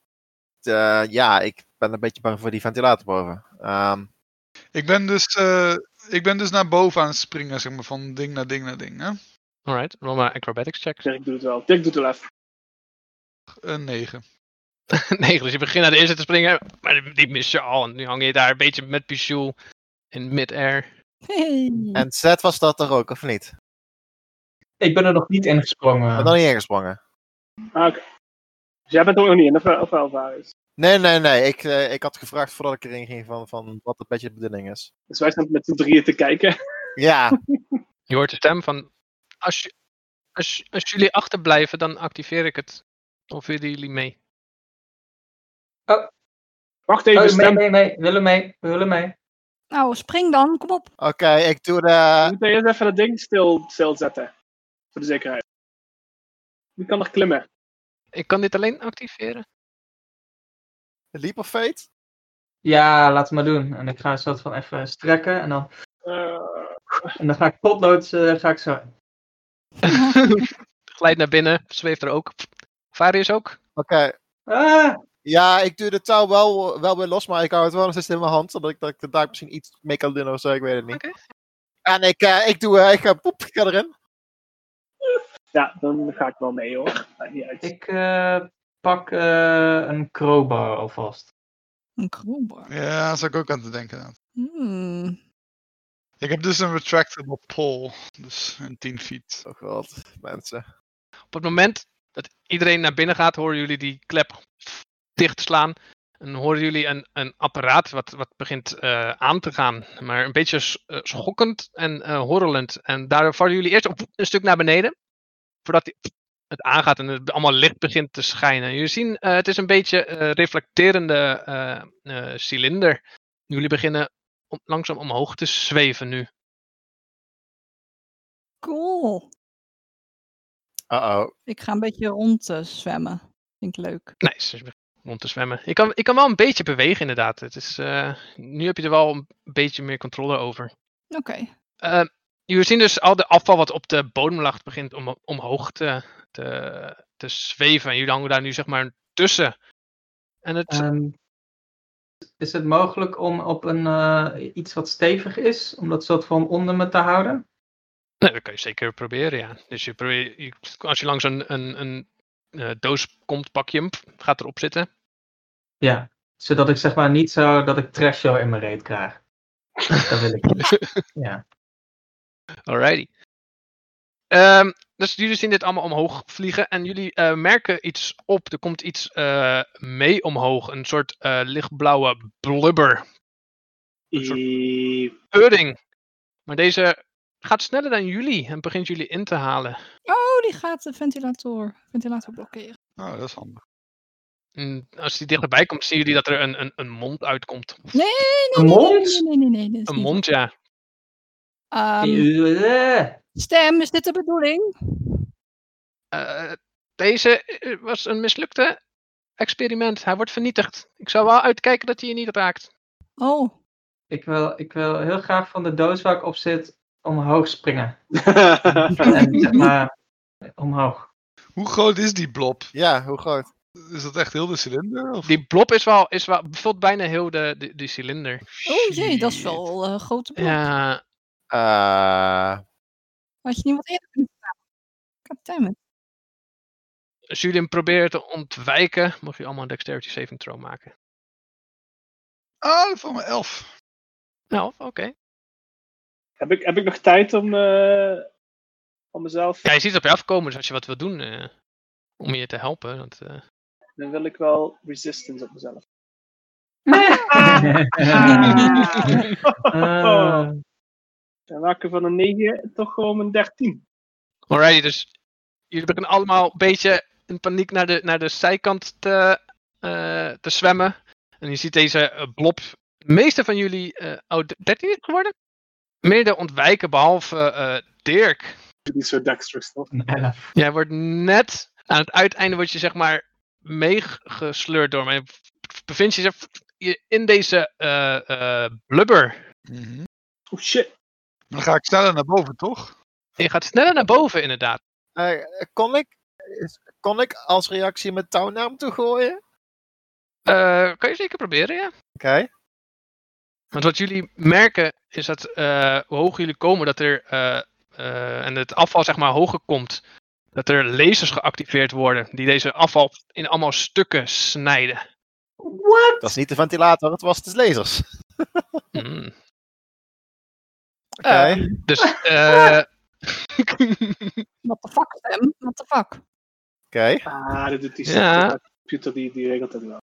Speaker 5: eh, ja, ik ben een beetje bang voor die ventilator boven. Ehm,
Speaker 3: Ik ben dus, eh, ik ben dus naar boven aan het springen, zeg maar, van ding naar ding naar ding. Hè?
Speaker 1: Alright, roll maar acrobatics check.
Speaker 6: Dirk doet het wel. Dirk doet het wel even.
Speaker 3: Een 9.
Speaker 1: Nee, dus je begint naar de eerste te springen, maar die- die mis je al. En nu hang je daar een beetje met Pichou in mid-air.
Speaker 4: Hey.
Speaker 5: en Zet was dat toch ook, of niet? Ik
Speaker 2: Ik ben er nog niet in
Speaker 5: ben
Speaker 2: gesprongen.
Speaker 5: nog niet ingesprongen.
Speaker 6: Ah, oké. Dus jij bent er ook nog niet in, of wel, of wel, Varius?
Speaker 5: Nee, nee, nee. Ik, eh, ik had gevraagd voordat ik erin ging van, van wat een beetje de bedoeling is.
Speaker 6: Dus wij staan met z'n drieën te kijken.
Speaker 5: Ja,
Speaker 1: Je hoort de stem van, als, je- als, als jullie achterblijven, dan activeer ik het. Of willen jullie mee?
Speaker 6: Wacht even, dus
Speaker 2: Oh, nee,
Speaker 6: stem.
Speaker 2: nee, nee. Willen mee, willen mee.
Speaker 4: Nou, spring dan. Kom op.
Speaker 5: oké. ik doe
Speaker 6: We
Speaker 5: de...
Speaker 6: moeten eerst even dat ding stil, stilzetten. Voor de zekerheid. Wie kan nog klimmen?
Speaker 1: Ik kan dit alleen activeren.
Speaker 5: Leap of Fate?
Speaker 2: Ja, laat het maar doen. En ik ga een soort van even strekken. En dan,
Speaker 6: Eh,
Speaker 2: en dan ga ik potlood, eh, ga ik zo...
Speaker 1: Glijd naar binnen, zweeft er ook. Varius ook.
Speaker 5: Oké.
Speaker 2: Ah,
Speaker 5: Ja, ik doe de touw wel, wel weer los, maar ik hou het wel nog steeds in mijn hand. Zodat ik, dat ik er daar misschien iets mee kan doen of zo, ik weet het niet.
Speaker 1: Oké.
Speaker 5: En ik, eh, ik doe... eh, ik ga, poep, ik ga erin.
Speaker 6: ja, dan ga ik wel mee hoor. Maakt niet uit.
Speaker 2: ik eh, pak eh, een crowbar alvast.
Speaker 4: Een crowbar.
Speaker 3: Ja, daar zou ik ook aan te denken. aan.
Speaker 4: Hmm.
Speaker 3: Ik heb dus een retractable pole, dus een 10 feet.
Speaker 5: Oh god, mensen.
Speaker 1: Op het moment dat iedereen naar binnen gaat, horen jullie die klep dicht slaan. En horen jullie een, een apparaat wat, wat begint eh, aan te gaan. Maar een beetje s- eh, schokkend en eh, horrelend. En daar vallen jullie eerst op een stuk naar beneden. Voordat die- het aangaat en het allemaal licht begint te schijnen. Jullie zien, eh, het is een beetje eh, reflecterende eh, eh, cilinder. Jullie beginnen om- langzaam omhoog te zweven nu.
Speaker 4: Cool.
Speaker 5: Uh-oh.
Speaker 4: Ik ga een beetje rond eh, zwemmen. Vind ik leuk.
Speaker 1: Nice. dus je begint Rond te zwemmen. Ik kan, ik kan wel een beetje bewegen, inderdaad. Het is, eh, nu heb je er wel een beetje meer controle over.
Speaker 4: Oké.
Speaker 1: Eh, jullie zien dus al de afval wat op de bodem lag begint om, omhoog te, te,
Speaker 2: Eh.
Speaker 1: te zweven. En jullie hangen daar nu zeg maar tussen. En het,
Speaker 2: Ehm, is het mogelijk om op een, eh, iets wat stevig is, om dat soort van onder me te houden?
Speaker 1: Nee, dat kan je zeker proberen, ja. Dus je probeert, je- als je langs een, een, een eh, doos komt, pak je hem, pff, gaat erop zitten.
Speaker 2: Ja, zodat ik zeg maar niet zo dat ik trash show in mijn reet krijg. Dat wil ik niet. Ja.
Speaker 1: Alrighty. Ehm, dus jullie zien dit allemaal omhoog vliegen en jullie eh, merken iets op. Er komt iets eh, mee omhoog. Een soort eh, lichtblauwe blubber. Een soort
Speaker 6: I-
Speaker 1: pudding. Maar deze gaat sneller dan jullie en begint jullie in te halen.
Speaker 4: Oh, die gaat de ventilator, ventilator blokkeren.
Speaker 3: Nou, dat is handig.
Speaker 1: En als die dichterbij komt, zien jullie dat er een, een, een mond uitkomt.
Speaker 4: Nee, nee,
Speaker 2: Een
Speaker 4: nee, nee,
Speaker 2: mond?
Speaker 4: nee, nee, nee, nee, dat is
Speaker 1: Een
Speaker 4: niet
Speaker 1: mond, ja.
Speaker 4: waar. Ehm,
Speaker 2: Eh,
Speaker 4: stem, is dit de bedoeling?
Speaker 1: Eh, deze eh, was een mislukte experiment. Hij wordt vernietigd. Ik zou wel uitkijken dat hij je niet raakt.
Speaker 4: Oh,
Speaker 2: Ik wil, ik wil heel graag van de doos waar ik op zit omhoog springen. En zeg maar omhoog.
Speaker 3: Hoe groot is die blob?
Speaker 5: Ja, hoe groot?
Speaker 3: Is dat echt heel de cilinder? Of...
Speaker 1: Die blob is wel, is wel, vult bijna heel de, de, die cilinder.
Speaker 4: oh jee, dat is wel eh, een grote blok.
Speaker 1: Ja,
Speaker 5: Eh,
Speaker 4: Had je niet wat eerder kunnen vragen? Goddammit.
Speaker 1: als jullie hem proberen te ontwijken, mag je allemaal een dexterity saving throw maken.
Speaker 3: Ah, van mijn elf.
Speaker 1: Nou, oké.
Speaker 6: heb, ik, heb ik nog tijd om, eh, om mezelf?
Speaker 1: Ja, je ziet het op je afkomen, dus als je wat wil doen eh, om je te helpen. Dat, eh,
Speaker 6: Dan wil ik wel resistance op mezelf. Oh.
Speaker 2: Eh,
Speaker 6: Dan maak ik van een 9 toch gewoon een 13.
Speaker 1: Alrighty, dus jullie beginnen allemaal een beetje in paniek naar de, naar de zijkant te, eh, te zwemmen. En je ziet deze eh, blob. De meeste van jullie, eh oh, d- 13 is het geworden? Meerder ontwijken, behalve eh, Dirk.
Speaker 6: Die is zo dexterous toch?
Speaker 2: een elf.
Speaker 1: Jij wordt net aan het uiteinde, word je zeg maar meegesleurd door mij. Bevind je jezelf in deze eh, eh, blubber.
Speaker 3: Mhm.
Speaker 6: Oh shit.
Speaker 3: Dan ga ik sneller naar boven, toch?
Speaker 1: En je gaat sneller naar boven, inderdaad.
Speaker 5: eh, kon, ik, is- kon ik als reactie mijn touw naar hem toe gooien? Oké.
Speaker 1: Eh, kan je zeker proberen, ja. Want wat jullie merken is dat eh, hoe hoger jullie komen, dat er eh, eh, en het afval zeg maar hoger komt, dat er lasers geactiveerd worden die deze afval in allemaal stukken snijden.
Speaker 2: What?
Speaker 5: Dat is niet de ventilator, het was de lasers.
Speaker 1: Mm.
Speaker 5: Oké.
Speaker 4: Ehm,
Speaker 1: Dus eh,
Speaker 4: What the fuck, Stem? What the fuck?
Speaker 5: Oké.
Speaker 6: Ah, dat doet die
Speaker 1: Ja.
Speaker 6: computer, die, die regelt dat wel.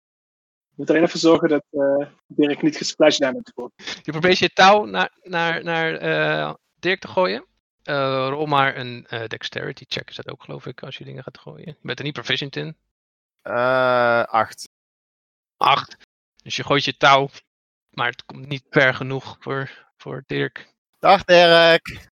Speaker 6: Je moet alleen even zorgen dat eh, Dirk niet gesplash damage wordt.
Speaker 1: je probeert je touw naar, naar, naar eh, Dirk te gooien. Eh rol maar een eh, dexterity check is dat ook geloof ik als je dingen gaat gooien. Je bent er niet proficient in.
Speaker 5: Eh, acht.
Speaker 1: 8. Dus je gooit je touw, maar het komt niet ver genoeg voor, voor Dirk.
Speaker 5: Dag Dirk.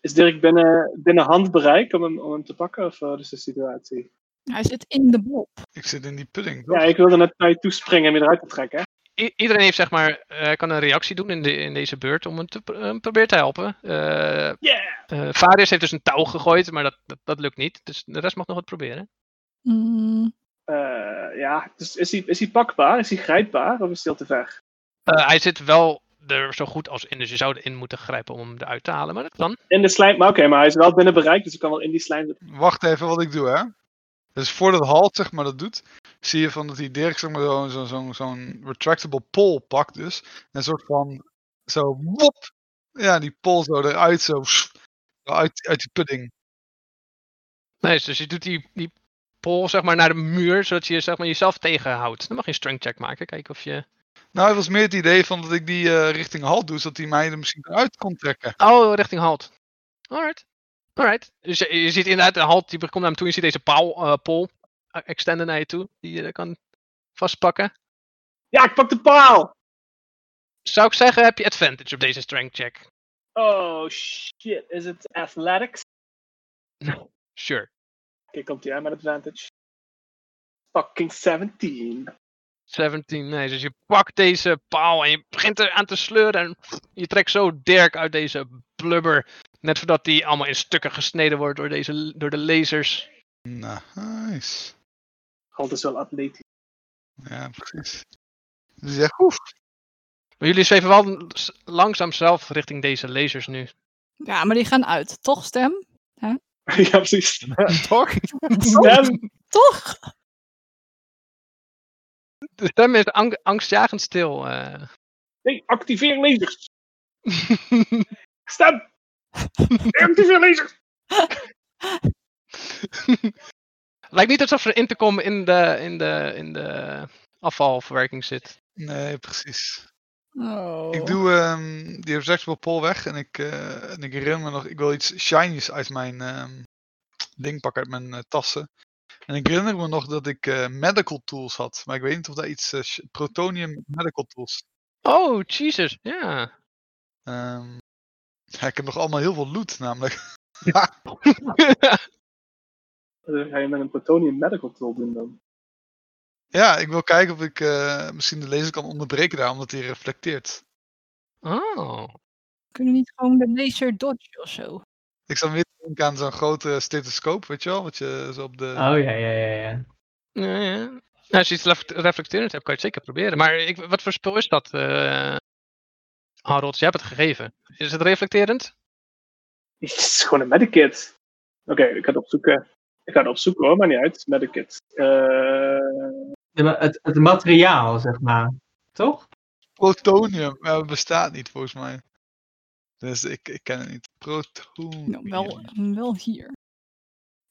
Speaker 6: Is Dirk binnen, binnen handbereik om hem, om hem te pakken? Of eh, wat is de situatie?
Speaker 4: Hij zit in de blob.
Speaker 3: Ik zit in die pudding.
Speaker 6: Ja,
Speaker 3: toch?
Speaker 6: ik wilde net naar je toe springen en je eruit te trekken. hè?
Speaker 1: I- iedereen heeft zeg maar, eh, kan een reactie doen in, de, in deze beurt om hem te pro- hem proberen te helpen. Eh
Speaker 6: Yeah!
Speaker 1: eh, Varius heeft dus een touw gegooid, maar dat, dat, dat lukt niet. Dus de rest mag nog wat proberen.
Speaker 4: Mm,
Speaker 6: Eh, ja, dus is hij, is hij pakbaar? Is hij grijpbaar? Of is hij al te ver?
Speaker 1: Eh, hij zit wel er zo goed als in, dus je zou erin moeten grijpen om hem eruit te halen, maar dat kan.
Speaker 6: In de slijm, maar oké, maar hij is wel binnen bereik, dus ik kan wel in die slijm zitten.
Speaker 3: Wacht even wat ik doe, hè. Dus voordat Halt zeg maar dat doet, zie je van dat die Dirk zeg maar zo'n zo, zo, zo'n retractable pole pakt dus. En een soort van, zo, wop! Ja, die pole zo eruit, zo, uit, uit die pudding.
Speaker 1: Nee, dus je doet die, die pol zeg maar, naar de muur, zodat je zeg maar, jezelf tegenhoudt. Dan mag je een strength check maken, kijken of je...
Speaker 3: Nou, het was meer het idee van dat ik die eh, richting Halt doe, zodat hij mij er misschien uit kon trekken.
Speaker 1: Oh, richting halt. Alright. Alright. Dus je, je ziet inderdaad de halt, die komt naar hem toe. Je ziet deze paal, eh pol eh, extenden naar je toe, die je eh, kan vastpakken.
Speaker 6: Ja, ik pak de paal!
Speaker 1: Zou ik zeggen, heb je advantage op deze strength check?
Speaker 6: Oh shit, is het athletics?
Speaker 1: Sure.
Speaker 6: Oké, komt hij aan met advantage. Fucking 17.
Speaker 1: 17, nee. Dus je pakt deze paal en je begint eraan te sleuren. En je trekt zo Dirk uit deze blubber. Net voordat die allemaal in stukken gesneden wordt door, deze, door de lasers.
Speaker 3: Nou, Nice.
Speaker 6: Halt is wel atletisch.
Speaker 3: Ja, precies. Dus Die zegt, oef.
Speaker 1: Maar jullie zweven wel s- langzaam zelf richting deze lasers nu.
Speaker 4: Ja, maar die gaan uit. Toch, stem?
Speaker 6: ja, precies.
Speaker 5: Toch?
Speaker 6: Stem.
Speaker 4: Toch?
Speaker 1: De stem is ang- angstjagend stil. eh.
Speaker 6: Nee, activeer lasers. Stem. activeer lasers.
Speaker 1: Lijkt niet alsof er intercom in de, in de, in de afvalverwerking zit.
Speaker 3: Nee, precies.
Speaker 4: Oh.
Speaker 3: Ik doe ehm, die reversible pol weg en ik, eh, en ik herinner me nog, ik wil iets shinies uit mijn ehm, ding pakken, uit mijn eh, tassen. En ik herinner me nog dat ik eh, medical tools had, maar ik weet niet of dat iets, eh, sh- protonium medical tools.
Speaker 1: Oh, Jesus. Ja.
Speaker 3: Ehm, ja, ik heb nog allemaal heel veel loot namelijk.
Speaker 6: Dan Eh, ga je met een plutonium medical tool doen dan.
Speaker 3: Ja, ik wil kijken of ik eh, misschien de laser kan onderbreken daar, omdat hij reflecteert.
Speaker 1: oh.
Speaker 4: Kunnen we niet gewoon de laser dodge of zo?
Speaker 3: Ik zat weer te denken aan zo'n grote stethoscoop, weet je wel, wat je zo op de...
Speaker 2: Oh ja, ja, ja, ja.
Speaker 1: Ja, ja. Nou, als je iets lef- reflecterend hebt, kan je het zeker proberen. Maar ik, wat voor spul is dat, eh Harold? Je hebt het gegeven. Is het reflecterend?
Speaker 6: Het is gewoon een medikit. Oké, ik ga het opzoeken. Ik ga het opzoeken hoor, maar niet uit. Medikit. Eh,
Speaker 2: Ja, maar Het, het materiaal, zeg maar. Toch?
Speaker 3: Protonium, maar het bestaat niet volgens mij. Dus ik, ik ken het niet. Protonium.
Speaker 4: Nou, wel, wel hier.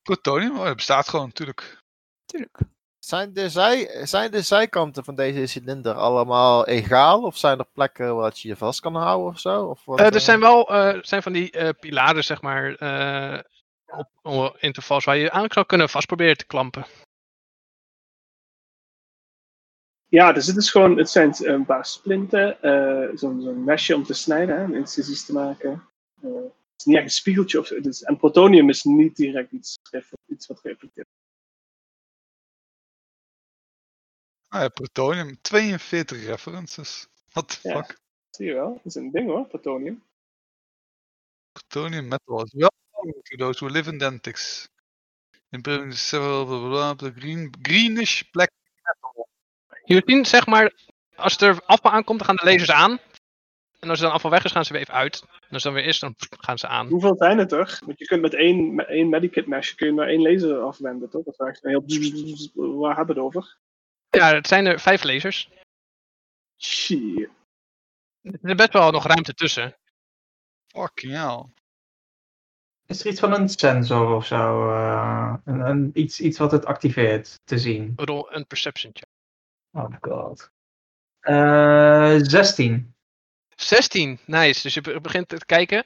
Speaker 3: Protonium? Oh, dat bestaat gewoon natuurlijk.
Speaker 4: Tuurlijk.
Speaker 5: Zijn de, zij, zijn de zijkanten van deze cilinder allemaal egaal? Of zijn er plekken waar je je vast kan houden of zo? Of wat,
Speaker 1: Eh, er
Speaker 5: eh?
Speaker 1: zijn wel eh, zijn van die eh, pilaren, zeg maar, eh, op, op intervals waar je aan zou kunnen vast proberen te klampen.
Speaker 6: ja, dus het is gewoon, het zijn eh, een paar splinten, eh, zo'n zo'n mesje om te snijden, hè, om incisies te maken. Eh, het is niet echt een spiegeltje. Of, zo. Het is- en plutonium is niet direct iets, ref- iets wat reflecteert.
Speaker 3: Ah ja, protonium. 42 references. What the
Speaker 6: Ja.
Speaker 3: fuck?
Speaker 6: Zie je wel, dat is een ding hoor, plutonium.
Speaker 3: Plutonium metal is well known to those who live in Dentix. Improving the several blah, blah, blah, green, greenish black metal.
Speaker 1: Jullie zien, zeg maar, als er afval aankomt, dan gaan de lasers aan. En als er dan afval weg is, gaan ze weer even uit. En als dan weer is, dan gaan ze aan.
Speaker 6: Hoeveel zijn het er? Want je kunt met één, met één medikit mesje kun je maar één laser afwenden, toch? Dat is echt een heel... bzz, bzz, bzz, Waar hebben we het over?
Speaker 1: Ja, het zijn er vijf lasers.
Speaker 6: Shit.
Speaker 1: Er is best wel nog ruimte tussen.
Speaker 3: Fucking hell.
Speaker 2: Is er iets van een sensor of zo? eh, een, een- iets, iets wat het activeert te zien?
Speaker 1: Rol een perception check.
Speaker 2: Oh my god. Eh 16.
Speaker 1: 16, nice. Dus je be- begint te kijken.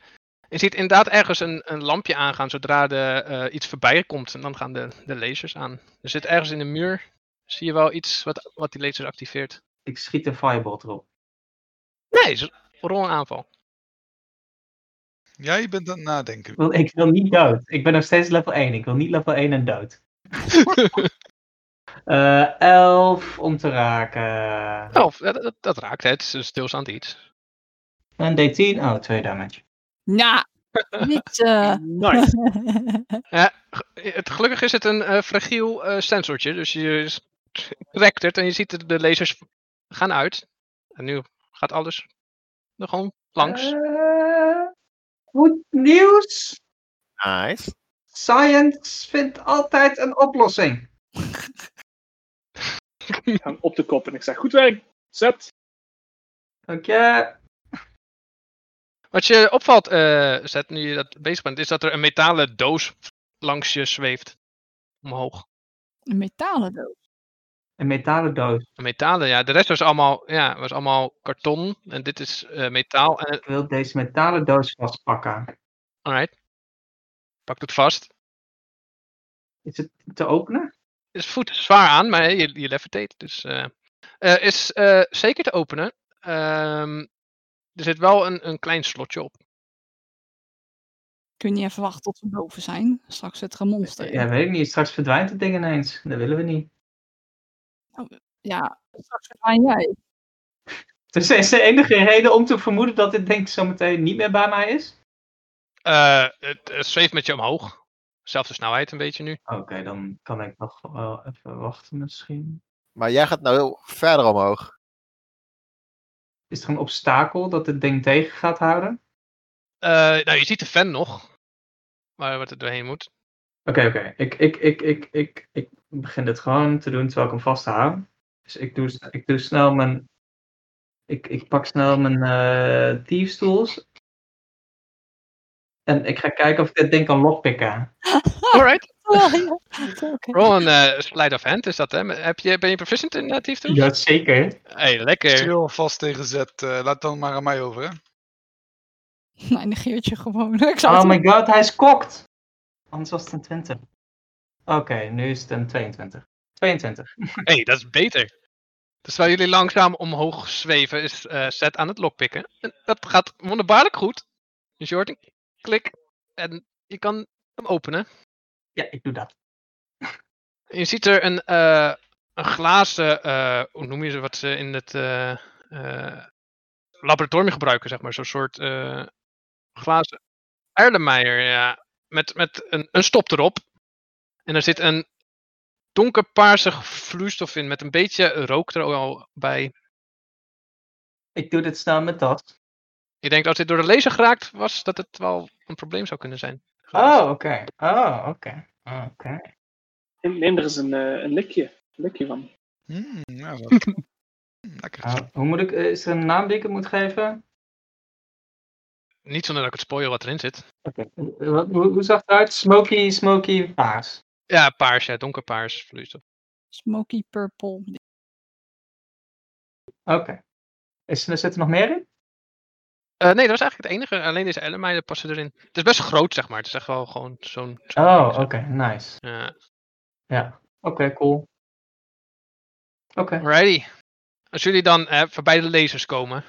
Speaker 1: Je ziet inderdaad ergens een, een lampje aangaan zodra er iets voorbij komt. En dan gaan de, de lasers aan. Er zit ergens in de muur, zie je wel iets wat, wat die lasers activeert.
Speaker 2: Ik schiet een fireball erop.
Speaker 1: Nice, rol een aanval.
Speaker 3: Jij bent aan het nadenken.
Speaker 2: Ik wil, ik wil niet dood. Ik ben nog steeds level 1. Ik wil niet level 1 en dood. Eh 11 om te raken.
Speaker 1: Oh, dat, dat, dat raakt, hè. het is een stilstaand iets.
Speaker 2: Een D10. Oh, 2 damage.
Speaker 4: Nou, niet... eh,
Speaker 6: Nice.
Speaker 1: Het, gelukkig is het een eh, fragiel eh, sensortje, dus je s- trekt het en je ziet dat de lasers gaan uit. En nu gaat alles er gewoon langs.
Speaker 2: Eh, goed nieuws.
Speaker 5: Nice.
Speaker 2: Science vindt altijd een oplossing.
Speaker 6: Ik hang op de kop en ik zeg, goed werk, zet.
Speaker 2: Dank je.
Speaker 1: Wat je opvalt, eh, Zet, nu je dat bezig bent, is dat er een metalen doos langs je zweeft. Omhoog.
Speaker 4: een metalen doos.
Speaker 2: Een metalen doos.
Speaker 1: Een Metalen, ja. De rest was allemaal, ja, was allemaal karton. En dit is eh, metaal. En,
Speaker 2: Ik wil deze metalen doos vastpakken.
Speaker 1: alright. Pak het vast.
Speaker 2: Is het te openen?
Speaker 1: Het voelt zwaar aan, maar je, je levitate. Dus, eh, eh, is eh, zeker te openen. Ehm, er zit wel een, een klein slotje op.
Speaker 4: Kun je even wachten tot we boven zijn? Straks zit er een monster in.
Speaker 2: Ja, weet ik niet. Straks verdwijnt het ding ineens. Dat willen we niet.
Speaker 4: Ja, straks verdwijn jij.
Speaker 2: Dus is er enige reden om te vermoeden dat dit ding zometeen niet meer bij mij is?
Speaker 1: Eh, het, het zweeft met je omhoog. Zelfde snelheid een beetje nu.
Speaker 2: Oké, dan kan ik nog wel even wachten misschien.
Speaker 5: Maar jij gaat nou heel verder omhoog.
Speaker 2: Is er een obstakel dat het ding tegen gaat houden?
Speaker 1: Eh, nou, je ziet de fan nog. Waar wat er doorheen moet.
Speaker 2: Oké, oké. Ik, ik, ik, ik, ik, ik begin dit gewoon te doen terwijl ik hem vasthoud. Dus ik doe, ik doe snel mijn... Ik, ik pak snel mijn eh thieves En ik ga kijken of ik dit ding kan lockpicken.
Speaker 1: Alright.
Speaker 7: Wel, ja. Oké.
Speaker 1: Roll een eh, slide of hand is dat, hè? Heb je, ben je proficient in uh, Thief Tools?
Speaker 2: Ja, zeker.
Speaker 1: Hey, lekker.
Speaker 3: Chill vast tegen Z. eh, laat dan maar aan mij over, hè?
Speaker 4: Nou,
Speaker 7: Mijn negeertje gewoon. Ik zal
Speaker 2: Oh
Speaker 7: het
Speaker 2: my god, hij is kokt! Anders was het een 20. Oké, nu is het een 22. 22.
Speaker 1: hey, dat is beter. Dus terwijl jullie langzaam omhoog zweven, is eh Zet aan het lockpikken. En dat gaat wonderbaarlijk goed. Dus je hoort een klik en je kan hem openen.
Speaker 2: Ja, ik doe dat.
Speaker 1: Je ziet er een, eh, een glazen, eh, hoe noem je ze, wat ze in het eh, eh, laboratorium gebruiken, zeg maar. Zo'n soort eh, glazen Erlenmeyer, ja. Met, met een, een stop erop. En er zit een donkerpaarsig vloeistof in, met een beetje rook er ook al bij.
Speaker 2: Ik doe dit snel met dat.
Speaker 1: Ik denk dat als dit door de laser geraakt was, dat het wel een probleem zou kunnen zijn.
Speaker 2: Oh, oké. Oh, oké. Oh, oké.
Speaker 6: En neem er eens een, eh, een likje. Een likje van.
Speaker 3: Mm, ja, dat- Mm, lekker.
Speaker 2: Oh, hoe moet ik, eh, is er een naam die ik het moet geven?
Speaker 1: Niet zonder dat ik het spoil wat erin zit.
Speaker 2: Eh, Wat, hoe, hoe zag het eruit? Smoky, smoky paars.
Speaker 1: Ja, paars, ja, donkerpaars vloeistof.
Speaker 7: Smoky purple.
Speaker 2: Oké. Is er Zit er nog meer in?
Speaker 1: Eh, nee, dat was eigenlijk het enige. Alleen deze ellenmeiden passen erin. Het is best groot, zeg maar. Het is echt wel gewoon zo'n... zo'n
Speaker 2: Oh,
Speaker 1: ding,
Speaker 2: oké.
Speaker 1: zeg.
Speaker 2: nice.
Speaker 1: Ja.
Speaker 2: Ja. Oké, cool. Oké.
Speaker 1: Alrighty. Als jullie dan eh, voorbij de lasers komen...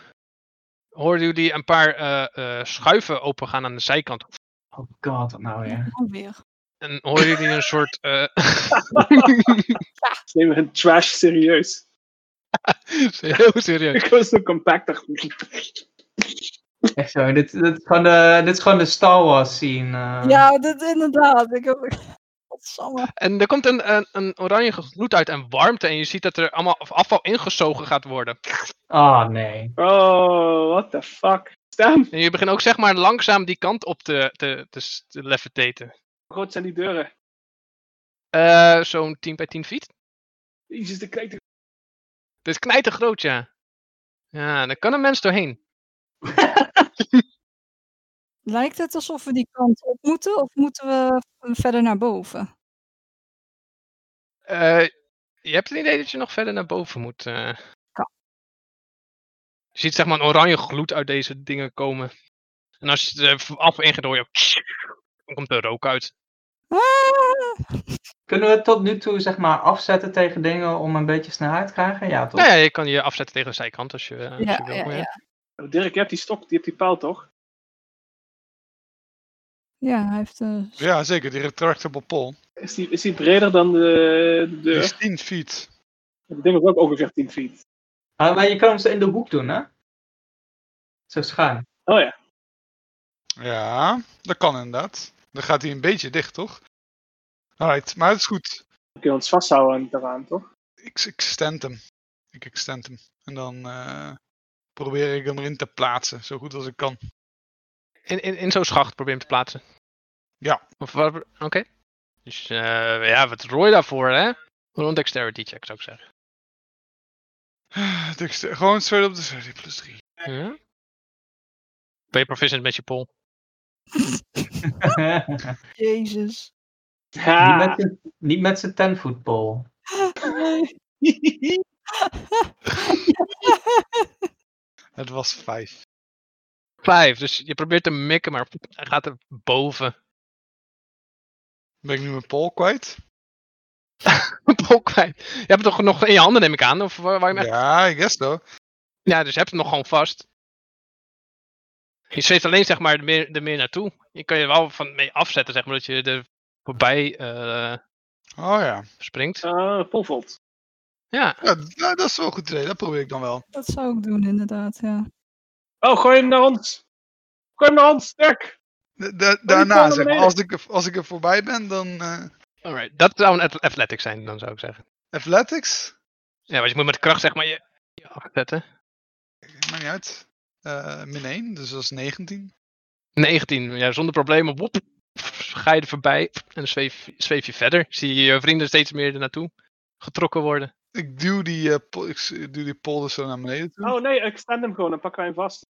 Speaker 1: horen jullie een paar eh, eh, schuiven opengaan aan de zijkant.
Speaker 2: Oh god, wat nou weer.
Speaker 7: Oh, weer.
Speaker 1: En horen jullie een soort... eh,
Speaker 6: Ze nemen hun trash serieus.
Speaker 1: heel serieus.
Speaker 6: Ik was zo compacter.
Speaker 2: Echt zo. Dit, dit, is gewoon de, dit is gewoon de Star Wars scene. eh.
Speaker 7: Ja, dat inderdaad. Ik heb... Godsamme.
Speaker 1: En er komt een, een, een oranje gloed uit en warmte. En je ziet dat er allemaal afval ingezogen gaat worden.
Speaker 2: Oh nee.
Speaker 6: Oh, what the fuck. Stem.
Speaker 1: En je begint ook zeg maar langzaam die kant op te, te, te, s- te levitaten.
Speaker 6: Hoe groot zijn die deuren?
Speaker 1: Eh, Zo'n 10 bij 10 feet.
Speaker 6: Jezus, de kijk.
Speaker 1: Het is knijtergroot, ja. Ja, daar kan een mens doorheen.
Speaker 7: Lijkt het alsof we die kant op moeten? Of moeten we verder naar boven?
Speaker 1: Eh, je hebt het idee dat je nog verder naar boven moet. eh.
Speaker 7: Ja.
Speaker 1: Je ziet zeg maar een oranje gloed uit deze dingen komen. En als je er af ingaat, hoor je ook dan komt er rook uit.
Speaker 7: Ah!
Speaker 2: Kunnen we het tot nu toe zeg maar afzetten tegen dingen om een beetje snelheid te krijgen? Ja, toch?
Speaker 1: Nou ja, je kan je afzetten tegen de zijkant als je, eh, als
Speaker 7: Ja,
Speaker 1: je wil.
Speaker 7: ja,
Speaker 1: maar ja.
Speaker 6: Oh, Dirk, je hebt die stok, je hebt die pijl toch?
Speaker 7: Ja, hij heeft
Speaker 4: eh,
Speaker 7: een
Speaker 3: Ja, zeker. Die retractable pole.
Speaker 6: Is die, is die breder dan de de
Speaker 3: Die
Speaker 6: deur?
Speaker 3: is 10 feet.
Speaker 6: Ik denk was ook ongeveer 10 feet.
Speaker 2: Ah, maar je kan hem zo in de hoek doen, hè? Zo schuin.
Speaker 6: Oh ja.
Speaker 3: Ja, dat kan inderdaad. Dan gaat hij een beetje dicht, toch? Alright, maar het is goed.
Speaker 6: Dan kunnen we ons vasthouden aan het eraan, toch?
Speaker 3: Ik, ik stand hem. Ik extend hem. En dan eh, probeer ik hem erin te plaatsen, zo goed als ik kan.
Speaker 1: In, in, in zo'n schacht probeer je hem te plaatsen.
Speaker 3: Ja.
Speaker 1: Of wat- Oké. Dus eh, ja, wat rooi daarvoor, hè? Gewoon een dexterity check, zou ik zeggen.
Speaker 3: Dus, eh, gewoon straight op de 30 plus 3.
Speaker 1: Ja. Ben je proficient met je pol?
Speaker 7: Jezus.
Speaker 2: niet,
Speaker 6: Ha!
Speaker 2: met z'n- niet met zijn tenvoetbal.
Speaker 3: Het was 5.
Speaker 1: Vijf, dus je probeert te mikken, maar hij gaat er boven.
Speaker 3: Ben ik nu mijn pole kwijt?
Speaker 1: Pol kwijt. Je hebt hem toch nog in je handen, neem ik aan? Of waar,
Speaker 6: Oh,
Speaker 1: waar je hem echt...
Speaker 3: Ja, ik guess so.
Speaker 1: ja, dus je hebt hem nog gewoon vast. Je zweeft alleen zeg maar er meer, er meer naartoe. Je kan je wel van mee afzetten, zeg maar, dat je er voorbij eh,
Speaker 3: Oh ja.
Speaker 1: springt.
Speaker 6: Ah, Polvold.
Speaker 1: Ja,
Speaker 3: ja nou, dat is wel een goed idee. Dat probeer ik dan wel.
Speaker 7: Dat zou ik doen, inderdaad. Ja.
Speaker 6: Oh, gooi hem naar ons. Gooi hem naar ons, Dirk.
Speaker 3: Da- da- daarna,
Speaker 6: Oh, naar
Speaker 3: zeg maar,
Speaker 6: beneden.
Speaker 3: als ik, er, als ik er voorbij ben, dan... eh,
Speaker 1: alright. Dat zou een ath- athletics zijn, dan zou ik zeggen.
Speaker 3: athletics?
Speaker 1: Ja, want je moet met kracht zeg maar je, je afzetten.
Speaker 3: Eh, maakt niet uit. Eh, min 1, dus dat is 19.
Speaker 1: 19, ja, zonder problemen. Woep, ga je er voorbij en dan zweef, zweef je verder. Ik Zie je je vrienden steeds meer er naartoe getrokken worden.
Speaker 3: Ik duw die, eh, po- ik s- ik duw die polder zo naar beneden toe.
Speaker 6: Oh nee, ik stand hem gewoon en pakken wij hem vast.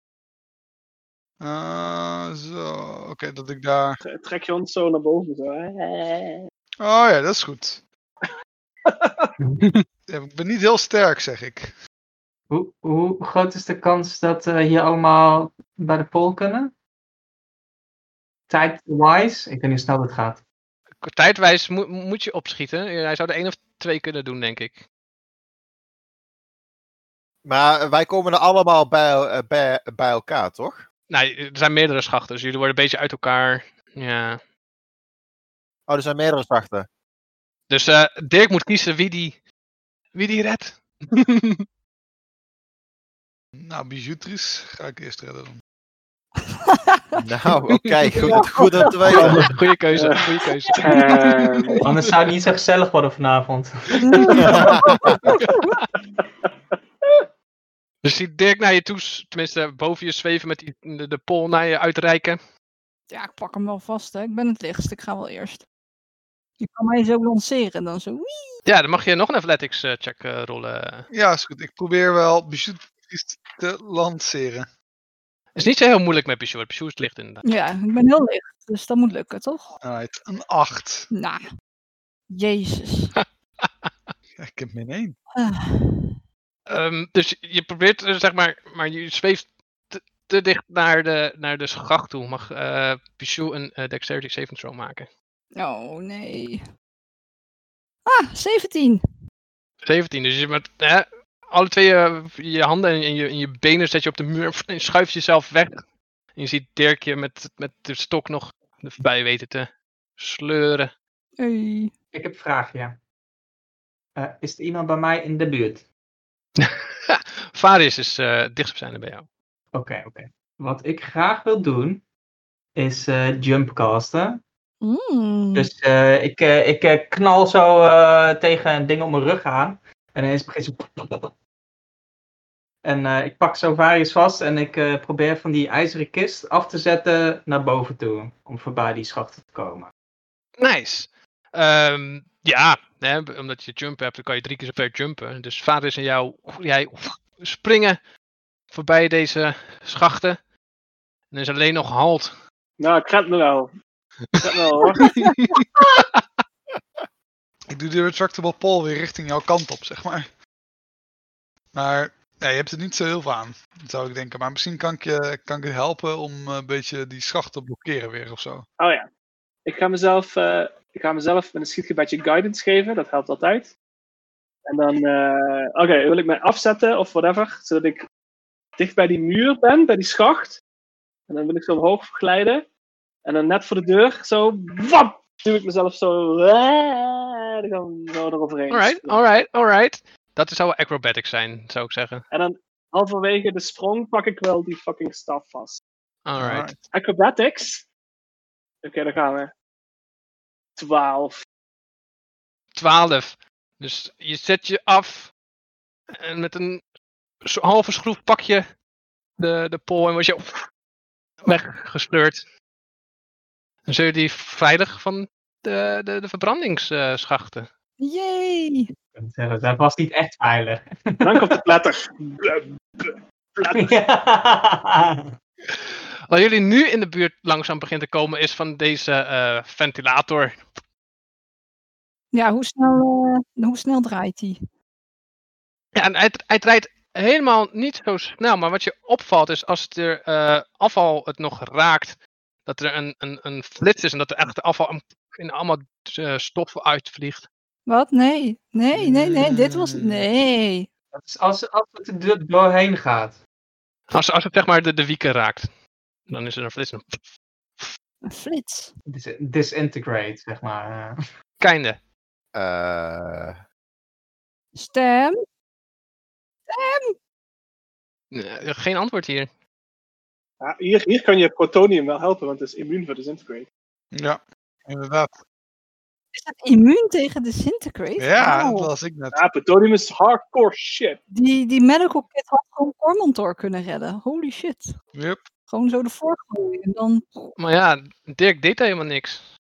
Speaker 3: Eh, zo, oké, dat ik daar...
Speaker 6: Tre- Trek je ons zo naar boven. Zo.
Speaker 3: Oh ja, dat is goed. Ja, ik ben niet heel sterk, zeg ik.
Speaker 2: Hoe, hoe groot is de kans dat eh, hier allemaal bij de poll kunnen? Tijd-wise? Ik weet niet hoe snel dat gaat.
Speaker 1: Tijdwijs moet, moet je opschieten. Eh, Hij zou er één of twee kunnen doen, denk ik.
Speaker 5: Maar eh, wij komen er allemaal bij, eh, bij, bij elkaar, toch?
Speaker 1: Nou, er zijn meerdere schachten, dus jullie worden een beetje uit elkaar. Ja.
Speaker 5: Oh, er zijn meerdere zachte.
Speaker 1: Dus eh, Dirk moet kiezen wie die, wie die redt.
Speaker 3: Nou, bijouteries ga ik eerst redden dan.
Speaker 5: Nou, oké, goed, goed om te weten.
Speaker 1: Goeie keuze, goede keuze.
Speaker 6: Ehm,
Speaker 2: Anders zou het niet zo gezellig worden vanavond.
Speaker 1: Dus ziet Dirk naar je toe, s- tenminste boven je zweven met die, de, de pol naar je uitreiken.
Speaker 4: Ja, ik pak hem wel vast. Hè. Ik ben het lichtst. Ik ga wel eerst. Je kan mij zo lanceren en dan zo. Wie?
Speaker 1: Ja, dan mag je nog een athletics eh, check eh, rollen.
Speaker 3: Ja, is goed. Ik probeer wel bijouteries te lanceren.
Speaker 1: is niet zo heel moeilijk met Pichu. Pichu is licht inderdaad.
Speaker 4: Ja, ik ben heel licht. Dus dat moet lukken, toch?
Speaker 3: Alright, een 8.
Speaker 4: Nou. Jezus.
Speaker 3: Ja, ik heb min 1.
Speaker 4: Ah.
Speaker 1: Ehm, dus je probeert, eh, zeg maar, maar je zweeft te, te dicht naar de, naar de schacht toe. Mag eh Pichu een eh, dexterity saving throw maken?
Speaker 4: Oh, nee. Ah, 17.
Speaker 1: 17, dus je met hè, alle twee eh, je handen en, en je, en je benen zet je op de muur en schuift jezelf weg. En je ziet Dirkje met, met de stok nog erbij weten te sleuren.
Speaker 4: Hey.
Speaker 2: Ik heb een vraagje. Eh, is er iemand bij mij in de buurt?
Speaker 1: Varius is eh dichtst zijn bij jou.
Speaker 2: Oké, oké. Wat ik graag wil doen, is eh jumpcasten.
Speaker 4: Mm.
Speaker 2: Dus eh, ik, eh, ik eh, knal zo eh, tegen een ding op mijn rug aan. En ineens begint ze... En eh, ik pak zo Varius vast en ik eh, probeer van die ijzeren kist af te zetten naar boven toe. Om voorbij die schachten te komen.
Speaker 1: Nice. Ehm, ja, hè, b- omdat je jump hebt, dan kan je drie keer zover jumpen. Dus vader is en jou, jij springen voorbij deze schachten. En er is alleen nog halt.
Speaker 6: nou, ik red me wel. Ik red me wel hoor.
Speaker 3: Ik doe de retractable pole weer richting jouw kant op, zeg maar. Maar nee, je hebt er niet zo heel veel aan, zou ik denken. Maar misschien kan ik je, kan ik je helpen om eh, een beetje die schacht te blokkeren weer of zo.
Speaker 6: Oh ja. Ik ga mezelf, eh, ik ga mezelf met een schietgebedje guidance geven. Dat helpt altijd. En dan, eh, oké, wil ik mij afzetten of whatever. Zodat ik dicht bij die muur ben, bij die schacht. En dan wil ik zo omhoog glijden. En dan net voor de deur, zo, wap, duw ik mezelf zo, eh, dan gaan we zo eroverheen.
Speaker 1: Alright, alright, alright. Dat zou wel acrobatics zijn, zou ik zeggen.
Speaker 6: En dan halverwege de sprong pak ik wel die fucking staf vast.
Speaker 1: Alright.
Speaker 6: Acrobatics. Oké, daar gaan we. 12.
Speaker 1: 12. Dus je zet je af. En met een s- halve schroef pak je de, de pol en word je weggesleurd. Dan zul je die veilig van de, de, de verbrandingsschachten.
Speaker 4: Yay.
Speaker 2: Ik kan zeggen, Dat was niet echt veilig.
Speaker 6: En dan komt de platter.
Speaker 1: Wat jullie nu in de buurt langzaam begint te komen is van deze eh, ventilator.
Speaker 4: Ja, hoe snel, eh, hoe snel draait hij?
Speaker 1: Ja, en hij, hij rijdt helemaal niet zo snel, maar wat je opvalt is als er eh, afval het nog raakt, dat er een, een, een flits is en dat er echt de afval am- in allemaal eh, stof uitvliegt.
Speaker 4: Wat? Nee. Nee, nee, nee. Dit was.
Speaker 3: Mm.
Speaker 4: Nee.
Speaker 2: Dat is als, als het er do- doorheen gaat.
Speaker 1: Als, als het zeg maar de, de wieken raakt, dan is er een flits. en dan
Speaker 4: Een flits.
Speaker 2: Dis- disintegrate, zeg maar. eh.
Speaker 1: Keinde.
Speaker 5: Eh,
Speaker 4: Stem.
Speaker 1: Eh, Geen antwoord hier.
Speaker 6: Ja, hier, hier kan je protonium wel helpen, want het is immuun voor disintegrate.
Speaker 3: Ja, inderdaad.
Speaker 4: Is dat immuun tegen disintegrate?
Speaker 3: Ja,
Speaker 4: Wauw.
Speaker 3: dat las ik net.
Speaker 6: Ja, plutonium is hardcore shit.
Speaker 4: Die, die medical kit had gewoon Cormantor kunnen redden. Holy shit.
Speaker 3: Yep.
Speaker 4: Gewoon zo de gooien en dan...
Speaker 1: Maar ja, Dirk deed helemaal niks.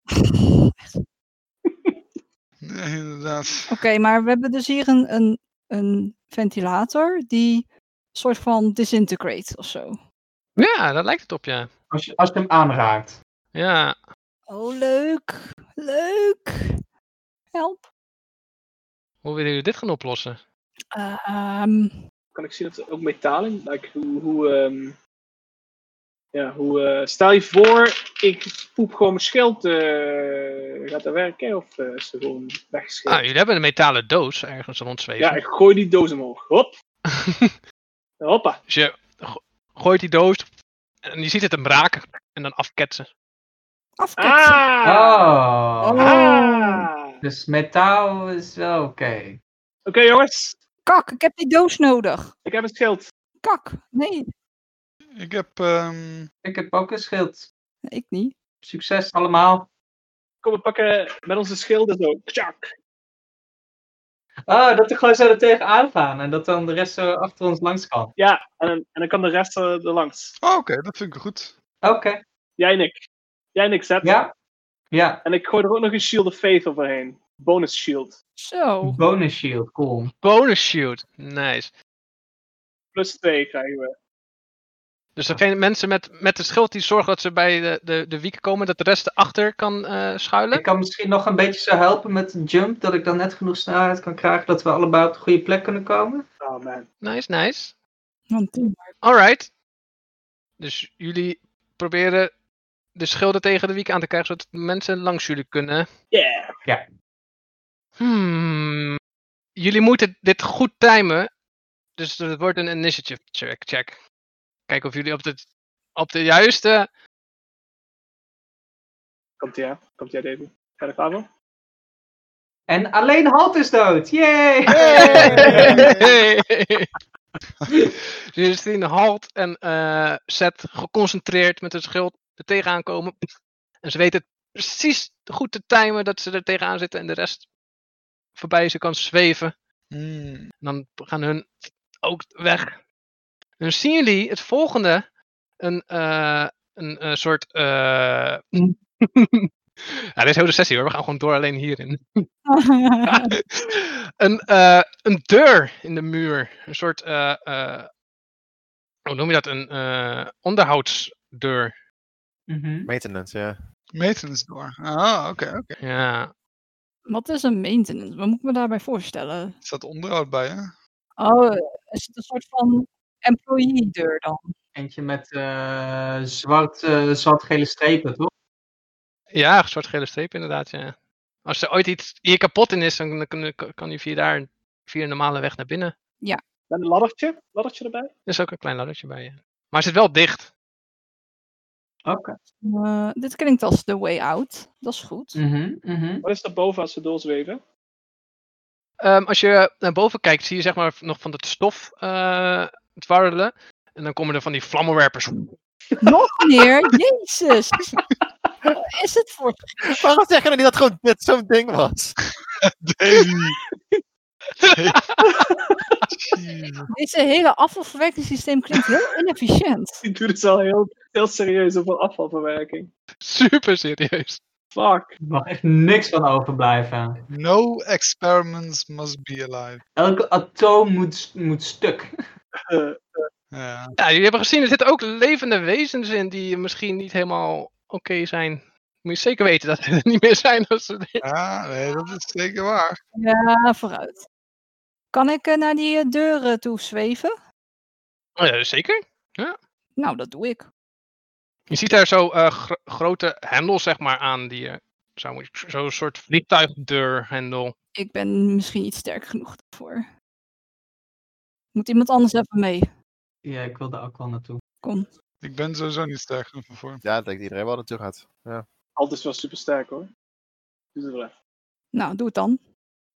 Speaker 3: Nee, inderdaad.
Speaker 4: Oké, maar we hebben dus hier een, een, een ventilator die soort van disintegrate of zo.
Speaker 1: Ja, dat lijkt het op, ja.
Speaker 2: Als je, als je hem aanraakt.
Speaker 1: Ja,
Speaker 4: Oh, leuk. Leuk. Help.
Speaker 1: hoe willen jullie dit gaan oplossen?
Speaker 4: Ehm,
Speaker 6: Kan ik zien dat er ook metaal in? Like, hoe, hoe, ehm, ja, hoe, eh, stel je voor, ik poep gewoon mijn schild. eh, gaat dat werken? Of eh, is het gewoon weggeschild?
Speaker 1: Ah, jullie hebben een metalen doos ergens rondzweven.
Speaker 6: ja, ik gooi die doos omhoog. Hop. Hoppa.
Speaker 1: Dus je go- gooit die doos en je ziet het hem raken en dan afketsen.
Speaker 4: afketsen.
Speaker 6: Ah!
Speaker 2: Oh.
Speaker 6: Ah! Oké,
Speaker 2: Dus metaal is wel oké.
Speaker 6: jongens.
Speaker 4: Kak, ik heb die doos nodig.
Speaker 6: Ik heb een schild.
Speaker 4: Kak. Nee,
Speaker 3: Ik heb... ehm,
Speaker 2: Ik heb ook een schild.
Speaker 4: ik niet.
Speaker 2: Succes allemaal.
Speaker 6: Kom, we pakken met onze schilden zo. Tjak.
Speaker 2: Ah, dat we gewoon zo er tegenaan gaan. En dat dan de rest zo achter ons langs kan.
Speaker 6: En, en dan kan de rest eh, er langs.
Speaker 3: Oh, oké, dat vind ik goed.
Speaker 2: Oké.
Speaker 6: Jij en ik. Jij en ik zet.
Speaker 2: Ja. Ja.
Speaker 6: En ik gooi er ook nog een Shield of Faith overheen. Bonus Shield.
Speaker 4: Zo.
Speaker 2: Bonus shield. Cool.
Speaker 1: Bonus shield. Nice.
Speaker 6: Plus 2 krijgen we.
Speaker 1: Dus degene mensen met, met de schild die zorgen dat ze bij de, de, de wieken komen, dat de rest erachter kan eh, schuilen.
Speaker 2: Ik kan misschien nog een beetje zo helpen met een jump. Dat ik dan net genoeg snelheid kan krijgen. Dat we allebei op de goede plek kunnen komen.
Speaker 6: Oh man.
Speaker 1: Nice, nice.
Speaker 4: Want die-
Speaker 1: Alright. Dus jullie proberen de schilden tegen de wieken aan te krijgen, zodat mensen langs jullie kunnen.
Speaker 6: Yeah.
Speaker 1: Hmm. Jullie moeten dit goed timen. Dus het wordt een initiative check. check. Kijken of jullie op, de op de juiste.
Speaker 6: Komt ie, hè? Komt jij, Davy? Ga je er klaar voor?
Speaker 2: En alleen Halt is dood. Yay!
Speaker 1: Jullie zien Halt en eh Seth geconcentreerd met hun schild er tegenaan komen. En ze weten precies goed te timen dat ze er tegenaan zitten en de rest voorbij ze kan zweven.
Speaker 3: Hmm.
Speaker 1: En dan gaan hun ook weg. En dan zien jullie het volgende. Een, eh, een eh, soort... eh, ja, dit is heel de sessie hoor. We gaan gewoon door alleen hierin. een, eh, een deur in de muur. Een soort... eh, eh, hoe noem je dat? Een eh, onderhoudsdeur.
Speaker 2: Mhm.
Speaker 5: Maintenance, ja.
Speaker 3: Maintenance door. Ah, oké, oké.
Speaker 1: Ja.
Speaker 4: Wat is een maintenance? Wat moet ik me daarbij voorstellen?
Speaker 3: Er staat onderhoud bij, hè?
Speaker 4: Oh, is het een soort van employee-deur dan?
Speaker 2: Eentje met eh, zwart, eh, zwart-gele strepen, toch?
Speaker 1: ja, een soort gele streep inderdaad. Ja. Als er ooit iets hier kapot in is, dan kan, kan hij via daar via een normale weg naar binnen.
Speaker 6: Dan een laddertje. Laddertje erbij.
Speaker 1: Er is ook een klein laddertje bij je. Maar het zit wel dicht.
Speaker 2: Oké.
Speaker 4: Eh, dit klinkt als The Way Out. Dat is goed.
Speaker 2: Mhm, mhm.
Speaker 6: Wat is er boven als ze doorzweven?
Speaker 1: Ehm, als je naar boven kijkt, zie je zeg maar nog van dat stof eh dwarrelen. En dan komen er van die vlammenwerpers.
Speaker 4: Nog meer? Jezus! Wat is het voor...
Speaker 5: Waarom zeggen jullie dat gewoon dit zo'n ding was?
Speaker 3: Daisy.
Speaker 2: Hmm.
Speaker 3: Jezus.
Speaker 4: Deze hele afvalverwerkingssysteem klinkt heel inefficiënt.
Speaker 6: Die doet het al heel, heel serieus over afvalverwerking.
Speaker 1: Super serieus.
Speaker 6: Fuck.
Speaker 2: Er mag echt niks van overblijven.
Speaker 3: No experiments must be alive.
Speaker 2: Elke atoom moet, moet stuk.
Speaker 6: Eh,
Speaker 3: Ja.
Speaker 1: Ja, jullie hebben gezien, er zitten ook levende wezens in die misschien niet helemaal oké zijn. Moet je zeker weten dat ze er niet meer zijn. Als ze...
Speaker 3: ja, nee, dat is zeker waar.
Speaker 7: Ah,
Speaker 4: Ja, vooruit. Kan ik eh, naar die eh, deuren toe zweven?
Speaker 1: Oh ja, zeker.
Speaker 4: Nou, dat doe ik.
Speaker 1: Je ziet daar zo eh, gro- grote hendels zeg maar aan. die je zou moeten- Zo'n soort vliegtuigdeurhendel.
Speaker 4: Ik ben misschien niet sterk genoeg daarvoor. Moet iemand anders even mee?
Speaker 2: Ja, ik wil daar ook wel naartoe.
Speaker 4: Kom.
Speaker 3: Ik ben sowieso niet sterk genoeg voor.
Speaker 5: Ja, dat denkt iedereen wel naartoe gaat. Ja.
Speaker 6: Alt is wel super sterk hoor. Doe het wel even.
Speaker 4: Nou, doe het dan.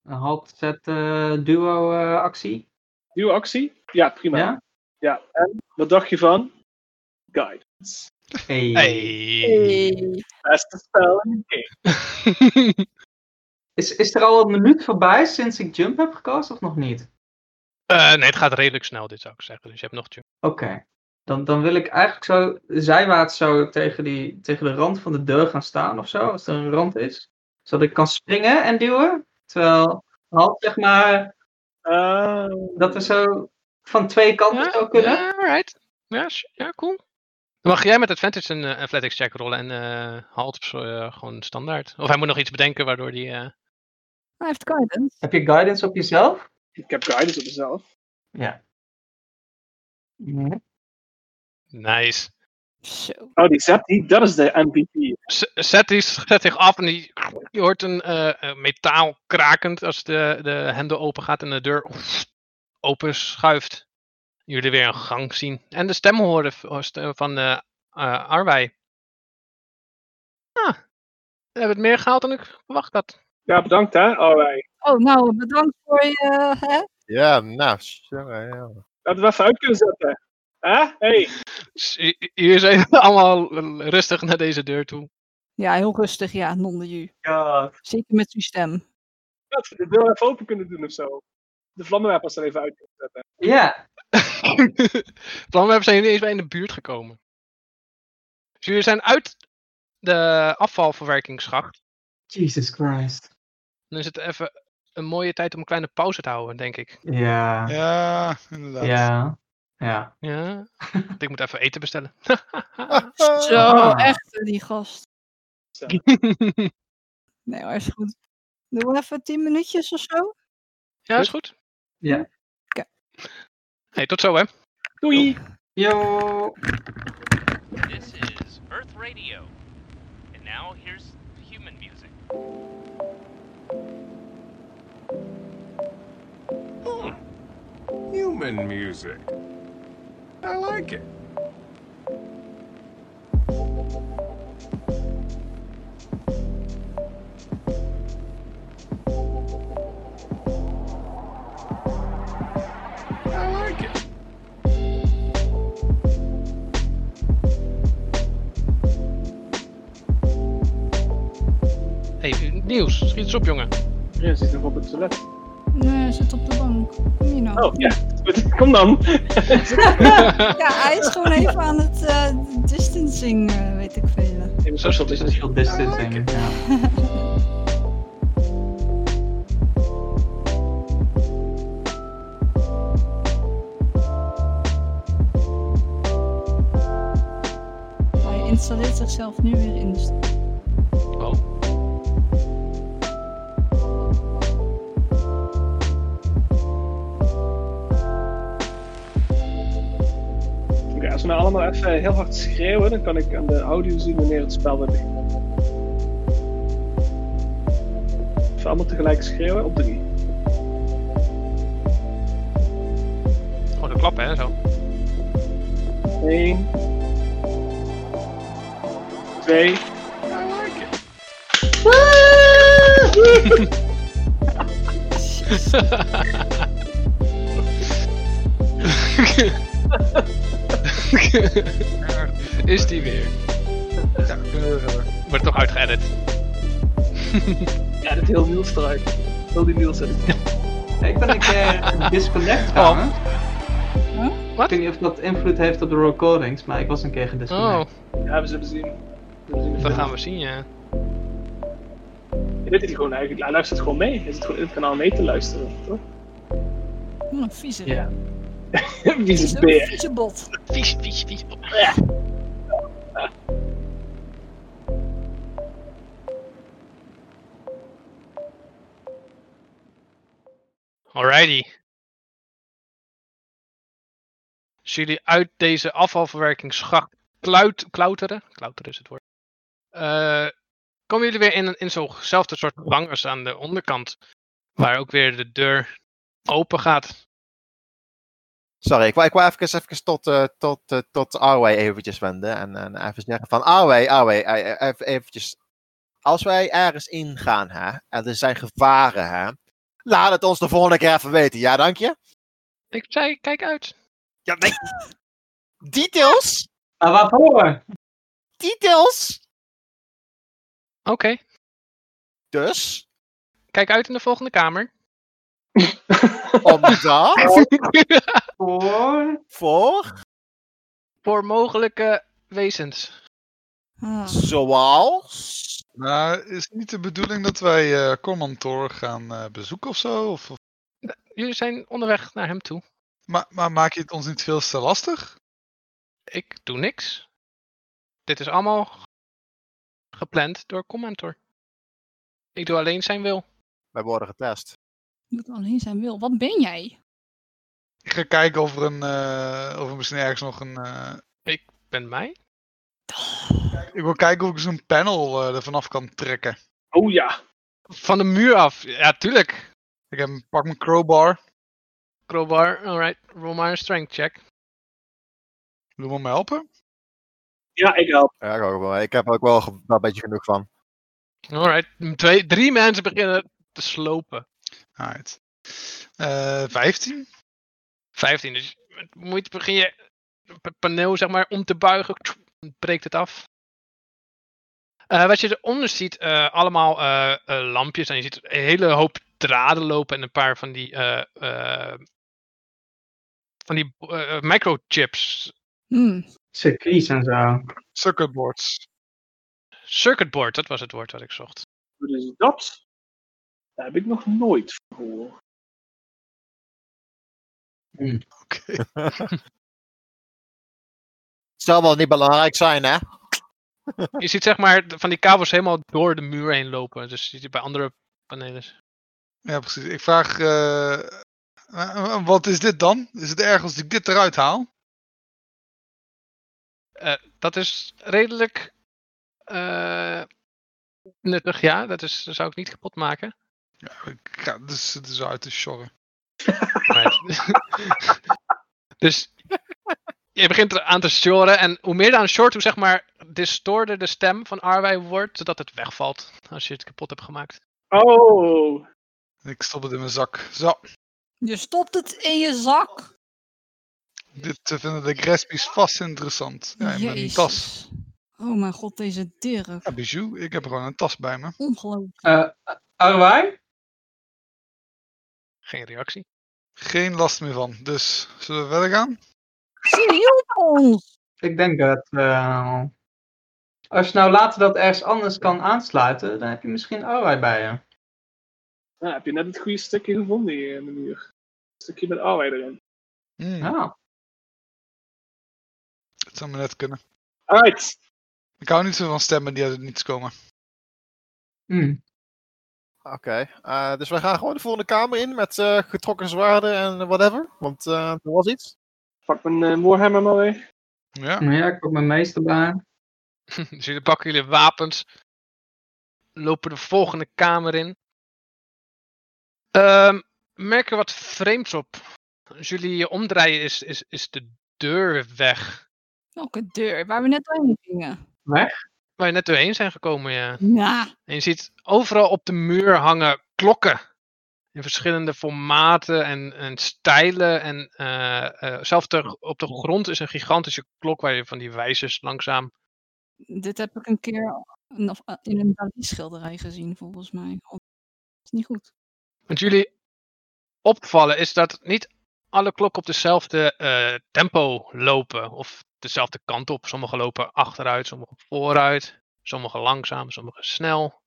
Speaker 2: Een halt zet eh, duo eh, actie.
Speaker 6: Nieuwe actie? Ja, prima. Ja?
Speaker 2: Ja?
Speaker 6: En wat dacht je van? Guidance.
Speaker 2: Hey.
Speaker 1: Hey.
Speaker 4: Hey.
Speaker 6: Beste spel in de game.
Speaker 2: Is, is er al een minuut voorbij sinds ik jump heb gecast of nog niet?
Speaker 1: Eh, nee, het gaat redelijk snel, dit zou ik zeggen. Dus je hebt nog jump.
Speaker 2: Oké. Dan, dan wil ik eigenlijk zo zijwaarts zo tegen, die, tegen de rand van de deur gaan staan of zo, als er een rand is. Zodat ik kan springen en duwen. Terwijl Halt, zeg maar,
Speaker 6: Eh,
Speaker 2: dat we zo van twee kanten zou kunnen.
Speaker 1: ja, alright. Ja, sh- ja, cool. Dan mag jij met advantage een eh, athletics check rollen en eh haalt op zo, eh, gewoon standaard. Of hij moet nog iets bedenken waardoor die. eh,
Speaker 7: Hij heeft guidance.
Speaker 2: Heb je guidance op jezelf?
Speaker 6: ik heb guidance op mezelf.
Speaker 1: Nice.
Speaker 7: Zo.
Speaker 6: Oh, die zet die, dat is de MVP.
Speaker 1: Z- Zet, die, zet zich af en die, je hoort een eh, eh, metaal krakend als de, de hendel open gaat en de deur open schuift. Jullie weer een gang zien. En de stem horen v- eh, st- van eh eh, Arwei. Ah, we hebben het meer gehaald dan ik verwacht had.
Speaker 6: Ja, bedankt hè. Alright.
Speaker 7: Oh, nou, bedankt voor je. Hè?
Speaker 5: Ja, nou, jongen, ja.
Speaker 6: Laten we even uit kunnen zetten. Hè? Hey.
Speaker 1: Dus i- i- Hier zijn we allemaal eh, rustig naar deze deur toe.
Speaker 7: Ja, heel rustig, ja, non-de-ju.
Speaker 2: Ja.
Speaker 7: Zeker met uw stem.
Speaker 6: dat we de deur even open kunnen doen of zo. De vlammenwerpers er even uit kunnen zetten.
Speaker 2: Ja.
Speaker 1: Planwerpers zijn jullie eens bij in de buurt gekomen. Dus jullie zijn uit de afvalverwerkingsschacht.
Speaker 2: Jesus Christ.
Speaker 1: Dan is het even een mooie tijd om een kleine pauze te houden, denk ik.
Speaker 2: Ja.
Speaker 3: Ja, inderdaad.
Speaker 2: Ja. Ja.
Speaker 1: Ja. Want ik moet even eten bestellen.
Speaker 6: Ah.
Speaker 5: Ah,
Speaker 7: Zo, echt, hè, die gast. Nee hoor, is goed. Doe even tien minuutjes of zo.
Speaker 1: ja, is goed.
Speaker 2: Ja.
Speaker 7: Oké.
Speaker 1: Hey, tot zo, hè.
Speaker 6: Doei!
Speaker 2: Yo.
Speaker 8: This is Earth Radio. And now here's human music.
Speaker 9: Hmm. Human music. I like it. I like it.
Speaker 1: Hey, nieuws. Schiet eens op, jongen.
Speaker 6: Ja, ze zit nog op het toilet.
Speaker 7: Nee, hij zit op de bank. Kom hier nou.
Speaker 6: Oh, ja. Goed, Kom dan!
Speaker 7: Ja, hij is gewoon even aan het eh, distancing, eh, weet ik veel.
Speaker 1: Social
Speaker 2: Social distancing. Ja.
Speaker 7: Hij installeert zichzelf nu weer in de st-
Speaker 1: Oh.
Speaker 6: Oké, als we nou allemaal even heel hard schreeuwen, dan kan ik aan de audio zien wanneer het spel weer begint. Even allemaal tegelijk schreeuwen op drie.
Speaker 1: oh, de klappen, hè, zo.
Speaker 6: Eén. Twee.
Speaker 9: I like it.
Speaker 1: is die weer.
Speaker 3: Ja, eh, kunnen we verder.
Speaker 1: Wordt toch uitgeëdit.
Speaker 6: Ja, dit heel Niels eruit. Heel die Niels eruit.
Speaker 2: Ik ben een keer disconnect trouwens.
Speaker 1: Wat?
Speaker 2: Ik weet niet of dat invloed heeft op de recordings, maar ik was een keer
Speaker 1: Oh,
Speaker 2: gedisconnect.
Speaker 6: Ja, we zullen zien. We zullen
Speaker 1: dat
Speaker 6: zien.
Speaker 1: gaan we zien, ja.
Speaker 6: Je weet het gewoon eigenlijk. Hij luistert gewoon mee. Hij zit gewoon in het kanaal mee te luisteren, toch?
Speaker 7: Hm, een vieze.
Speaker 2: Ja.
Speaker 6: Wie is
Speaker 7: Vieze-
Speaker 6: het beer?
Speaker 7: vieze bot.
Speaker 1: Vies, vies, vies. Alrighty. Als jullie uit deze afvalverwerkingsschacht kluit, klauteren, klauteren is het woord, Eh komen jullie weer in, een- in zo'nzelfde soort gang als aan de onderkant, waar ook weer de deur open gaat.
Speaker 5: Sorry, ik wou, ik wou even, even tot, eh tot, eh, tot Arwei eventjes wenden. En, en even zeggen van Arwei, Arwei, eh, eh, even, eventjes. Als wij ergens ingaan, hè, en er zijn gevaren, hè, laat het ons de volgende keer even weten. Ja, dank je.
Speaker 1: Ik zei, kijk uit.
Speaker 5: Ja, nee. Details?
Speaker 2: Maar Ah, waarvoor?
Speaker 5: Details?
Speaker 1: Oké.
Speaker 5: Dus?
Speaker 1: Kijk uit in de volgende kamer.
Speaker 5: Omdat,
Speaker 2: Voor.
Speaker 5: voor,
Speaker 1: Voor mogelijke wezens.
Speaker 7: Ah.
Speaker 5: zoals...
Speaker 3: Maar is het niet de bedoeling dat wij eh Cormantor gaan eh, bezoeken of zo? Of, of-
Speaker 1: Jullie zijn onderweg naar hem toe.
Speaker 3: maar, maar maak je het ons niet veel te lastig?
Speaker 1: Ik doe niks. Dit is allemaal gepland door Commentor. Ik doe alleen zijn wil.
Speaker 5: Wij worden getest.
Speaker 7: Dat alleen zijn wil. Wat ben jij?
Speaker 3: Ik ga kijken of er, een, eh, of er misschien ergens nog een... eh,
Speaker 1: Ben mij?
Speaker 3: ik wil kijken of ik zo'n panel eh er vanaf kan trekken.
Speaker 6: Oh ja.
Speaker 1: Van de muur af. Ja, tuurlijk.
Speaker 3: Ik heb, een- pak mijn crowbar.
Speaker 1: Crowbar, alright. Roll maar een strength check.
Speaker 3: Doe maar me helpen.
Speaker 6: Ja, ik help.
Speaker 5: Ja, ik, ook wel. ik heb er ook wel ge- wel een beetje genoeg van.
Speaker 1: Alright. Twee, drie mensen beginnen te slopen.
Speaker 3: Alright. Eh 15.
Speaker 1: 15. Dus met moeite begin je het paneel zeg maar om te buigen. Tjoe, breekt het af. Eh, wat je eronder ziet, eh, allemaal eh, eh, lampjes. En je ziet een hele hoop draden lopen en een paar van die, eh, eh, van die eh, microchips.
Speaker 7: Hmm.
Speaker 2: Circuits en zo.
Speaker 3: Circuitboards.
Speaker 1: Circuitboard, dat was het woord wat ik zocht.
Speaker 6: Wat is dat? Daar heb ik nog nooit van gehoord.
Speaker 3: Oké.
Speaker 5: Het zal wel niet belangrijk zijn, hè?
Speaker 1: Je ziet zeg maar de- van die kabels helemaal door de muur heen lopen. Dus je ziet bij andere panelen.
Speaker 3: Ja, precies. Ik vraag... eh, eh, wat is dit dan? Is het erg als ik dit eruit haal?
Speaker 1: Dat is redelijk eh, nuttig, ja. Dat, is, dat zou ik niet kapot maken.
Speaker 3: Ja, ik ga dus, dus uit de sjorren.
Speaker 1: Maar- dus je begint eraan te shoren. En hoe meer je aan short, hoe zeg maar distorder de stem van Arwei wordt, zodat het wegvalt als je het kapot hebt gemaakt.
Speaker 6: Oh.
Speaker 3: Ik stop het in mijn zak. Zo,
Speaker 7: Je stopt het in je zak.
Speaker 3: dit eh, vinden de Grespies vast interessant. Ja, in mijn
Speaker 7: Jezus.
Speaker 3: tas.
Speaker 7: Oh mijn god, deze Dirk.
Speaker 3: Ja, bijou, ik heb gewoon een tas bij me.
Speaker 7: Ongelooflijk.
Speaker 2: Eh Arwai?
Speaker 1: Geen reactie.
Speaker 3: Geen last meer van. Dus, zullen we verder gaan?
Speaker 7: Ze hielp ons.
Speaker 2: Ik denk dat wel. Als je nou later dat ergens anders kan aansluiten, dan heb je misschien Arwai bij je.
Speaker 6: Nou, heb je net het goede stukje gevonden hier in de muur. Een stukje met arbeid erin.
Speaker 3: Hmm,
Speaker 2: Ja.
Speaker 3: Dat zou me net kunnen.
Speaker 6: Alright.
Speaker 3: Ik hou niet zo van stemmen die uit het niets komen.
Speaker 2: Hm.
Speaker 5: Oké, eh, dus wij gaan gewoon de volgende kamer in met eh, getrokken zwaarden en whatever. Want eh, er was iets.
Speaker 6: Pak mijn eh, Warhammer maar weg.
Speaker 3: Ja,
Speaker 2: Nou ja, ik pak mijn meester bij.
Speaker 1: dus jullie pakken jullie wapens, lopen de volgende kamer in. Ehm, merken wat vreemds op. Als jullie je omdraaien, is, is, is de deur weg.
Speaker 7: Welke deur? Waar we net heen gingen.
Speaker 1: Waar je net doorheen zijn gekomen, ja.
Speaker 7: Ja.
Speaker 1: En je ziet overal op de muur hangen klokken. In verschillende formaten en, en stijlen. En eh, eh, zelfs ter- op de grond is een gigantische klok waar je van die wijzers langzaam.
Speaker 7: Dit heb ik een keer nog in een Dali schilderij gezien, volgens mij. Oh, dat is niet goed.
Speaker 1: Wat jullie opvallen is dat niet alle klokken op dezelfde eh, tempo lopen. Of dezelfde kant op. Sommige lopen achteruit, sommige vooruit. Sommige langzaam, sommige snel.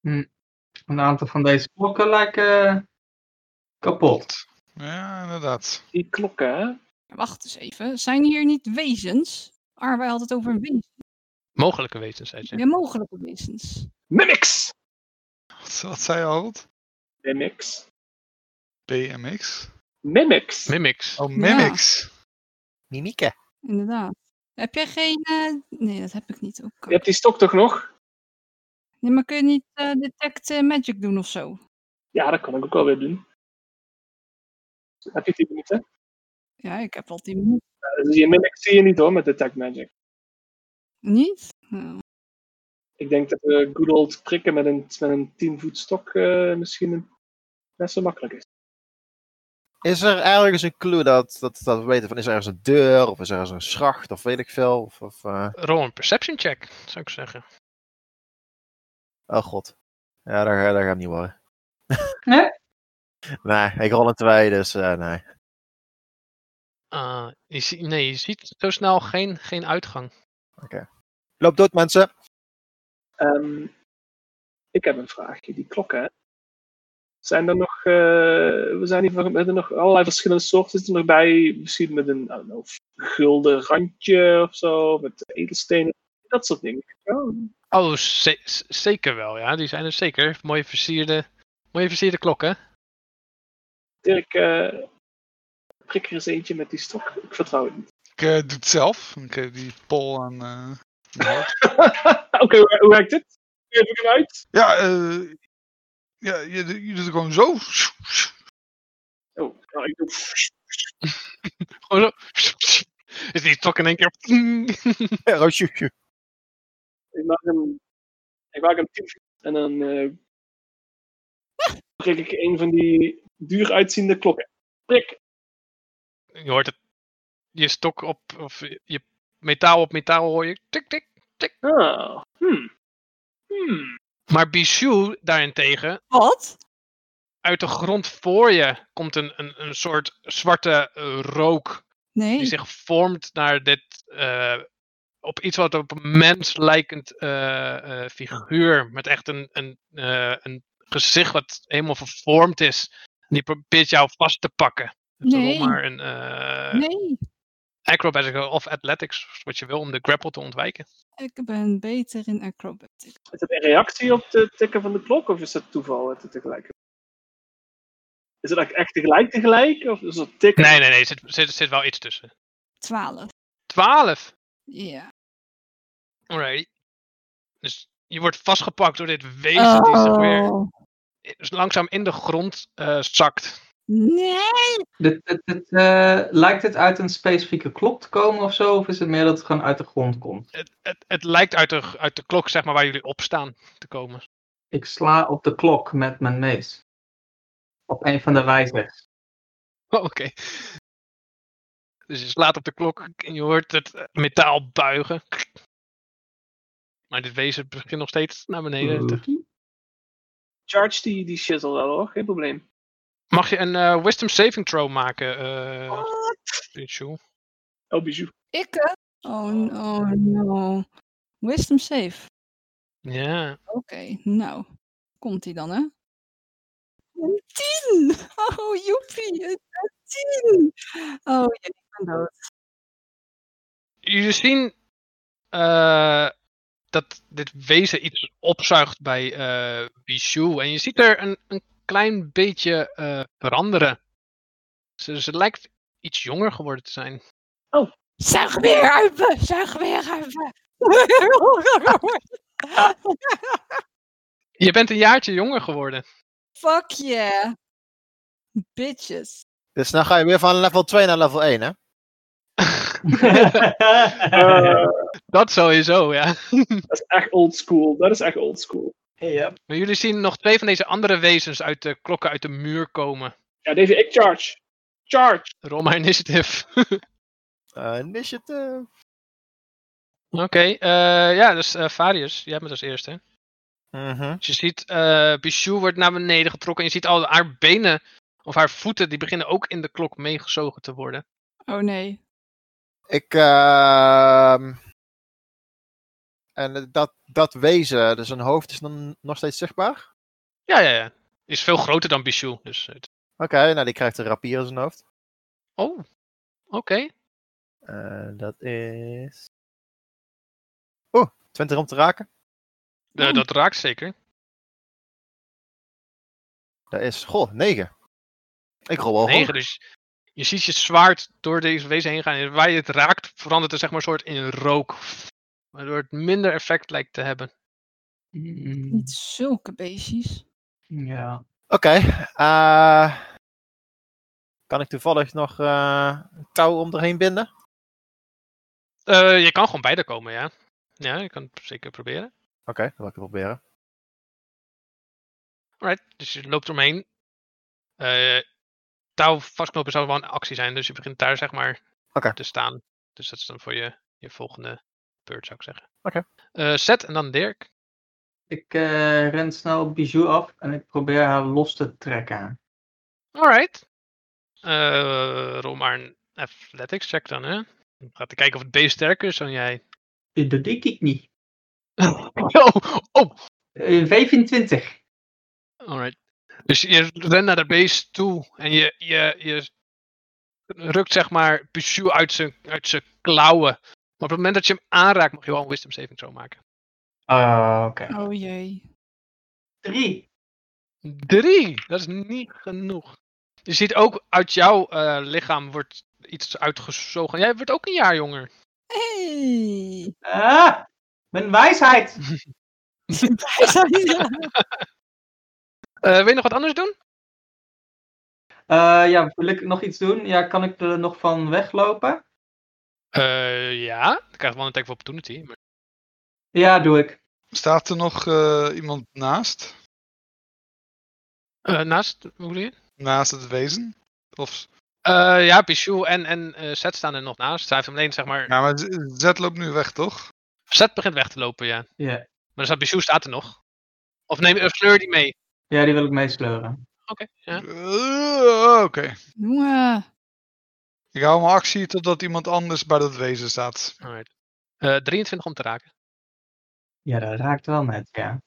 Speaker 2: Een aantal van deze klokken lijken eh, kapot.
Speaker 3: ja inderdaad.
Speaker 6: Die klokken, hè?
Speaker 7: Ja, Wacht eens even. Zijn hier niet wezens? Arbeid had het over een wezens.
Speaker 1: Mogelijke wetensheid.
Speaker 7: Ja, mogelijke wezens.
Speaker 6: Mimics!
Speaker 3: Wat, wat zei je, Harold?
Speaker 6: Mimics.
Speaker 3: BMX?
Speaker 6: Mimics.
Speaker 1: Mimics.
Speaker 3: Oh, Mimics.
Speaker 5: Mimieke.
Speaker 7: Inderdaad. Heb jij geen... eh, Nee, dat heb ik niet. Ook.
Speaker 6: Je hebt die stok toch nog?
Speaker 7: Nee, maar kun je niet eh, detect eh, magic doen of zo?
Speaker 6: Ja, dat kan ik ook wel weer doen. Heb je 10 minuten?
Speaker 7: Ja, ik heb al tien minuten.
Speaker 6: Ja, dus je mimics zie je niet hoor met Detect Magic.
Speaker 7: Niet? Nou,
Speaker 6: Ik denk dat eh good old prikken met een, met een 10 voet stok eh, misschien een- net zo makkelijk is.
Speaker 5: Is er ergens een clue dat, dat, dat we weten van is er ergens een deur of is er ergens een schacht of weet ik veel? Of, of, eh,
Speaker 1: Rol een perception check, zou ik zeggen.
Speaker 5: Oh god. Ja, daar, daar gaat hem niet worden.
Speaker 2: Nee?
Speaker 5: Nee, ik rol een 2, dus eh, nee.
Speaker 1: Ah, je zie- nee, je ziet zo snel geen, geen uitgang.
Speaker 5: Loop dood, mensen.
Speaker 6: Ehm, ik heb een vraagje. Die klokken, hè? Zijn er nog, eh, we zijn hier van- met er nog allerlei verschillende soorten zitten er nog bij. Misschien met een, I don't know, gulden randje of zo, met edelstenen, dat soort dingen. Ja,
Speaker 1: Oh, ze- z- zeker wel, ja. Die zijn er zeker. Mooie versierde, mooie versierde klokken.
Speaker 6: Dirk, eh, prik er eens eentje met die stok. Ik vertrouw het niet.
Speaker 3: Ik eh, doe het zelf. Ik geef die pol aan. eh, aan Hart.
Speaker 6: Oké, hoe, hoe werkt dit? Geef ik hem uit?
Speaker 3: ja, eh, ja je, doet- je doet het gewoon zo.
Speaker 6: Oh, nou, ik doe...
Speaker 1: Gewoon zo. Is die stok in één keer.
Speaker 5: Roosje.
Speaker 6: Ik maak hem, ik maak hem tien en dan eh prik ik een van die duur uitziende klokken. Prik.
Speaker 1: Je hoort het. Je stok op, of je metaal op metaal hoor je. Tik, tik.
Speaker 6: Ah, hmm. Hmm.
Speaker 1: Maar Bichou daarentegen,
Speaker 7: Wat?
Speaker 1: uit de grond voor je komt een, een, een soort zwarte eh, rook. die
Speaker 7: Nee.
Speaker 1: zich vormt naar dit. eh, op iets wat op een mens lijkend eh, eh, figuur. Met echt een, een, eh, een gezicht wat helemaal vervormd is. En die probeert jou vast te pakken. Dus dan
Speaker 7: Nee.
Speaker 1: rol maar een eh
Speaker 7: Nee.
Speaker 1: acrobatics of athletics, wat je wil, om de grapple te ontwijken.
Speaker 7: Ik ben beter in acrobatics.
Speaker 6: Is dat een reactie op de tikken van de klok of is dat toeval dat het tegelijk is? Is het eigenlijk echt tegelijk tegelijk? Of is dat tikken?
Speaker 1: Nee, nee, nee, er zit, zit, zit wel iets tussen.
Speaker 7: 12.
Speaker 1: 12!
Speaker 7: Ja.
Speaker 1: Alright. Dus je wordt vastgepakt door dit wezen die zich weer
Speaker 7: Oh.
Speaker 1: langzaam in de grond eh, zakt.
Speaker 7: Nee.
Speaker 2: Dit, dit, dit, eh, lijkt het uit een specifieke klok te komen of zo? Of is het meer dat het gewoon uit de grond komt?
Speaker 1: het, het, het lijkt uit de, uit de klok, zeg maar, waar jullie op staan te komen.
Speaker 2: Ik sla op de klok met mijn mees. Op een van de wijzers.
Speaker 1: Oh, Oké. Dus je slaat op de klok en je hoort het eh, metaal buigen. Maar dit wezen begint nog steeds naar beneden. te-
Speaker 6: Charge die, die shit al wel hoor, geen probleem.
Speaker 1: Mag je een eh, wisdom saving throw maken, eh
Speaker 7: Wat?
Speaker 1: Pichu?
Speaker 6: Oh, bijou.
Speaker 7: Ik? eh? Oh, n- oh no. Wisdom safe.
Speaker 1: Ja.
Speaker 7: Oké, nou. Komt hij dan, hè? Een tien! Oh, joepie, een een tien! Oh, ja, ik ben dood.
Speaker 1: Jullie zien eh, dat dit wezen iets opzuigt bij eh Bichou. En je ziet er een, een klein beetje eh, veranderen. Ze, ze lijkt iets jonger geworden te zijn.
Speaker 7: Zuig weer uit me! Zuig weer uit me!
Speaker 1: Je bent een jaartje jonger geworden.
Speaker 7: Fuck yeah! Bitches.
Speaker 5: Dus dan ga je weer van level 2 naar level 1, hè?
Speaker 2: Eh,
Speaker 1: Dat sowieso, ja.
Speaker 6: Eh, Dat is echt old school. Dat is echt old school.
Speaker 1: Maar jullie zien nog twee van deze andere wezens uit de klokken uit de muur komen.
Speaker 6: Ja, Davy, ik charge. Charge.
Speaker 1: Rol maar initiative.
Speaker 5: Eh, initiative.
Speaker 1: Oké, eh, ja, dus eh Varius, jij bent als eerste.
Speaker 5: Mhm.
Speaker 1: Dus je ziet, eh Bichou wordt naar beneden getrokken. En je ziet al haar benen, of haar voeten, die beginnen ook in de klok meegezogen te worden.
Speaker 7: Oh nee.
Speaker 5: Ik, ehm, En dat, dat wezen, dus een hoofd is dan nog steeds zichtbaar?
Speaker 1: Ja, ja, ja. Is veel groter dan Bichou. Dus het-
Speaker 5: Oké, nou die krijgt een rapier in zijn hoofd.
Speaker 1: Oh, oké.
Speaker 5: Eh, dat is... Oeh, 20 om te raken.
Speaker 1: Eh, dat raakt zeker.
Speaker 5: Dat is, goh, 9. Ik rol wel
Speaker 1: Negen,
Speaker 5: hoog.
Speaker 1: dus je ziet je zwaard door deze wezen heen gaan. En waar je het raakt, verandert het zeg maar een soort in rook. Waardoor het minder effect lijkt te hebben.
Speaker 2: Mm,
Speaker 7: Niet zulke beestjes.
Speaker 2: ja.
Speaker 5: Oké. eh, kan ik toevallig nog eh, een touw om erheen binden?
Speaker 1: Eh, je kan gewoon beide komen, ja. Ja, je kan het zeker proberen.
Speaker 5: Oké, dat wil ik proberen.
Speaker 1: Alright, dus je loopt eromheen. Eh, touw vastknopen zou wel een actie zijn, dus je begint daar zeg maar
Speaker 5: Oké.
Speaker 1: te staan. Dus dat is dan voor je, je volgende beurt, zou ik zeggen.
Speaker 5: Oké.
Speaker 1: Eh, Zet en dan Dirk.
Speaker 2: Ik eh, ren snel op Bijou af en ik probeer haar los te trekken.
Speaker 1: Alright. Eh rol maar een athletics check dan, hè? Dan Gaat te kijken of het beest sterker is dan jij.
Speaker 2: Eh, Dat denk ik niet.
Speaker 1: oh, oh.
Speaker 2: Eh, 25.
Speaker 1: Alright. Dus je rent naar dat beest toe en je, je, je rukt zeg maar Pichu uit zijn, uit zijn klauwen. Maar op het moment dat je hem aanraakt, mag je wel een wisdom saving throw maken.
Speaker 2: Ah, oké.
Speaker 7: Oh jee.
Speaker 2: 3.
Speaker 1: Drie! Dat is niet genoeg. Je ziet ook uit jouw eh, lichaam wordt iets uitgezogen. Jij wordt ook een jaar jonger.
Speaker 7: Hey.
Speaker 2: Ah, mijn wijsheid.
Speaker 1: Eh, wil je nog wat anders doen?
Speaker 2: Eh, ja, wil ik nog iets doen? Ja, kan ik er nog van weglopen?
Speaker 1: Eh, ja, dan krijg je wel een attack of opportunity. Maar...
Speaker 2: Ja, doe ik.
Speaker 3: Staat er nog eh, iemand naast?
Speaker 1: Eh, naast, hoe bedoel je?
Speaker 3: Naast het wezen? Of,
Speaker 1: Eh, ja, Pichu en, en eh Zet staan er nog naast. Zij heeft hem alleen, zeg maar...
Speaker 3: ja, maar Z- Zet loopt nu weg, toch?
Speaker 1: Zet begint weg te lopen, ja.
Speaker 2: Ja,
Speaker 1: Maar dan staat Bijou staat er nog. Of neem een sleur die mee.
Speaker 2: ja die wil ik meesleuren.
Speaker 1: Oké, ja.
Speaker 3: Eh, Oké.
Speaker 7: Jongen.
Speaker 3: Ik hou mijn actie totdat iemand anders bij dat wezen staat.
Speaker 1: Alright. Eh, 23 om te raken.
Speaker 2: Ja, dat raakt wel net, ja.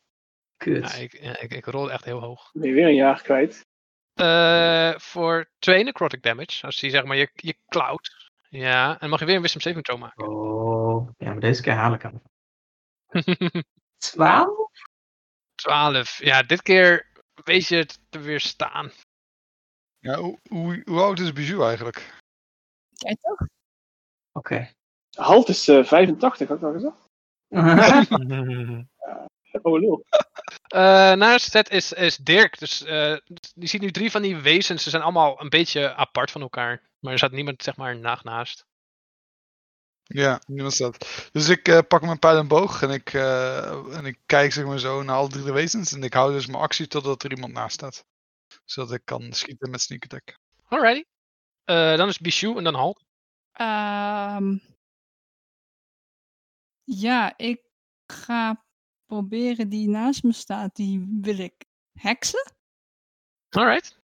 Speaker 2: Kut.
Speaker 1: Ja, ik, ja, ik, ik rol echt heel hoog.
Speaker 6: Ben je weer een jaar kwijt?
Speaker 1: Eh, Voor 2 necrotic damage. Als die zeg maar je, je cloud. Ja, en dan mag je weer een wisdom saving throw maken.
Speaker 2: Oh, ja, maar deze keer haal ik hem. 12?
Speaker 1: 12. Ja, dit keer weet je het te weerstaan.
Speaker 3: Ja, hoe, hoe, hoe oud is Bijou eigenlijk?
Speaker 7: Jij toch?
Speaker 2: Oké.
Speaker 6: Halt is eh, 85, had ik al gezegd. Oh, lul.
Speaker 1: Eh naast het is, is Dirk. Dus eh, je ziet nu drie van die wezens. Ze zijn allemaal een beetje apart van elkaar. Maar er staat niemand zeg maar na- naast.
Speaker 3: Ja, niemand staat. Dus ik eh, pak mijn pijl en boog en ik, eh, en ik kijk zeg maar zo naar alle drie de wezens. En ik hou dus mijn actie totdat er iemand naast staat. Zodat ik kan schieten met sneak attack.
Speaker 1: Alrighty. Eh, dan is Bichou en dan Halt.
Speaker 7: Ehm, ja, ik ga proberen die naast me staat, die wil ik heksen.
Speaker 1: Alright.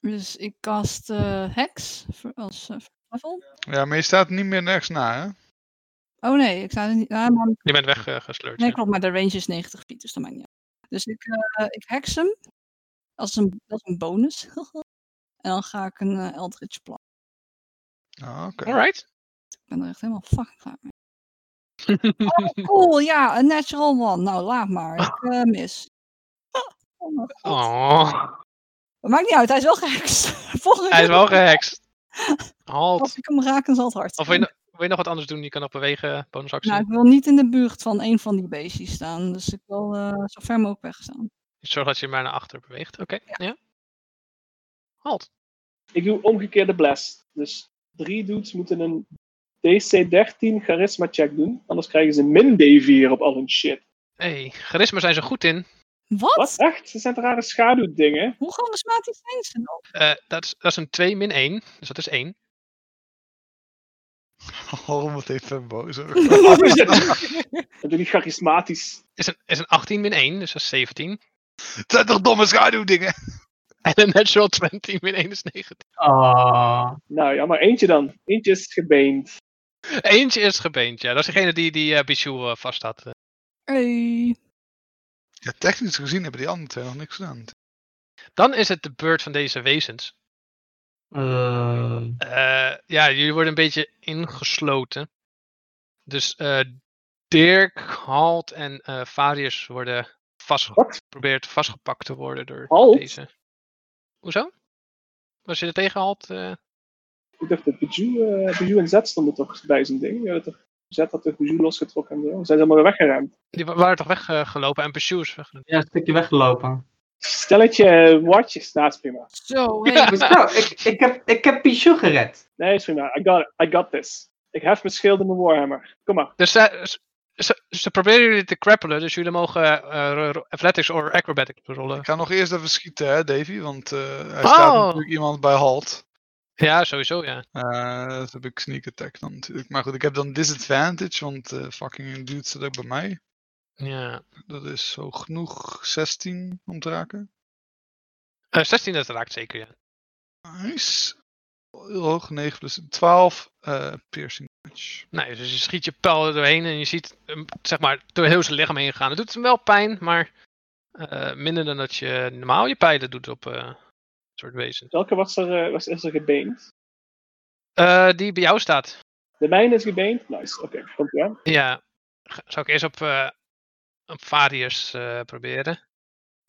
Speaker 7: Dus ik cast eh heks voor- als eh, voor level.
Speaker 3: Ja, maar je staat niet meer nergens na, hè?
Speaker 7: Oh nee, ik sta er niet aan. maar-
Speaker 1: Je bent eh, weggesleurd.
Speaker 7: Nee, klopt, maar de range is 90 feet, dus dat maakt niet uit. Dus ik, eh, ik heks hem. Als een, als een bonus. en dan ga ik een eh, Eldritch plan.
Speaker 3: Ah, oké.
Speaker 1: Alright.
Speaker 7: Ik ben er echt helemaal fucking klaar mee. Oh, cool, ja, een natural one. Nou, laat maar. Ik eh, mis. Oh, mijn god. Maar
Speaker 1: Oh,
Speaker 7: Maakt niet uit, hij is wel gehackt. Volgende
Speaker 1: hij is
Speaker 7: keer
Speaker 1: wel gehext.
Speaker 7: Als
Speaker 1: Halt.
Speaker 7: ik hem raak, dan zal het hard
Speaker 1: Of wil
Speaker 7: zijn.
Speaker 1: je, no- wil je nog wat anders doen? Je kan nog bewegen, bonusactie.
Speaker 7: Nou, ik wil niet in de buurt van een van die beestjes staan. Dus ik wil eh, zo ver mogelijk wegstaan.
Speaker 1: Zorg dat je maar naar achter beweegt. Oké, ja. Halt.
Speaker 6: Ik doe omgekeerde bless. Dus drie dudes moeten een DC-13 charisma check doen. Anders krijgen ze min D4 op al hun shit.
Speaker 1: hey, charisma zijn ze goed in.
Speaker 7: Wat?
Speaker 6: Wat? Echt? Dat zijn toch rare schaduwdingen?
Speaker 7: Hoe charismatisch zijn ze dan?
Speaker 1: Eh, dat, is, dat is een 2 min 1, dus dat is 1.
Speaker 3: Oh, wat even boos. hoor.
Speaker 1: Oh,
Speaker 6: Wat is dat? Dat doe ik charismatisch.
Speaker 1: Is een, is een 18 min 1, dus dat is 17.
Speaker 3: Het zijn toch domme schaduwdingen?
Speaker 1: En een natural 20 min 1 is 19.
Speaker 2: Oh,
Speaker 6: Nou ja, maar eentje dan. Eentje is gebeend.
Speaker 1: Eentje is gebeend, ja. Dat is degene die, die eh Bichou eh, vast had. eh.
Speaker 7: Hey.
Speaker 3: Ja, technisch gezien hebben die anderen twee nog niks gedaan.
Speaker 1: Dan is het de beurt van deze wezens.
Speaker 2: eh,
Speaker 1: Eh, ja, jullie worden een beetje ingesloten. Dus eh, Dirk, Halt en eh Varius worden
Speaker 6: Wat?
Speaker 1: vastgepakt. Probeert vastgepakt te worden door
Speaker 6: Halt?
Speaker 1: deze. Hoezo? Was je er tegen Halt? eh?
Speaker 6: Ik dacht dat Bijou, eh, Bijou en Zet stonden toch bij zijn ding. Ja, dat toch- Zet had toch Bijou losgetrokken en zo. Zijn ze allemaal weer weggeruimd.
Speaker 1: Die wa- waren toch weggelopen en Pursues is weg.
Speaker 2: ja, een stukje weggelopen.
Speaker 6: Stelletje watjes. Nou, is prima.
Speaker 7: Zo, hey.
Speaker 2: Maar zo, ik, ik heb, ik heb Pichou gered.
Speaker 6: Nee, is prima. I got, it. I got this. Ik hef mijn schild en mijn warhammer. Kom maar.
Speaker 1: Dus zij- ze, ze, ze proberen jullie te grappelen, dus jullie mogen eh, ro- ro- athletics of acrobatics rollen.
Speaker 3: Ik ga nog eerst even schieten, hè, Davy? Want eh, hij staat
Speaker 1: Oh.
Speaker 3: natuurlijk iemand bij halt.
Speaker 1: Ja, sowieso, ja.
Speaker 3: Eh dat heb ik sneak attack dan natuurlijk. Maar goed, ik heb dan disadvantage, want eh, fucking dude staat ook bij mij.
Speaker 1: Ja.
Speaker 3: Dat is zo genoeg 16 om te raken.
Speaker 1: Eh, 16 dat raakt zeker, ja.
Speaker 3: Nice. Heel hoog, 9 plus 12. eh, piercing damage.
Speaker 1: Nee, dus je schiet je pijl er doorheen en je ziet, hem, zeg maar, door heel zijn lichaam heen gaan. Het doet hem wel pijn, maar eh, minder dan dat je normaal je pijlen doet op eh soort wezen.
Speaker 6: Welke was er, eh, was, is er gebeend?
Speaker 1: Eh, die bij jou staat.
Speaker 6: De mijne is gebeend? Nice, oké. Komt ie aan.
Speaker 1: Ja. Ga- Zou ik eerst op, eh op Varius eh, proberen?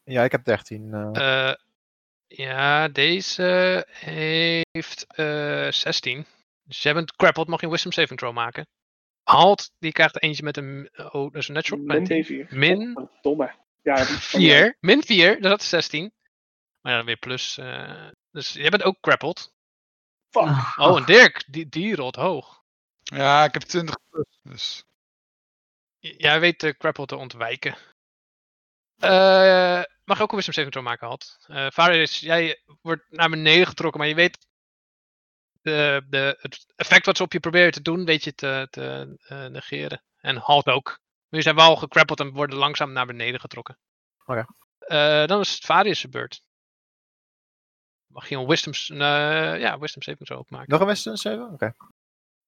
Speaker 5: Ja, ik heb 13. eh.
Speaker 1: Eh, ja, deze heeft eh 16. Dus jij bent crappled, mag je een wisdom saving throw maken. Halt, die krijgt eentje met een... Oh, dat is een natural
Speaker 6: Min
Speaker 1: 20.
Speaker 6: D4.
Speaker 1: Min
Speaker 6: Domme. Oh, Ja, dat is-
Speaker 1: 4. Min 4, dus dat is 16. Maar dan weer plus. eh, dus jij bent ook crappled.
Speaker 2: Ah.
Speaker 6: Fuck.
Speaker 1: Oh, en Dirk, die, die rolt hoog.
Speaker 3: Ja, ik heb 20 plus. Dus.
Speaker 1: J- Jij weet de crapple te ontwijken. Eh, mag je ook een wisdom saving throw maken, Halt? Eh Varius, jij wordt naar beneden getrokken, maar je weet... De, de, het effect wat ze op je proberen te doen, weet je te, te eh, negeren. En Halt ook. Nu zijn wel gecrappled en worden langzaam naar beneden getrokken.
Speaker 5: Oké.
Speaker 1: Eh, dan is het Varius' beurt. Mag je een wisdom, s- een, eh, ja, wisdom saving throw opmaken.
Speaker 5: Nog een Western 7? Oké.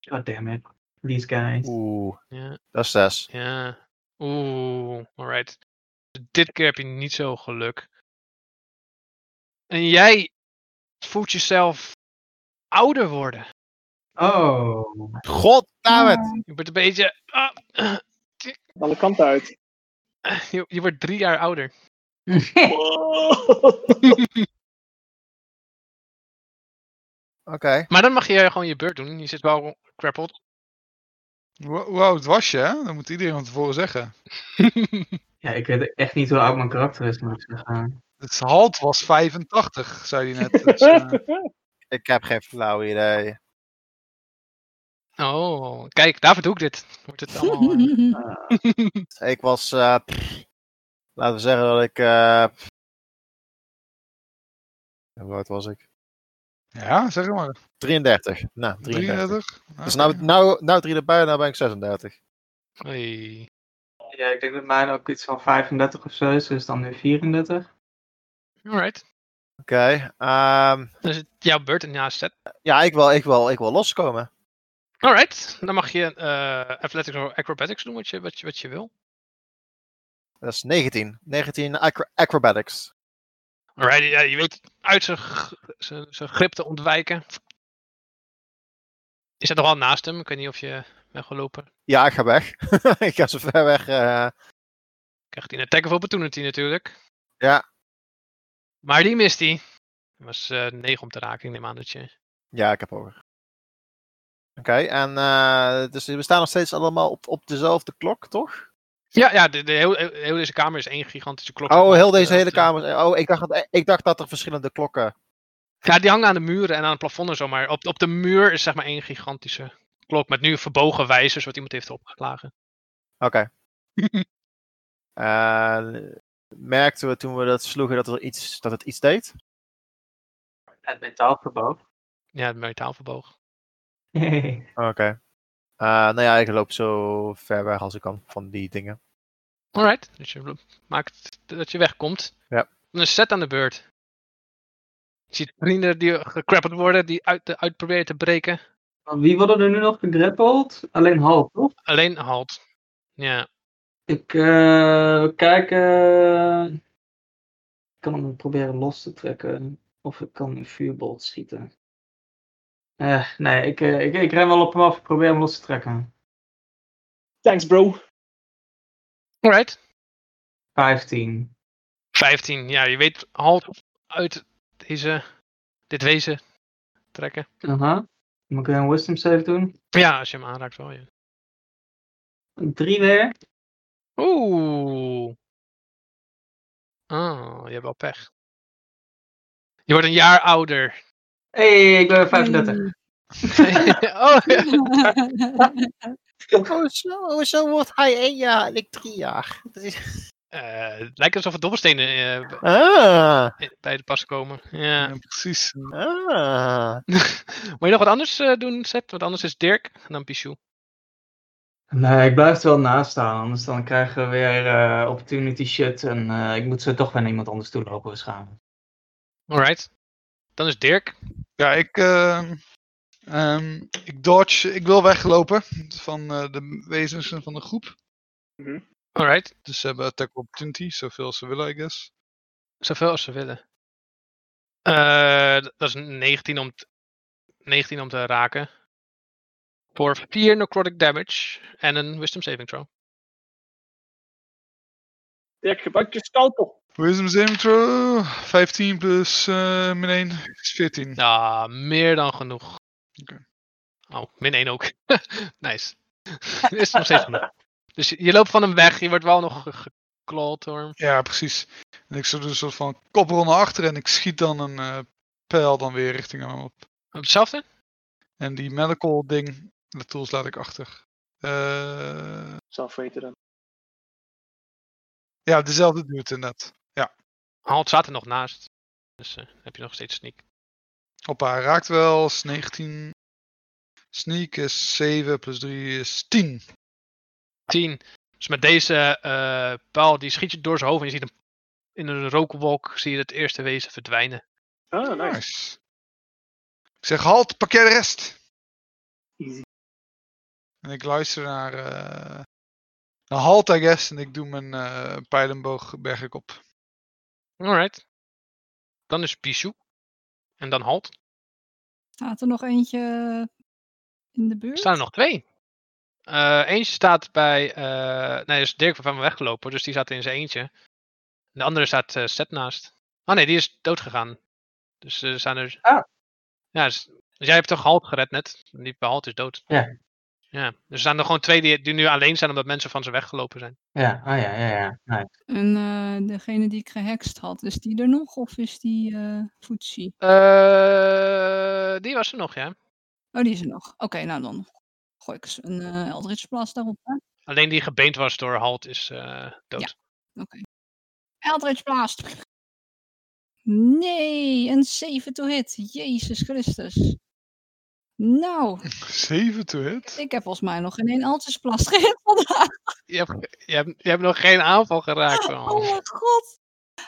Speaker 2: God damn it. These guys.
Speaker 5: Oeh,
Speaker 1: Ja.
Speaker 5: dat is 6.
Speaker 1: Ja. Oeh, alright. Dit keer heb je niet zo geluk. En jij voelt jezelf ouder worden.
Speaker 2: Oh.
Speaker 5: God het!
Speaker 1: Je wordt een beetje. ah,
Speaker 6: Alle kanten uit.
Speaker 1: je, je wordt drie jaar ouder.
Speaker 5: Oké.
Speaker 1: Maar dan mag je gewoon je beurt doen. Je zit wel crappled.
Speaker 3: Hoe hoe oud was je, hè? Dat moet iedereen van tevoren zeggen.
Speaker 2: Ja, ik weet echt niet hoe oud mijn karakter is, moet ik zeggen.
Speaker 3: Het halt was 85, zei hij net. Dus, eh,
Speaker 5: Ik heb geen flauw idee.
Speaker 1: oh, kijk, daarvoor doe ik dit. Wordt het allemaal. eh,
Speaker 5: Ik was, eh, pff, laten we zeggen dat ik. eh, pff. hoe oud was ik?
Speaker 3: ja, zeg het maar.
Speaker 5: 33. Nou, 33.
Speaker 3: 33.
Speaker 5: Dus
Speaker 3: Nou,
Speaker 5: nou, nou, nou drie erbij, nou ben ik 36.
Speaker 1: hey.
Speaker 2: Ja, ik denk dat mijn ook iets van 35 of zo is, dus dan nu 34.
Speaker 1: Alright.
Speaker 5: Oké. ehm,
Speaker 1: Dan is het jouw beurt en ja, set.
Speaker 5: ja, ik wil, ik, wil, ik wil loskomen.
Speaker 1: Alright. Dan mag je eh, athletics of acrobatics doen wat je, wat je, wat je wil.
Speaker 5: Dat is 19. 19 acro- acrobatics.
Speaker 1: Alright, ja, je weet uit zijn, g- zijn, zijn grip te ontwijken. Je zit nog wel naast hem. Ik weet niet of je bent gelopen.
Speaker 5: Ja, ik ga weg. ik ga zo ver weg. eh,
Speaker 1: Krijgt hij een attack of opportunity natuurlijk.
Speaker 5: Ja.
Speaker 1: Maar die mist hij. Dat was eh 9 om te raken. Ik neem aan dat je...
Speaker 5: Ja, ik heb hoger. Oké, en eh, dus we staan nog steeds allemaal op, op dezelfde klok, toch?
Speaker 1: Ja, ja de, de heel, heel deze kamer is één gigantische klok.
Speaker 5: Oh, heel deze
Speaker 1: Eh,
Speaker 5: hele
Speaker 1: eh,
Speaker 5: kamer. Oh, ik dacht, dat- ik dacht dat er verschillende klokken.
Speaker 1: Ja, die hangen aan de muren en aan het plafond en zo. Maar op, op de muur is zeg maar één gigantische klok. Met nu verbogen wijzers wat iemand heeft opgeslagen.
Speaker 5: Oké. Eh, merkten we toen we dat sloegen dat, er iets, dat het iets deed?
Speaker 2: Het metaal verboog.
Speaker 1: Ja, het metaal verboog.
Speaker 2: Hey.
Speaker 5: Oké. Eh, nou ja, ik loop zo ver weg als ik kan van die dingen.
Speaker 1: Alright, dus je maakt dat je wegkomt.
Speaker 5: Ja.
Speaker 1: Dan is Zet aan de beurt. Je ziet vrienden die gecrappeld worden, die uit, de- uit proberen te breken.
Speaker 2: Want Wie worden er nu nog gegrappeld? Alleen Hal, toch?
Speaker 1: Alleen halt. Ja,
Speaker 2: Ik eh kijk. eh, ik kan hem proberen los te trekken. Of ik kan een vuurbolt schieten. Eh, nee, ik, eh, ik, ik ren wel op hem af. Ik probeer hem los te trekken.
Speaker 6: Thanks, bro.
Speaker 1: alright.
Speaker 2: 15.
Speaker 1: 15, ja, je weet halt uit deze, dit wezen trekken.
Speaker 2: Aha. Moet ik weer een wisdom save doen?
Speaker 1: Ja, als je hem aanraakt wel, ja.
Speaker 2: Een 3 weer.
Speaker 1: Oeh. Oh, je hebt wel pech. Je wordt een jaar ouder.
Speaker 2: hey, ik ben weer 35.
Speaker 1: oh, ja.
Speaker 5: Oh, zo, zo wordt hij één jaar en ik drie jaar.
Speaker 1: Eh, het lijkt alsof er dobbelstenen eh, b-
Speaker 5: Ah,
Speaker 1: eh, bij de pas komen. Ja.
Speaker 3: ja, precies.
Speaker 5: ah.
Speaker 1: Moet je nog wat anders eh, doen, Seth? Want anders is Dirk en dan Pichou.
Speaker 2: Nee, ik blijf er wel naast staan, anders dan krijgen we weer eh, opportunity shit en eh, ik moet ze toch weer naar iemand anders toe lopen waarschijnlijk.
Speaker 1: Alright. Dan is Dirk.
Speaker 3: Ja, ik, eh, ehm, ik dodge, ik wil weglopen van eh, de wezens van de groep.
Speaker 1: Alright.
Speaker 3: Dus ze hebben attack opportunity, zoveel als ze willen, I guess.
Speaker 1: Zoveel als ze willen. Eh, d- dat is 19 om, t- 19 om te raken. Voor 4 necrotic damage en een wisdom saving throw.
Speaker 6: Dirk, gebruik je scalpel.
Speaker 3: Wisdom saving throw, 15 plus eh min 1 is 14.
Speaker 1: Ja, meer dan genoeg.
Speaker 3: Hm. Oké.
Speaker 1: Oh, min 1 ook. nice. is nog steeds genoeg. Dus je, je loopt van hem weg, je wordt wel nog ge- gekloot hoor.
Speaker 3: Ja, precies. En ik zou dus een soort van koprol naar achter en ik schiet dan een eh, pijl dan weer richting hem op.
Speaker 1: Hetzelfde?
Speaker 3: En die medical ding, de tools laat ik achter. Eh,
Speaker 6: Zelf weten dan.
Speaker 3: ja, dezelfde dude inderdaad.
Speaker 1: Halt staat er nog naast. Dus eh, heb je nog steeds sneak.
Speaker 3: Hoppa, hij raakt wel, is 19. Sneak is 7 plus 3 is 10.
Speaker 1: 10. Dus met deze eh pijl, die schiet je door zijn hoofd en je ziet hem in een rookwolk, zie je het eerste wezen verdwijnen.
Speaker 6: Ah, nice.
Speaker 3: Nice. Ik zeg halt, parkeer de rest.
Speaker 6: Easy.
Speaker 3: En ik luister naar, eh, naar halt, I guess. En ik doe mijn eh pijlenboog berg ik op.
Speaker 1: Alright. Dan is Pichu. En dan halt.
Speaker 7: Staat er nog eentje in de
Speaker 1: Er
Speaker 7: buurt?
Speaker 1: staan er nog twee. Eh, eentje staat bij. eh nee, dus Dirk van me weggelopen, dus die staat in zijn eentje. De andere staat eh Seth naast. Ah nee, die is dood gegaan. Dus eh, er staan er.
Speaker 2: Ah.
Speaker 1: Ja, dus, dus jij hebt toch Halt gered net? Die bij Halt is dood.
Speaker 2: Ja.
Speaker 1: Ja, dus er staan er gewoon twee die, die nu alleen zijn omdat mensen van ze weggelopen zijn.
Speaker 2: Ja, ah ja, ja, ja. Nee.
Speaker 7: En eh, degene die ik gehext had, is die er nog? Of is die eh Futsi?
Speaker 1: Eh, die was er nog, ja.
Speaker 7: Oh, die is er nog. Oké, nou dan gooi ik eens een eh Eldritch Blast daarop. Hè?
Speaker 1: Alleen die gebeend was door Halt is eh, dood.
Speaker 7: Eldritch Blast! Nee, een 7 to hit. Jezus Christus. Nou,
Speaker 3: 7 to hit.
Speaker 7: ik heb volgens mij nog geen één Eldritch Blast gehit vandaag.
Speaker 1: Je, hebt, je, hebt, je hebt nog geen aanval geraakt. man.
Speaker 7: Oh mijn god.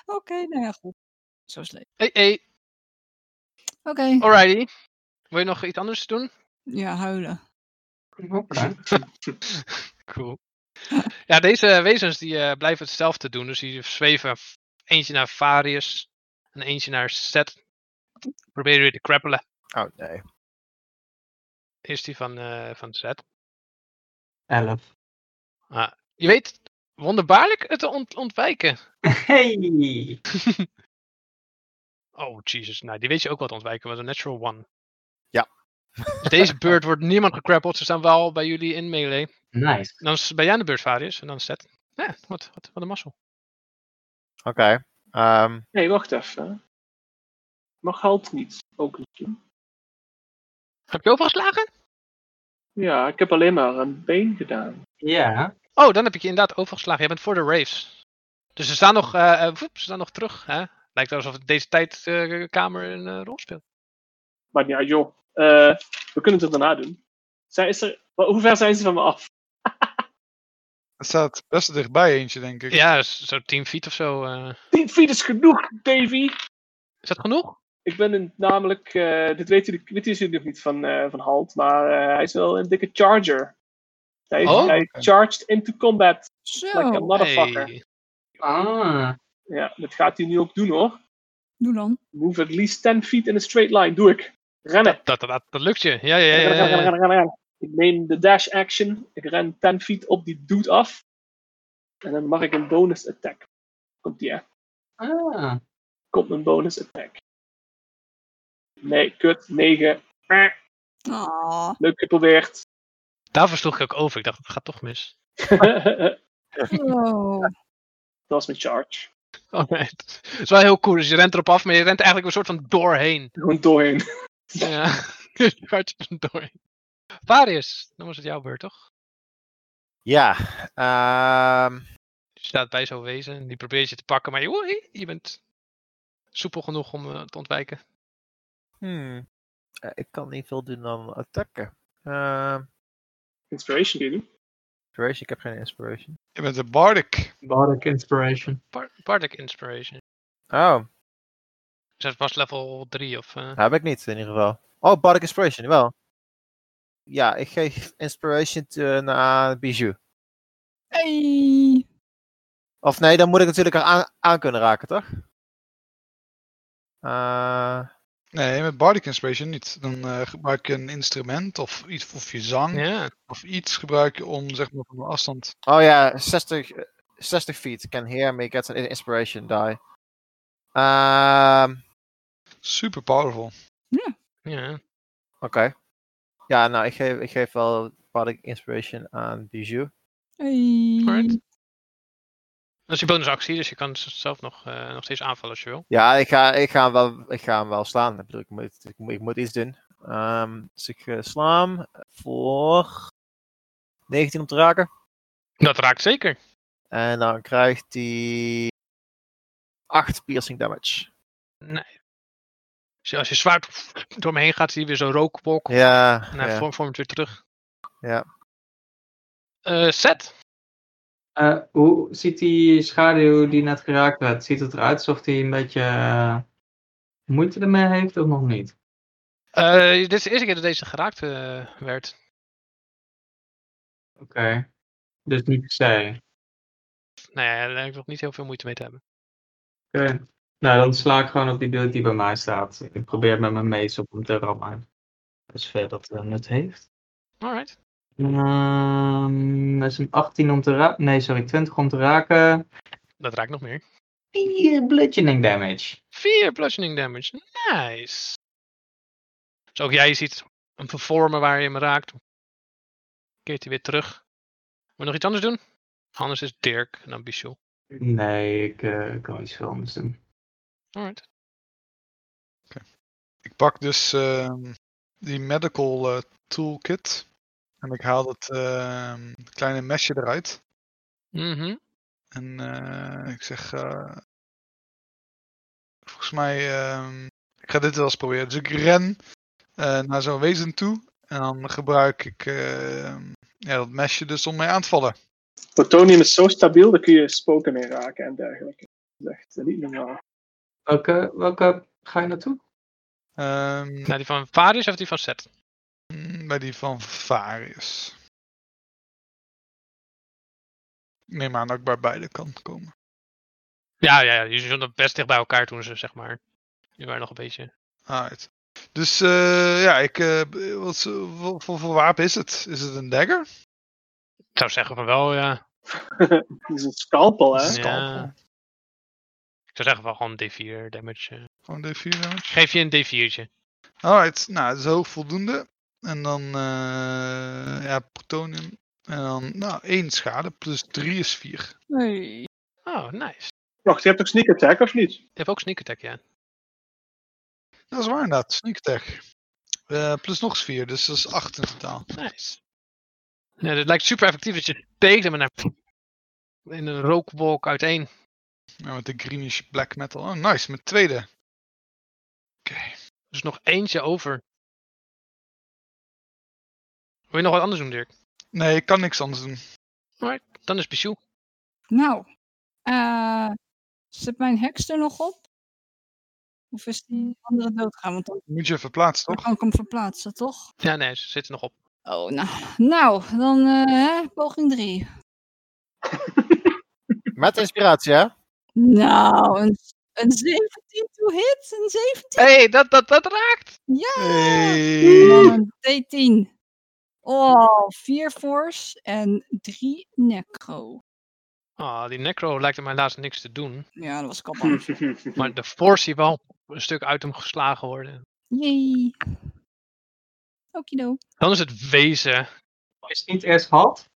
Speaker 7: Oké, nou ja, goed. Zo is het leven.
Speaker 1: Hey, hey,
Speaker 7: Oké,
Speaker 1: alrighty. Wil je nog iets anders doen?
Speaker 7: ja, huilen.
Speaker 2: Oké.
Speaker 1: Cool. Ja, deze wezens die eh, blijven hetzelfde doen. Dus die zweven f- eentje naar Varius en eentje naar Set. Probeer weer te krappelen.
Speaker 5: Oh nee.
Speaker 1: Eerst die van, eh van Set.
Speaker 2: Elf.
Speaker 1: Je weet wonderbaarlijk het te ont- ontwijken.
Speaker 2: Hey!
Speaker 1: Oh, Jesus. Nou, die weet je ook wat ontwijken, was een natural one. Dus
Speaker 5: Ja.
Speaker 1: Deze beurt wordt niemand gecrappeld. Ze staan wel bij jullie in melee.
Speaker 2: Nice.
Speaker 1: Dan is- ben jij aan de beurt, Varius. En dan Set. Ja, wat, wat, wat een mazzel.
Speaker 5: Oké. ehm,
Speaker 6: Nee, wacht even. Mag halt niet. Ook niet.
Speaker 1: Heb je overgeslagen?
Speaker 6: Ja, ik heb alleen maar een been gedaan.
Speaker 2: Ja.
Speaker 1: Oh, dan heb ik je inderdaad overgeslagen. Jij bent voor de Raves. Dus ze staan nog, eh, eh, woep, ze staan nog terug. Hè? Lijkt alsof het deze tijdkamer een eh, rol speelt.
Speaker 6: Maar ja, joh. Eh, we kunnen het er daarna doen. Zij is er... wel, Hoe ver zijn ze van me af?
Speaker 3: Het staat best dichtbij eentje, denk ik.
Speaker 1: Ja, s- zo 10 feet of zo. eh.
Speaker 6: 10 feet is genoeg, Davy.
Speaker 1: Is dat genoeg?
Speaker 6: Ik ben een- namelijk... eh, dit weten jullie, weten jullie nog niet van, eh, van Halt. Maar eh, hij is wel een dikke charger. Hij,
Speaker 1: Oh.
Speaker 6: hij charged into combat
Speaker 7: Zo,
Speaker 6: like a motherfucker.
Speaker 1: Hey.
Speaker 2: Ah.
Speaker 6: Ja, dat gaat hij nu ook doen hoor.
Speaker 7: doe dan.
Speaker 6: Move at least 10 feet in a straight line. Doe ik. Rennen.
Speaker 1: Dat, dat, dat, dat lukt je. Ja, ja, ja.
Speaker 6: Rennen,
Speaker 1: ja,
Speaker 6: rennen,
Speaker 1: ja.
Speaker 6: rennen, rennen, rennen. Ik neem de dash action. Ik ren 10 feet op die dude af. En dan mag ik een bonus attack. Komt die, hè?
Speaker 2: Ah.
Speaker 6: Komt mijn bonus attack. Nee, kut. 9. Eh,
Speaker 7: Ah,
Speaker 6: Leuk geprobeerd.
Speaker 1: Daarvoor sloeg ik ook over. Ik dacht, dat gaat toch mis.
Speaker 6: dat
Speaker 7: zo.
Speaker 6: was mijn charge.
Speaker 1: Oh, nee. Het is wel heel cool. Dus je rent erop af, maar je rent eigenlijk een soort van doorheen.
Speaker 6: Gewoon doorheen.
Speaker 1: Ja, je gaat er doorheen. Varius, dan was het jouw beurt, toch?
Speaker 5: ja. ehm,
Speaker 1: Je staat bij zo'n wezen en die probeert je te pakken, maar je, oei, je bent soepel genoeg om eh, te ontwijken.
Speaker 5: hmm. Eh, ik kan niet veel doen dan attacken. Ehm,
Speaker 6: Inspiration doen.
Speaker 5: Inspiration? Ik heb geen inspiration.
Speaker 3: Je bent een bardic.
Speaker 2: Bardic Inspiration.
Speaker 1: Bar- Bardic Inspiration.
Speaker 5: Oh,
Speaker 1: Dus dat was level 3 of... eh,
Speaker 5: heb ik niet in ieder geval. Oh, Bardic Inspiration, wel. Ja, ik geef Inspiration te- naar Bijou.
Speaker 7: Hey.
Speaker 5: Of nee, dan moet ik natuurlijk haar aan, aan kunnen raken, toch? Eh,
Speaker 3: Nee, met bardic inspiration niet. Dan eh, gebruik je een instrument of iets of je zang
Speaker 1: Ja,
Speaker 3: of iets gebruik je om zeg maar van een afstand.
Speaker 5: oh ja, 60, eh, 60 feet. Can hear me, get an Inspiration die. Ehm,
Speaker 3: Super powerful.
Speaker 1: ja.
Speaker 5: Oké. Ja, nou, ik geef, ik geef wel Bardic Inspiration aan Bijou.
Speaker 7: Hey.
Speaker 1: Alright. Dat is je bonusactie, dus je kan z- zelf nog, eh, nog steeds aanvallen als je wil.
Speaker 5: Ja, ik ga, ik ga, hem, wel, ik ga hem wel slaan. Ik bedoel, ik moet, ik moet, ik moet iets doen. Ehm, dus ik eh, sla hem voor 19 om te raken.
Speaker 1: Dat raakt zeker.
Speaker 5: En dan krijgt hij 8 piercing damage.
Speaker 1: Nee. Dus als je zwaard door me heen gaat, zie je weer zo'n rookwolk.
Speaker 5: Ja,
Speaker 1: En hij
Speaker 5: ja.
Speaker 1: vorm- vormt weer terug.
Speaker 5: Ja.
Speaker 1: Eh, set.
Speaker 2: Eh, hoe ziet die schaduw die net geraakt werd? Ziet het eruit alsof hij een beetje eh, moeite ermee heeft of nog niet?
Speaker 1: Eh, dit is de eerste keer dat deze geraakt eh, werd.
Speaker 2: Oké. Dus niet per se.
Speaker 1: Nee, Nou daar lijkt nog niet heel veel moeite mee te hebben.
Speaker 2: Oké. Nou, dan sla ik gewoon op die deur die bij mij staat. Ik probeer met mijn mees op hem te rammen. Dus ver dat eh, nut heeft.
Speaker 1: Alright.
Speaker 2: Ehm, dat is een 18 om te raken. Nee, sorry, 20 om te raken.
Speaker 1: Dat raakt nog meer.
Speaker 2: 4 bludgeoning damage.
Speaker 1: 4 bludgeoning damage. Nice. Dus ook jij ziet hem vervormen waar je hem raakt. Keert hij weer terug. Moet je nog iets anders doen? Anders is Dirk en dan Bichou.
Speaker 2: Nee, ik eh, kan iets veel anders doen.
Speaker 1: Alright.
Speaker 3: Ik pak dus ehm, die medical eh, toolkit en ik haal dat ehm, kleine mesje eruit.
Speaker 1: Mhm.
Speaker 3: En eh, ik zeg, eh, volgens mij, ehm, ik ga dit wel eens proberen. Dus ik ren eh, naar zo'n wezen toe en dan gebruik ik ehm, ja, dat mesje dus om mee aan te vallen.
Speaker 6: Plutonium is zo stabiel, daar kun je spoken mee raken en dergelijke. Dat is echt eh, niet normaal.
Speaker 2: Welke, welke ga je naartoe?
Speaker 3: Ehm,
Speaker 1: Nou, die van Varius of die van Set?
Speaker 3: mm, bij die van Varius. Ik neem aan dat ik bij beide kan komen.
Speaker 1: Ja, ja, ja. Die stonden best dicht bij elkaar toen ze, zeg maar. Die waren nog een beetje.
Speaker 3: Alright. Dus eh, ja, ik, eh, b- wat, zo- wat voor, voor wapen is het? Is het een dagger?
Speaker 1: Ik zou zeggen van wel, ja.
Speaker 6: Dat is een scalpel, hè?
Speaker 3: Een scalpel?
Speaker 1: Ik zou zeggen van gewoon D4 damage. eh.
Speaker 3: Gewoon D4 damage.
Speaker 1: Geef je een D4'tje.
Speaker 3: Alright, nou, dat is hoog voldoende. En dan, eh, ja, plutonium. En dan, nou, 1 schade plus 3 is 4.
Speaker 7: Hey.
Speaker 1: Oh, nice.
Speaker 6: Wacht, je hebt ook sneak attack, of niet?
Speaker 1: Je hebt ook sneak attack, ja.
Speaker 3: Dat is waar inderdaad, sneak attack. Eh, plus nog eens 4, dus dat is 8 in totaal.
Speaker 1: Nice. Ja, het lijkt super effectief dat je steekt hem en dan in een rookwolk uiteen.
Speaker 3: Nou, met de greenish black metal. Oh, nice, mijn tweede. Oké,
Speaker 1: Dus nog eentje over. Wil je nog wat anders doen, Dirk?
Speaker 3: nee, ik kan niks anders doen.
Speaker 1: Dan is Bichou.
Speaker 7: Nou, eh, zit mijn heks er nog op? Of is die andere doodgaan? Want dan
Speaker 3: Moet je even plaatsen, toch?
Speaker 7: kan ik hem verplaatsen, toch?
Speaker 1: Ja, nee, ze zitten nog op.
Speaker 7: Oh, nou, nou dan eh, hè, poging drie.
Speaker 5: Met inspiratie, hè?
Speaker 7: Nou, een, een 17 to hit, een 17.
Speaker 1: Hé, hey, dat, dat, dat raakt!
Speaker 7: Ja! En
Speaker 3: Hey.
Speaker 7: dan een D10. Oh, 4 force en 3 necro.
Speaker 1: Ah, die necro lijkt hem helaas niks te doen.
Speaker 7: Ja, dat was ik al bang.
Speaker 1: Maar de force hier wel een stuk uit hem geslagen worden.
Speaker 7: Jee. Okido.
Speaker 1: Dan is het wezen.
Speaker 2: Is het niet eerst had?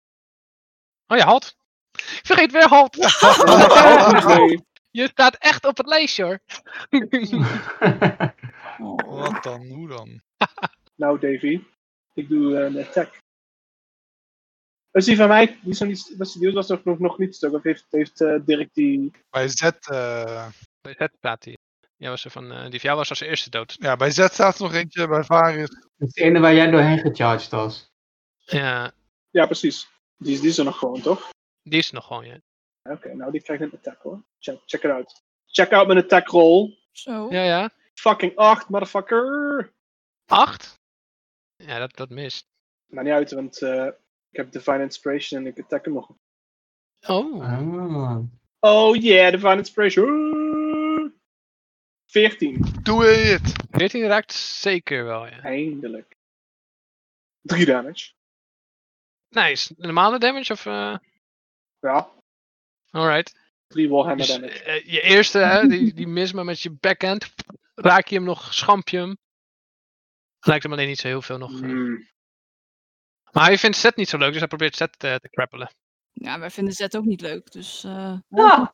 Speaker 1: Oh ja, halt! Ik vergeet weer halt!
Speaker 6: Oh, Nee.
Speaker 1: Je staat echt op het lijstje hoor.
Speaker 7: Oh.
Speaker 3: Wat dan? Hoe dan?
Speaker 6: Nou, Davy, ik doe eh, een attack. Is die van mij? Die is nog niet, was die die was nog, nog, nog niet stuk. Of heeft, heeft eh, Dirk die.
Speaker 3: Bij Z, eh,
Speaker 1: Bij Zet praat hij. Ja, was er van, eh, die van jou was als eerste dood.
Speaker 3: ja, bij Z staat er nog eentje, bij Varius.
Speaker 2: Dat is de ene waar jij doorheen gecharged was.
Speaker 1: Ja,
Speaker 6: Ja, precies. Die, is- die is er nog gewoon, toch?
Speaker 1: Die is nog gewoon, ja.
Speaker 6: Oké, nou die krijgt een attack hoor. Check, check it out. Check out mijn attack roll.
Speaker 7: Zo.
Speaker 1: Ja, ja.
Speaker 6: Fucking 8, motherfucker!
Speaker 1: Acht? Ja, dat, dat mist.
Speaker 6: Maar niet uit, want eh, ik heb Divine Inspiration en ik attack hem nog.
Speaker 1: Oh.
Speaker 2: Ah.
Speaker 6: Oh yeah, Divine Inspiration! 14,
Speaker 3: Doe it!
Speaker 1: 14 raakt zeker wel, ja.
Speaker 6: eindelijk. 3 damage.
Speaker 1: Nice. Normale damage of... eh,
Speaker 6: Ja,
Speaker 1: Alright.
Speaker 6: 3 Warhammer
Speaker 1: Dus,
Speaker 6: damage.
Speaker 1: eh, je eerste, hè, die, die mis maar met je backhand. Raak je hem nog, schamp je hem. Lijkt hem alleen niet zo heel veel nog. eh.
Speaker 6: Hmm.
Speaker 1: Maar hij vindt Zet niet zo leuk, dus hij probeert Zet eh, te krappelen.
Speaker 7: Ja, wij vinden Zet ook niet leuk, dus... eh,
Speaker 2: Ah,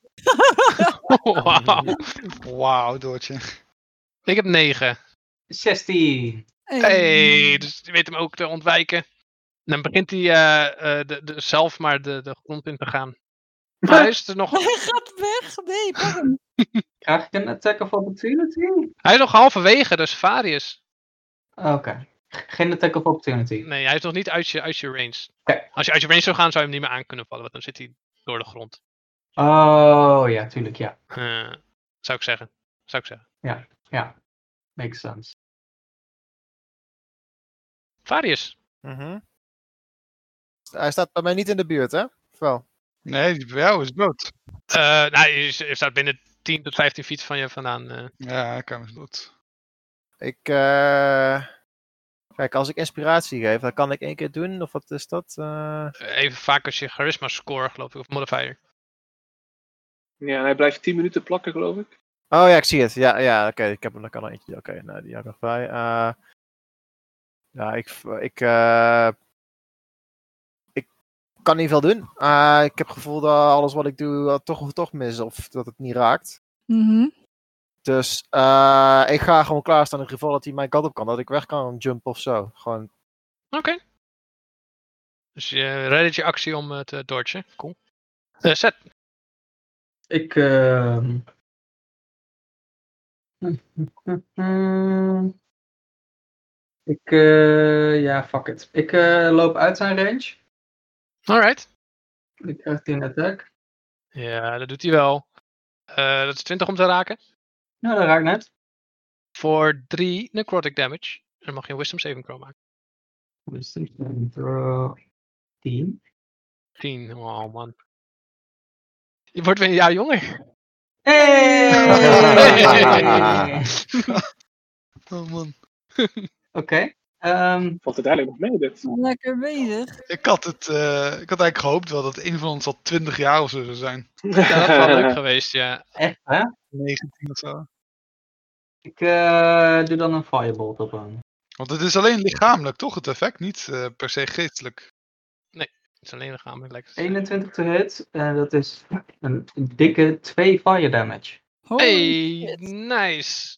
Speaker 1: Wauw.
Speaker 3: Wauw, Doortje.
Speaker 1: Ik heb 9.
Speaker 2: 16.
Speaker 1: Hey, dus je weet hem ook te ontwijken. En dan begint hij eh, eh, de, de, zelf maar de, de grond in te gaan. Maar hij is er nog,
Speaker 7: Hij gaat weg! Nee, pak hem!
Speaker 2: Krijg ik een attack of opportunity?
Speaker 1: hij is nog halverwege, dus Varius.
Speaker 2: Oké. Geen attack of opportunity.
Speaker 1: Nee, hij is nog niet uit je, uit je range.
Speaker 2: Oké.
Speaker 1: Als je uit je range zou gaan, zou je hem niet meer aan kunnen vallen, want dan zit hij door de grond.
Speaker 2: Oh ja, tuurlijk, ja.
Speaker 1: Eh, zou ik zeggen. Zou ik zeggen.
Speaker 2: Ja. Makes sense.
Speaker 1: Varius.
Speaker 5: Mhm. Hij staat bij mij niet in de buurt, hè? Of Wel.
Speaker 3: Nee, die bij jou is dood.
Speaker 1: Eh, nou, je, je staat binnen 10 tot 15 feet van je vandaan. eh.
Speaker 3: Ja, ik is dood.
Speaker 5: Ik, eh, Kijk, als ik inspiratie geef, dan kan ik één keer doen, of wat is dat? Eh,
Speaker 1: even vaak als je charisma score, geloof ik, of modifier.
Speaker 6: Ja, en hij blijft 10 minuten plakken, geloof ik.
Speaker 5: Oh ja, ik zie het. Ja, ja oké, ik heb hem, dan kan er eentje. Oké, nou, die heb ik erbij. Eh, ja, ik, v- ik, eh, ik kan niet veel doen. Eh, ik heb het gevoel dat alles wat ik doe eh, toch, toch mis, of dat het niet raakt.
Speaker 7: Mhm.
Speaker 5: Dus eh, ik ga gewoon klaarstaan in het geval dat hij mijn kant op kan. Dat ik weg kan jumpen of zo. Gewoon,
Speaker 1: Oké. Dus je reddit je actie om het te dodgen. Cool. Eh set.
Speaker 2: Ik. ehm, Ik. eh, ja, fuck it. Ik eh, loop uit zijn range.
Speaker 1: Alright.
Speaker 2: Ik krijg die een attack.
Speaker 1: Ja, dat doet hij wel. Eh, dat is 20 om te raken.
Speaker 2: Nou, dat raakt net.
Speaker 1: Voor 3 necrotic damage. En dan mag je een wisdom saving throw maken.
Speaker 2: Wisdom saving throw 10.
Speaker 1: 10. Oh man. Je wordt weer een jaar jonger.
Speaker 2: Hey! Oké.
Speaker 3: Oh man.
Speaker 2: ehm,
Speaker 6: Valt het eigenlijk nog mee, dit?
Speaker 7: Lekker bezig.
Speaker 3: Ik had, het, eh, ik had eigenlijk gehoopt wel dat een van ons al 20 jaar of zo zou zijn.
Speaker 1: Ja, dat was wel leuk geweest, ja.
Speaker 2: echt, hè?
Speaker 3: 19 of zo.
Speaker 2: Ik eh, doe dan een firebolt op hem.
Speaker 3: Want het is alleen lichamelijk, toch? Het effect, niet eh, per se geestelijk.
Speaker 1: Het is alleen lichamelijk lekker.
Speaker 2: 21 to hit. En dat is een dikke 2 fire damage.
Speaker 7: Holy
Speaker 1: Hey,
Speaker 7: shit.
Speaker 1: nice.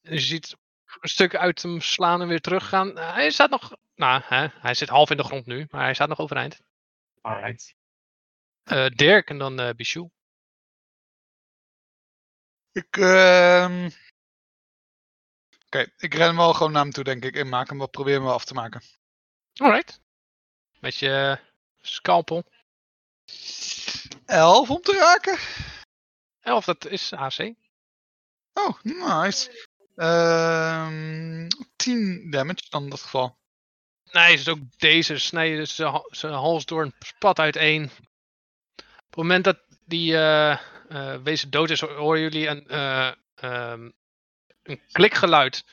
Speaker 1: Je ziet een stuk uit hem slaan en weer teruggaan. Hij staat nog. Nou, hè, hij zit half in de grond nu, maar hij staat nog overeind.
Speaker 2: Alright.
Speaker 1: Eh, Dirk en dan eh Bichou.
Speaker 3: Ik, ehm, Oké, ik ren wel gewoon naar hem toe, denk ik. En maak hem wel, probeer hem wel af te maken.
Speaker 1: Alright. Met je eh, scalpel.
Speaker 3: 11 om te raken.
Speaker 1: 11, dat is AC.
Speaker 3: Oh, nice. Ehm 10 damage dan in dat geval.
Speaker 1: Nice, dus ook deze snijden zijn ha- zijn hals door een spat uiteen. Op het moment dat die eh, eh, wezen dood is, ho- horen jullie een, eh, ehm, een klikgeluid.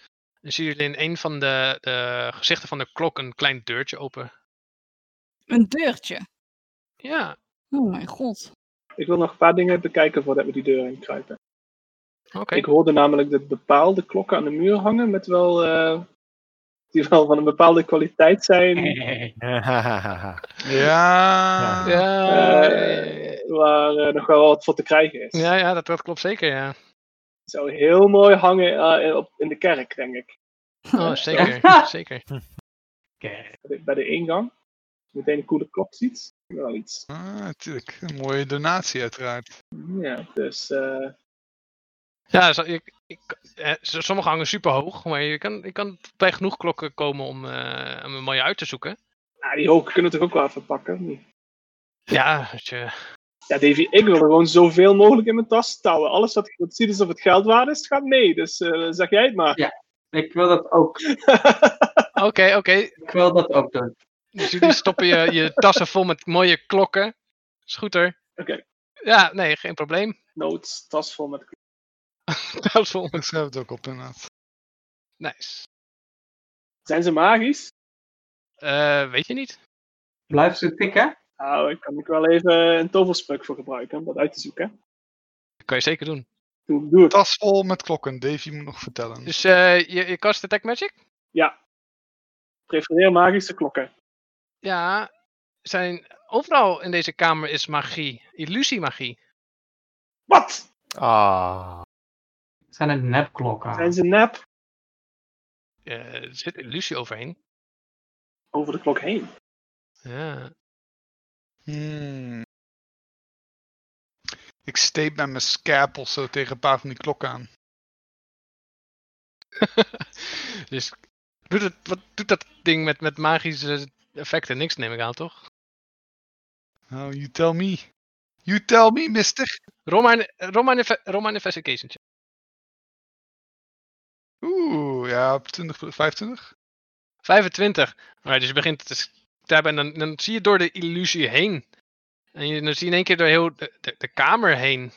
Speaker 1: Dan zien jullie in een van de, de gezichten van de klok een klein deurtje open.
Speaker 7: Een deurtje.
Speaker 1: Ja,
Speaker 7: Oh mijn god.
Speaker 6: Ik wil nog een paar dingen bekijken voordat we die deur in kruipen.
Speaker 1: oké.
Speaker 6: Ik hoorde namelijk dat bepaalde klokken aan de muur hangen met wel... eh, die wel van een bepaalde kwaliteit zijn.
Speaker 3: Ja.
Speaker 1: Ja,
Speaker 6: eh, waar eh, nog wel wat voor te krijgen is.
Speaker 1: ja, ja dat, dat klopt zeker, ja.
Speaker 6: Zou heel mooi hangen eh, op, in de kerk, denk ik.
Speaker 1: Oh, zeker, zeker.
Speaker 2: Oké.
Speaker 6: Bij de- Bij de ingang. Als je meteen een coole klok ziet. Wel iets.
Speaker 3: Ah, natuurlijk. Een mooie donatie, uiteraard.
Speaker 6: Ja, dus... eh,
Speaker 1: Ja, zo- ik, ik, eh, s- sommige hangen super hoog, maar je kan, je kan bij genoeg klokken komen om, eh, om er mooi uit te zoeken.
Speaker 6: Ja, die hoken kunnen we toch ook wel even pakken? of niet?
Speaker 1: Ja, als je...
Speaker 6: Ja, Davy, ik wil er gewoon zoveel mogelijk in mijn tas touwen. Alles wat ik moet zien is of het geld waard is, gaat mee. Dus eh, zeg jij het maar.
Speaker 2: Ik wil dat ook.
Speaker 1: Oké, oké.
Speaker 2: Ik wil dat ook doen.
Speaker 1: Dus jullie stoppen je, je tassen vol met mooie klokken. Is goed hoor.
Speaker 6: Oké.
Speaker 1: Ja, nee, geen probleem.
Speaker 6: Notes, tas vol met...
Speaker 1: Dat is vol.
Speaker 3: Ik schrijf het ook op inderdaad.
Speaker 1: Nice.
Speaker 6: Zijn ze magisch?
Speaker 1: Eh, weet je niet?
Speaker 2: Blijf ze tikken.
Speaker 6: Nou, ik kan ik wel even een toverspreuk voor gebruiken om dat uit te zoeken.
Speaker 1: kan je zeker doen.
Speaker 6: Doe, doe ik.
Speaker 3: Tas vol met klokken. Davy moet nog vertellen.
Speaker 1: Dus eh, je, je cast Attack Magic?
Speaker 6: Prefereer magische klokken.
Speaker 1: Ja, zijn, overal in deze kamer is magie. Illusiemagie.
Speaker 6: Wat?
Speaker 5: Ah.
Speaker 2: Zijn het nepklokken?
Speaker 6: Zijn ze nep?
Speaker 1: Eh, er zit illusie overheen.
Speaker 6: Over de klok heen.
Speaker 1: Ja.
Speaker 3: Hmm. Ik steep met mijn scapel zo tegen een paar van die klokken aan.
Speaker 1: dus doet het, wat doet dat ding met, met magische effecten? Niks neem ik aan, toch?
Speaker 3: Oh, you tell me. You tell me, mister.
Speaker 1: Roman, Roman, inve- Roman Investigation. check.
Speaker 3: Oeh, ja, op 20, plus 25.
Speaker 1: 25. Alright, dus je begint te stabben en dan, dan zie je door de illusie heen. En je, dan zie je in één keer door heel de, de, de kamer heen.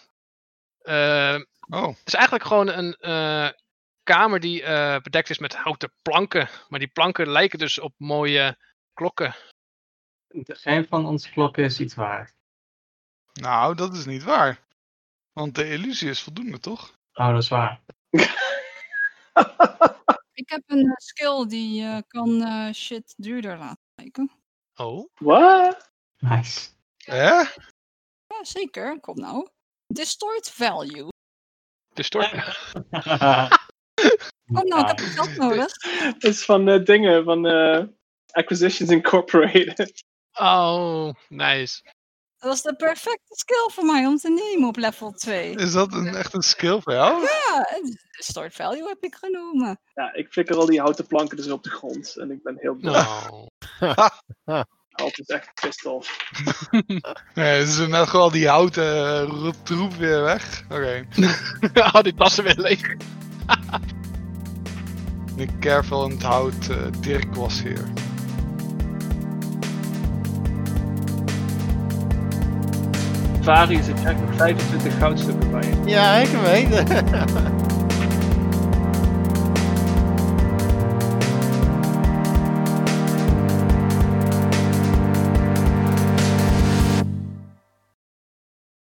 Speaker 1: Eh,
Speaker 3: Oh,
Speaker 1: Het is eigenlijk gewoon een eh, kamer die eh, bedekt is met houten planken. Maar die planken lijken dus op mooie klokken.
Speaker 2: Geen van ons klokken is iets waard.
Speaker 3: nou, dat is niet waar. Want de illusie is voldoende, toch?
Speaker 2: Oh, dat is waar.
Speaker 7: Ik heb een eh, skill die eh, kan eh, shit duurder laten lijken.
Speaker 1: Oh?
Speaker 6: Wat?
Speaker 2: Nice.
Speaker 3: Hè?
Speaker 7: Ja, zeker. Kom nou. Distort value.
Speaker 1: Distort.
Speaker 7: Kom Oh, nou, ik heb geld nodig.
Speaker 6: Dat is van eh, dingen, van eh, Acquisitions Incorporated.
Speaker 1: Oh, nice.
Speaker 7: Dat was de perfecte skill voor mij om te nemen op level 2.
Speaker 3: Is dat een, echt een skill voor jou?
Speaker 7: Ja, distort value heb ik genomen.
Speaker 6: Ja, ik flikker al die houten planken dus op de grond. En ik ben heel blij.
Speaker 1: Oh.
Speaker 6: Altijd echt pissed off.
Speaker 3: Nee, ze met gewoon die houten eh, roep troep weer weg. Oké,
Speaker 1: oh, die tassen weer leeg.
Speaker 3: Nick Carvel en het hout, eh, Dirk was hier.
Speaker 6: Varius, ik krijg nog 25 goudstukken bij je.
Speaker 5: Ja, ik weet het.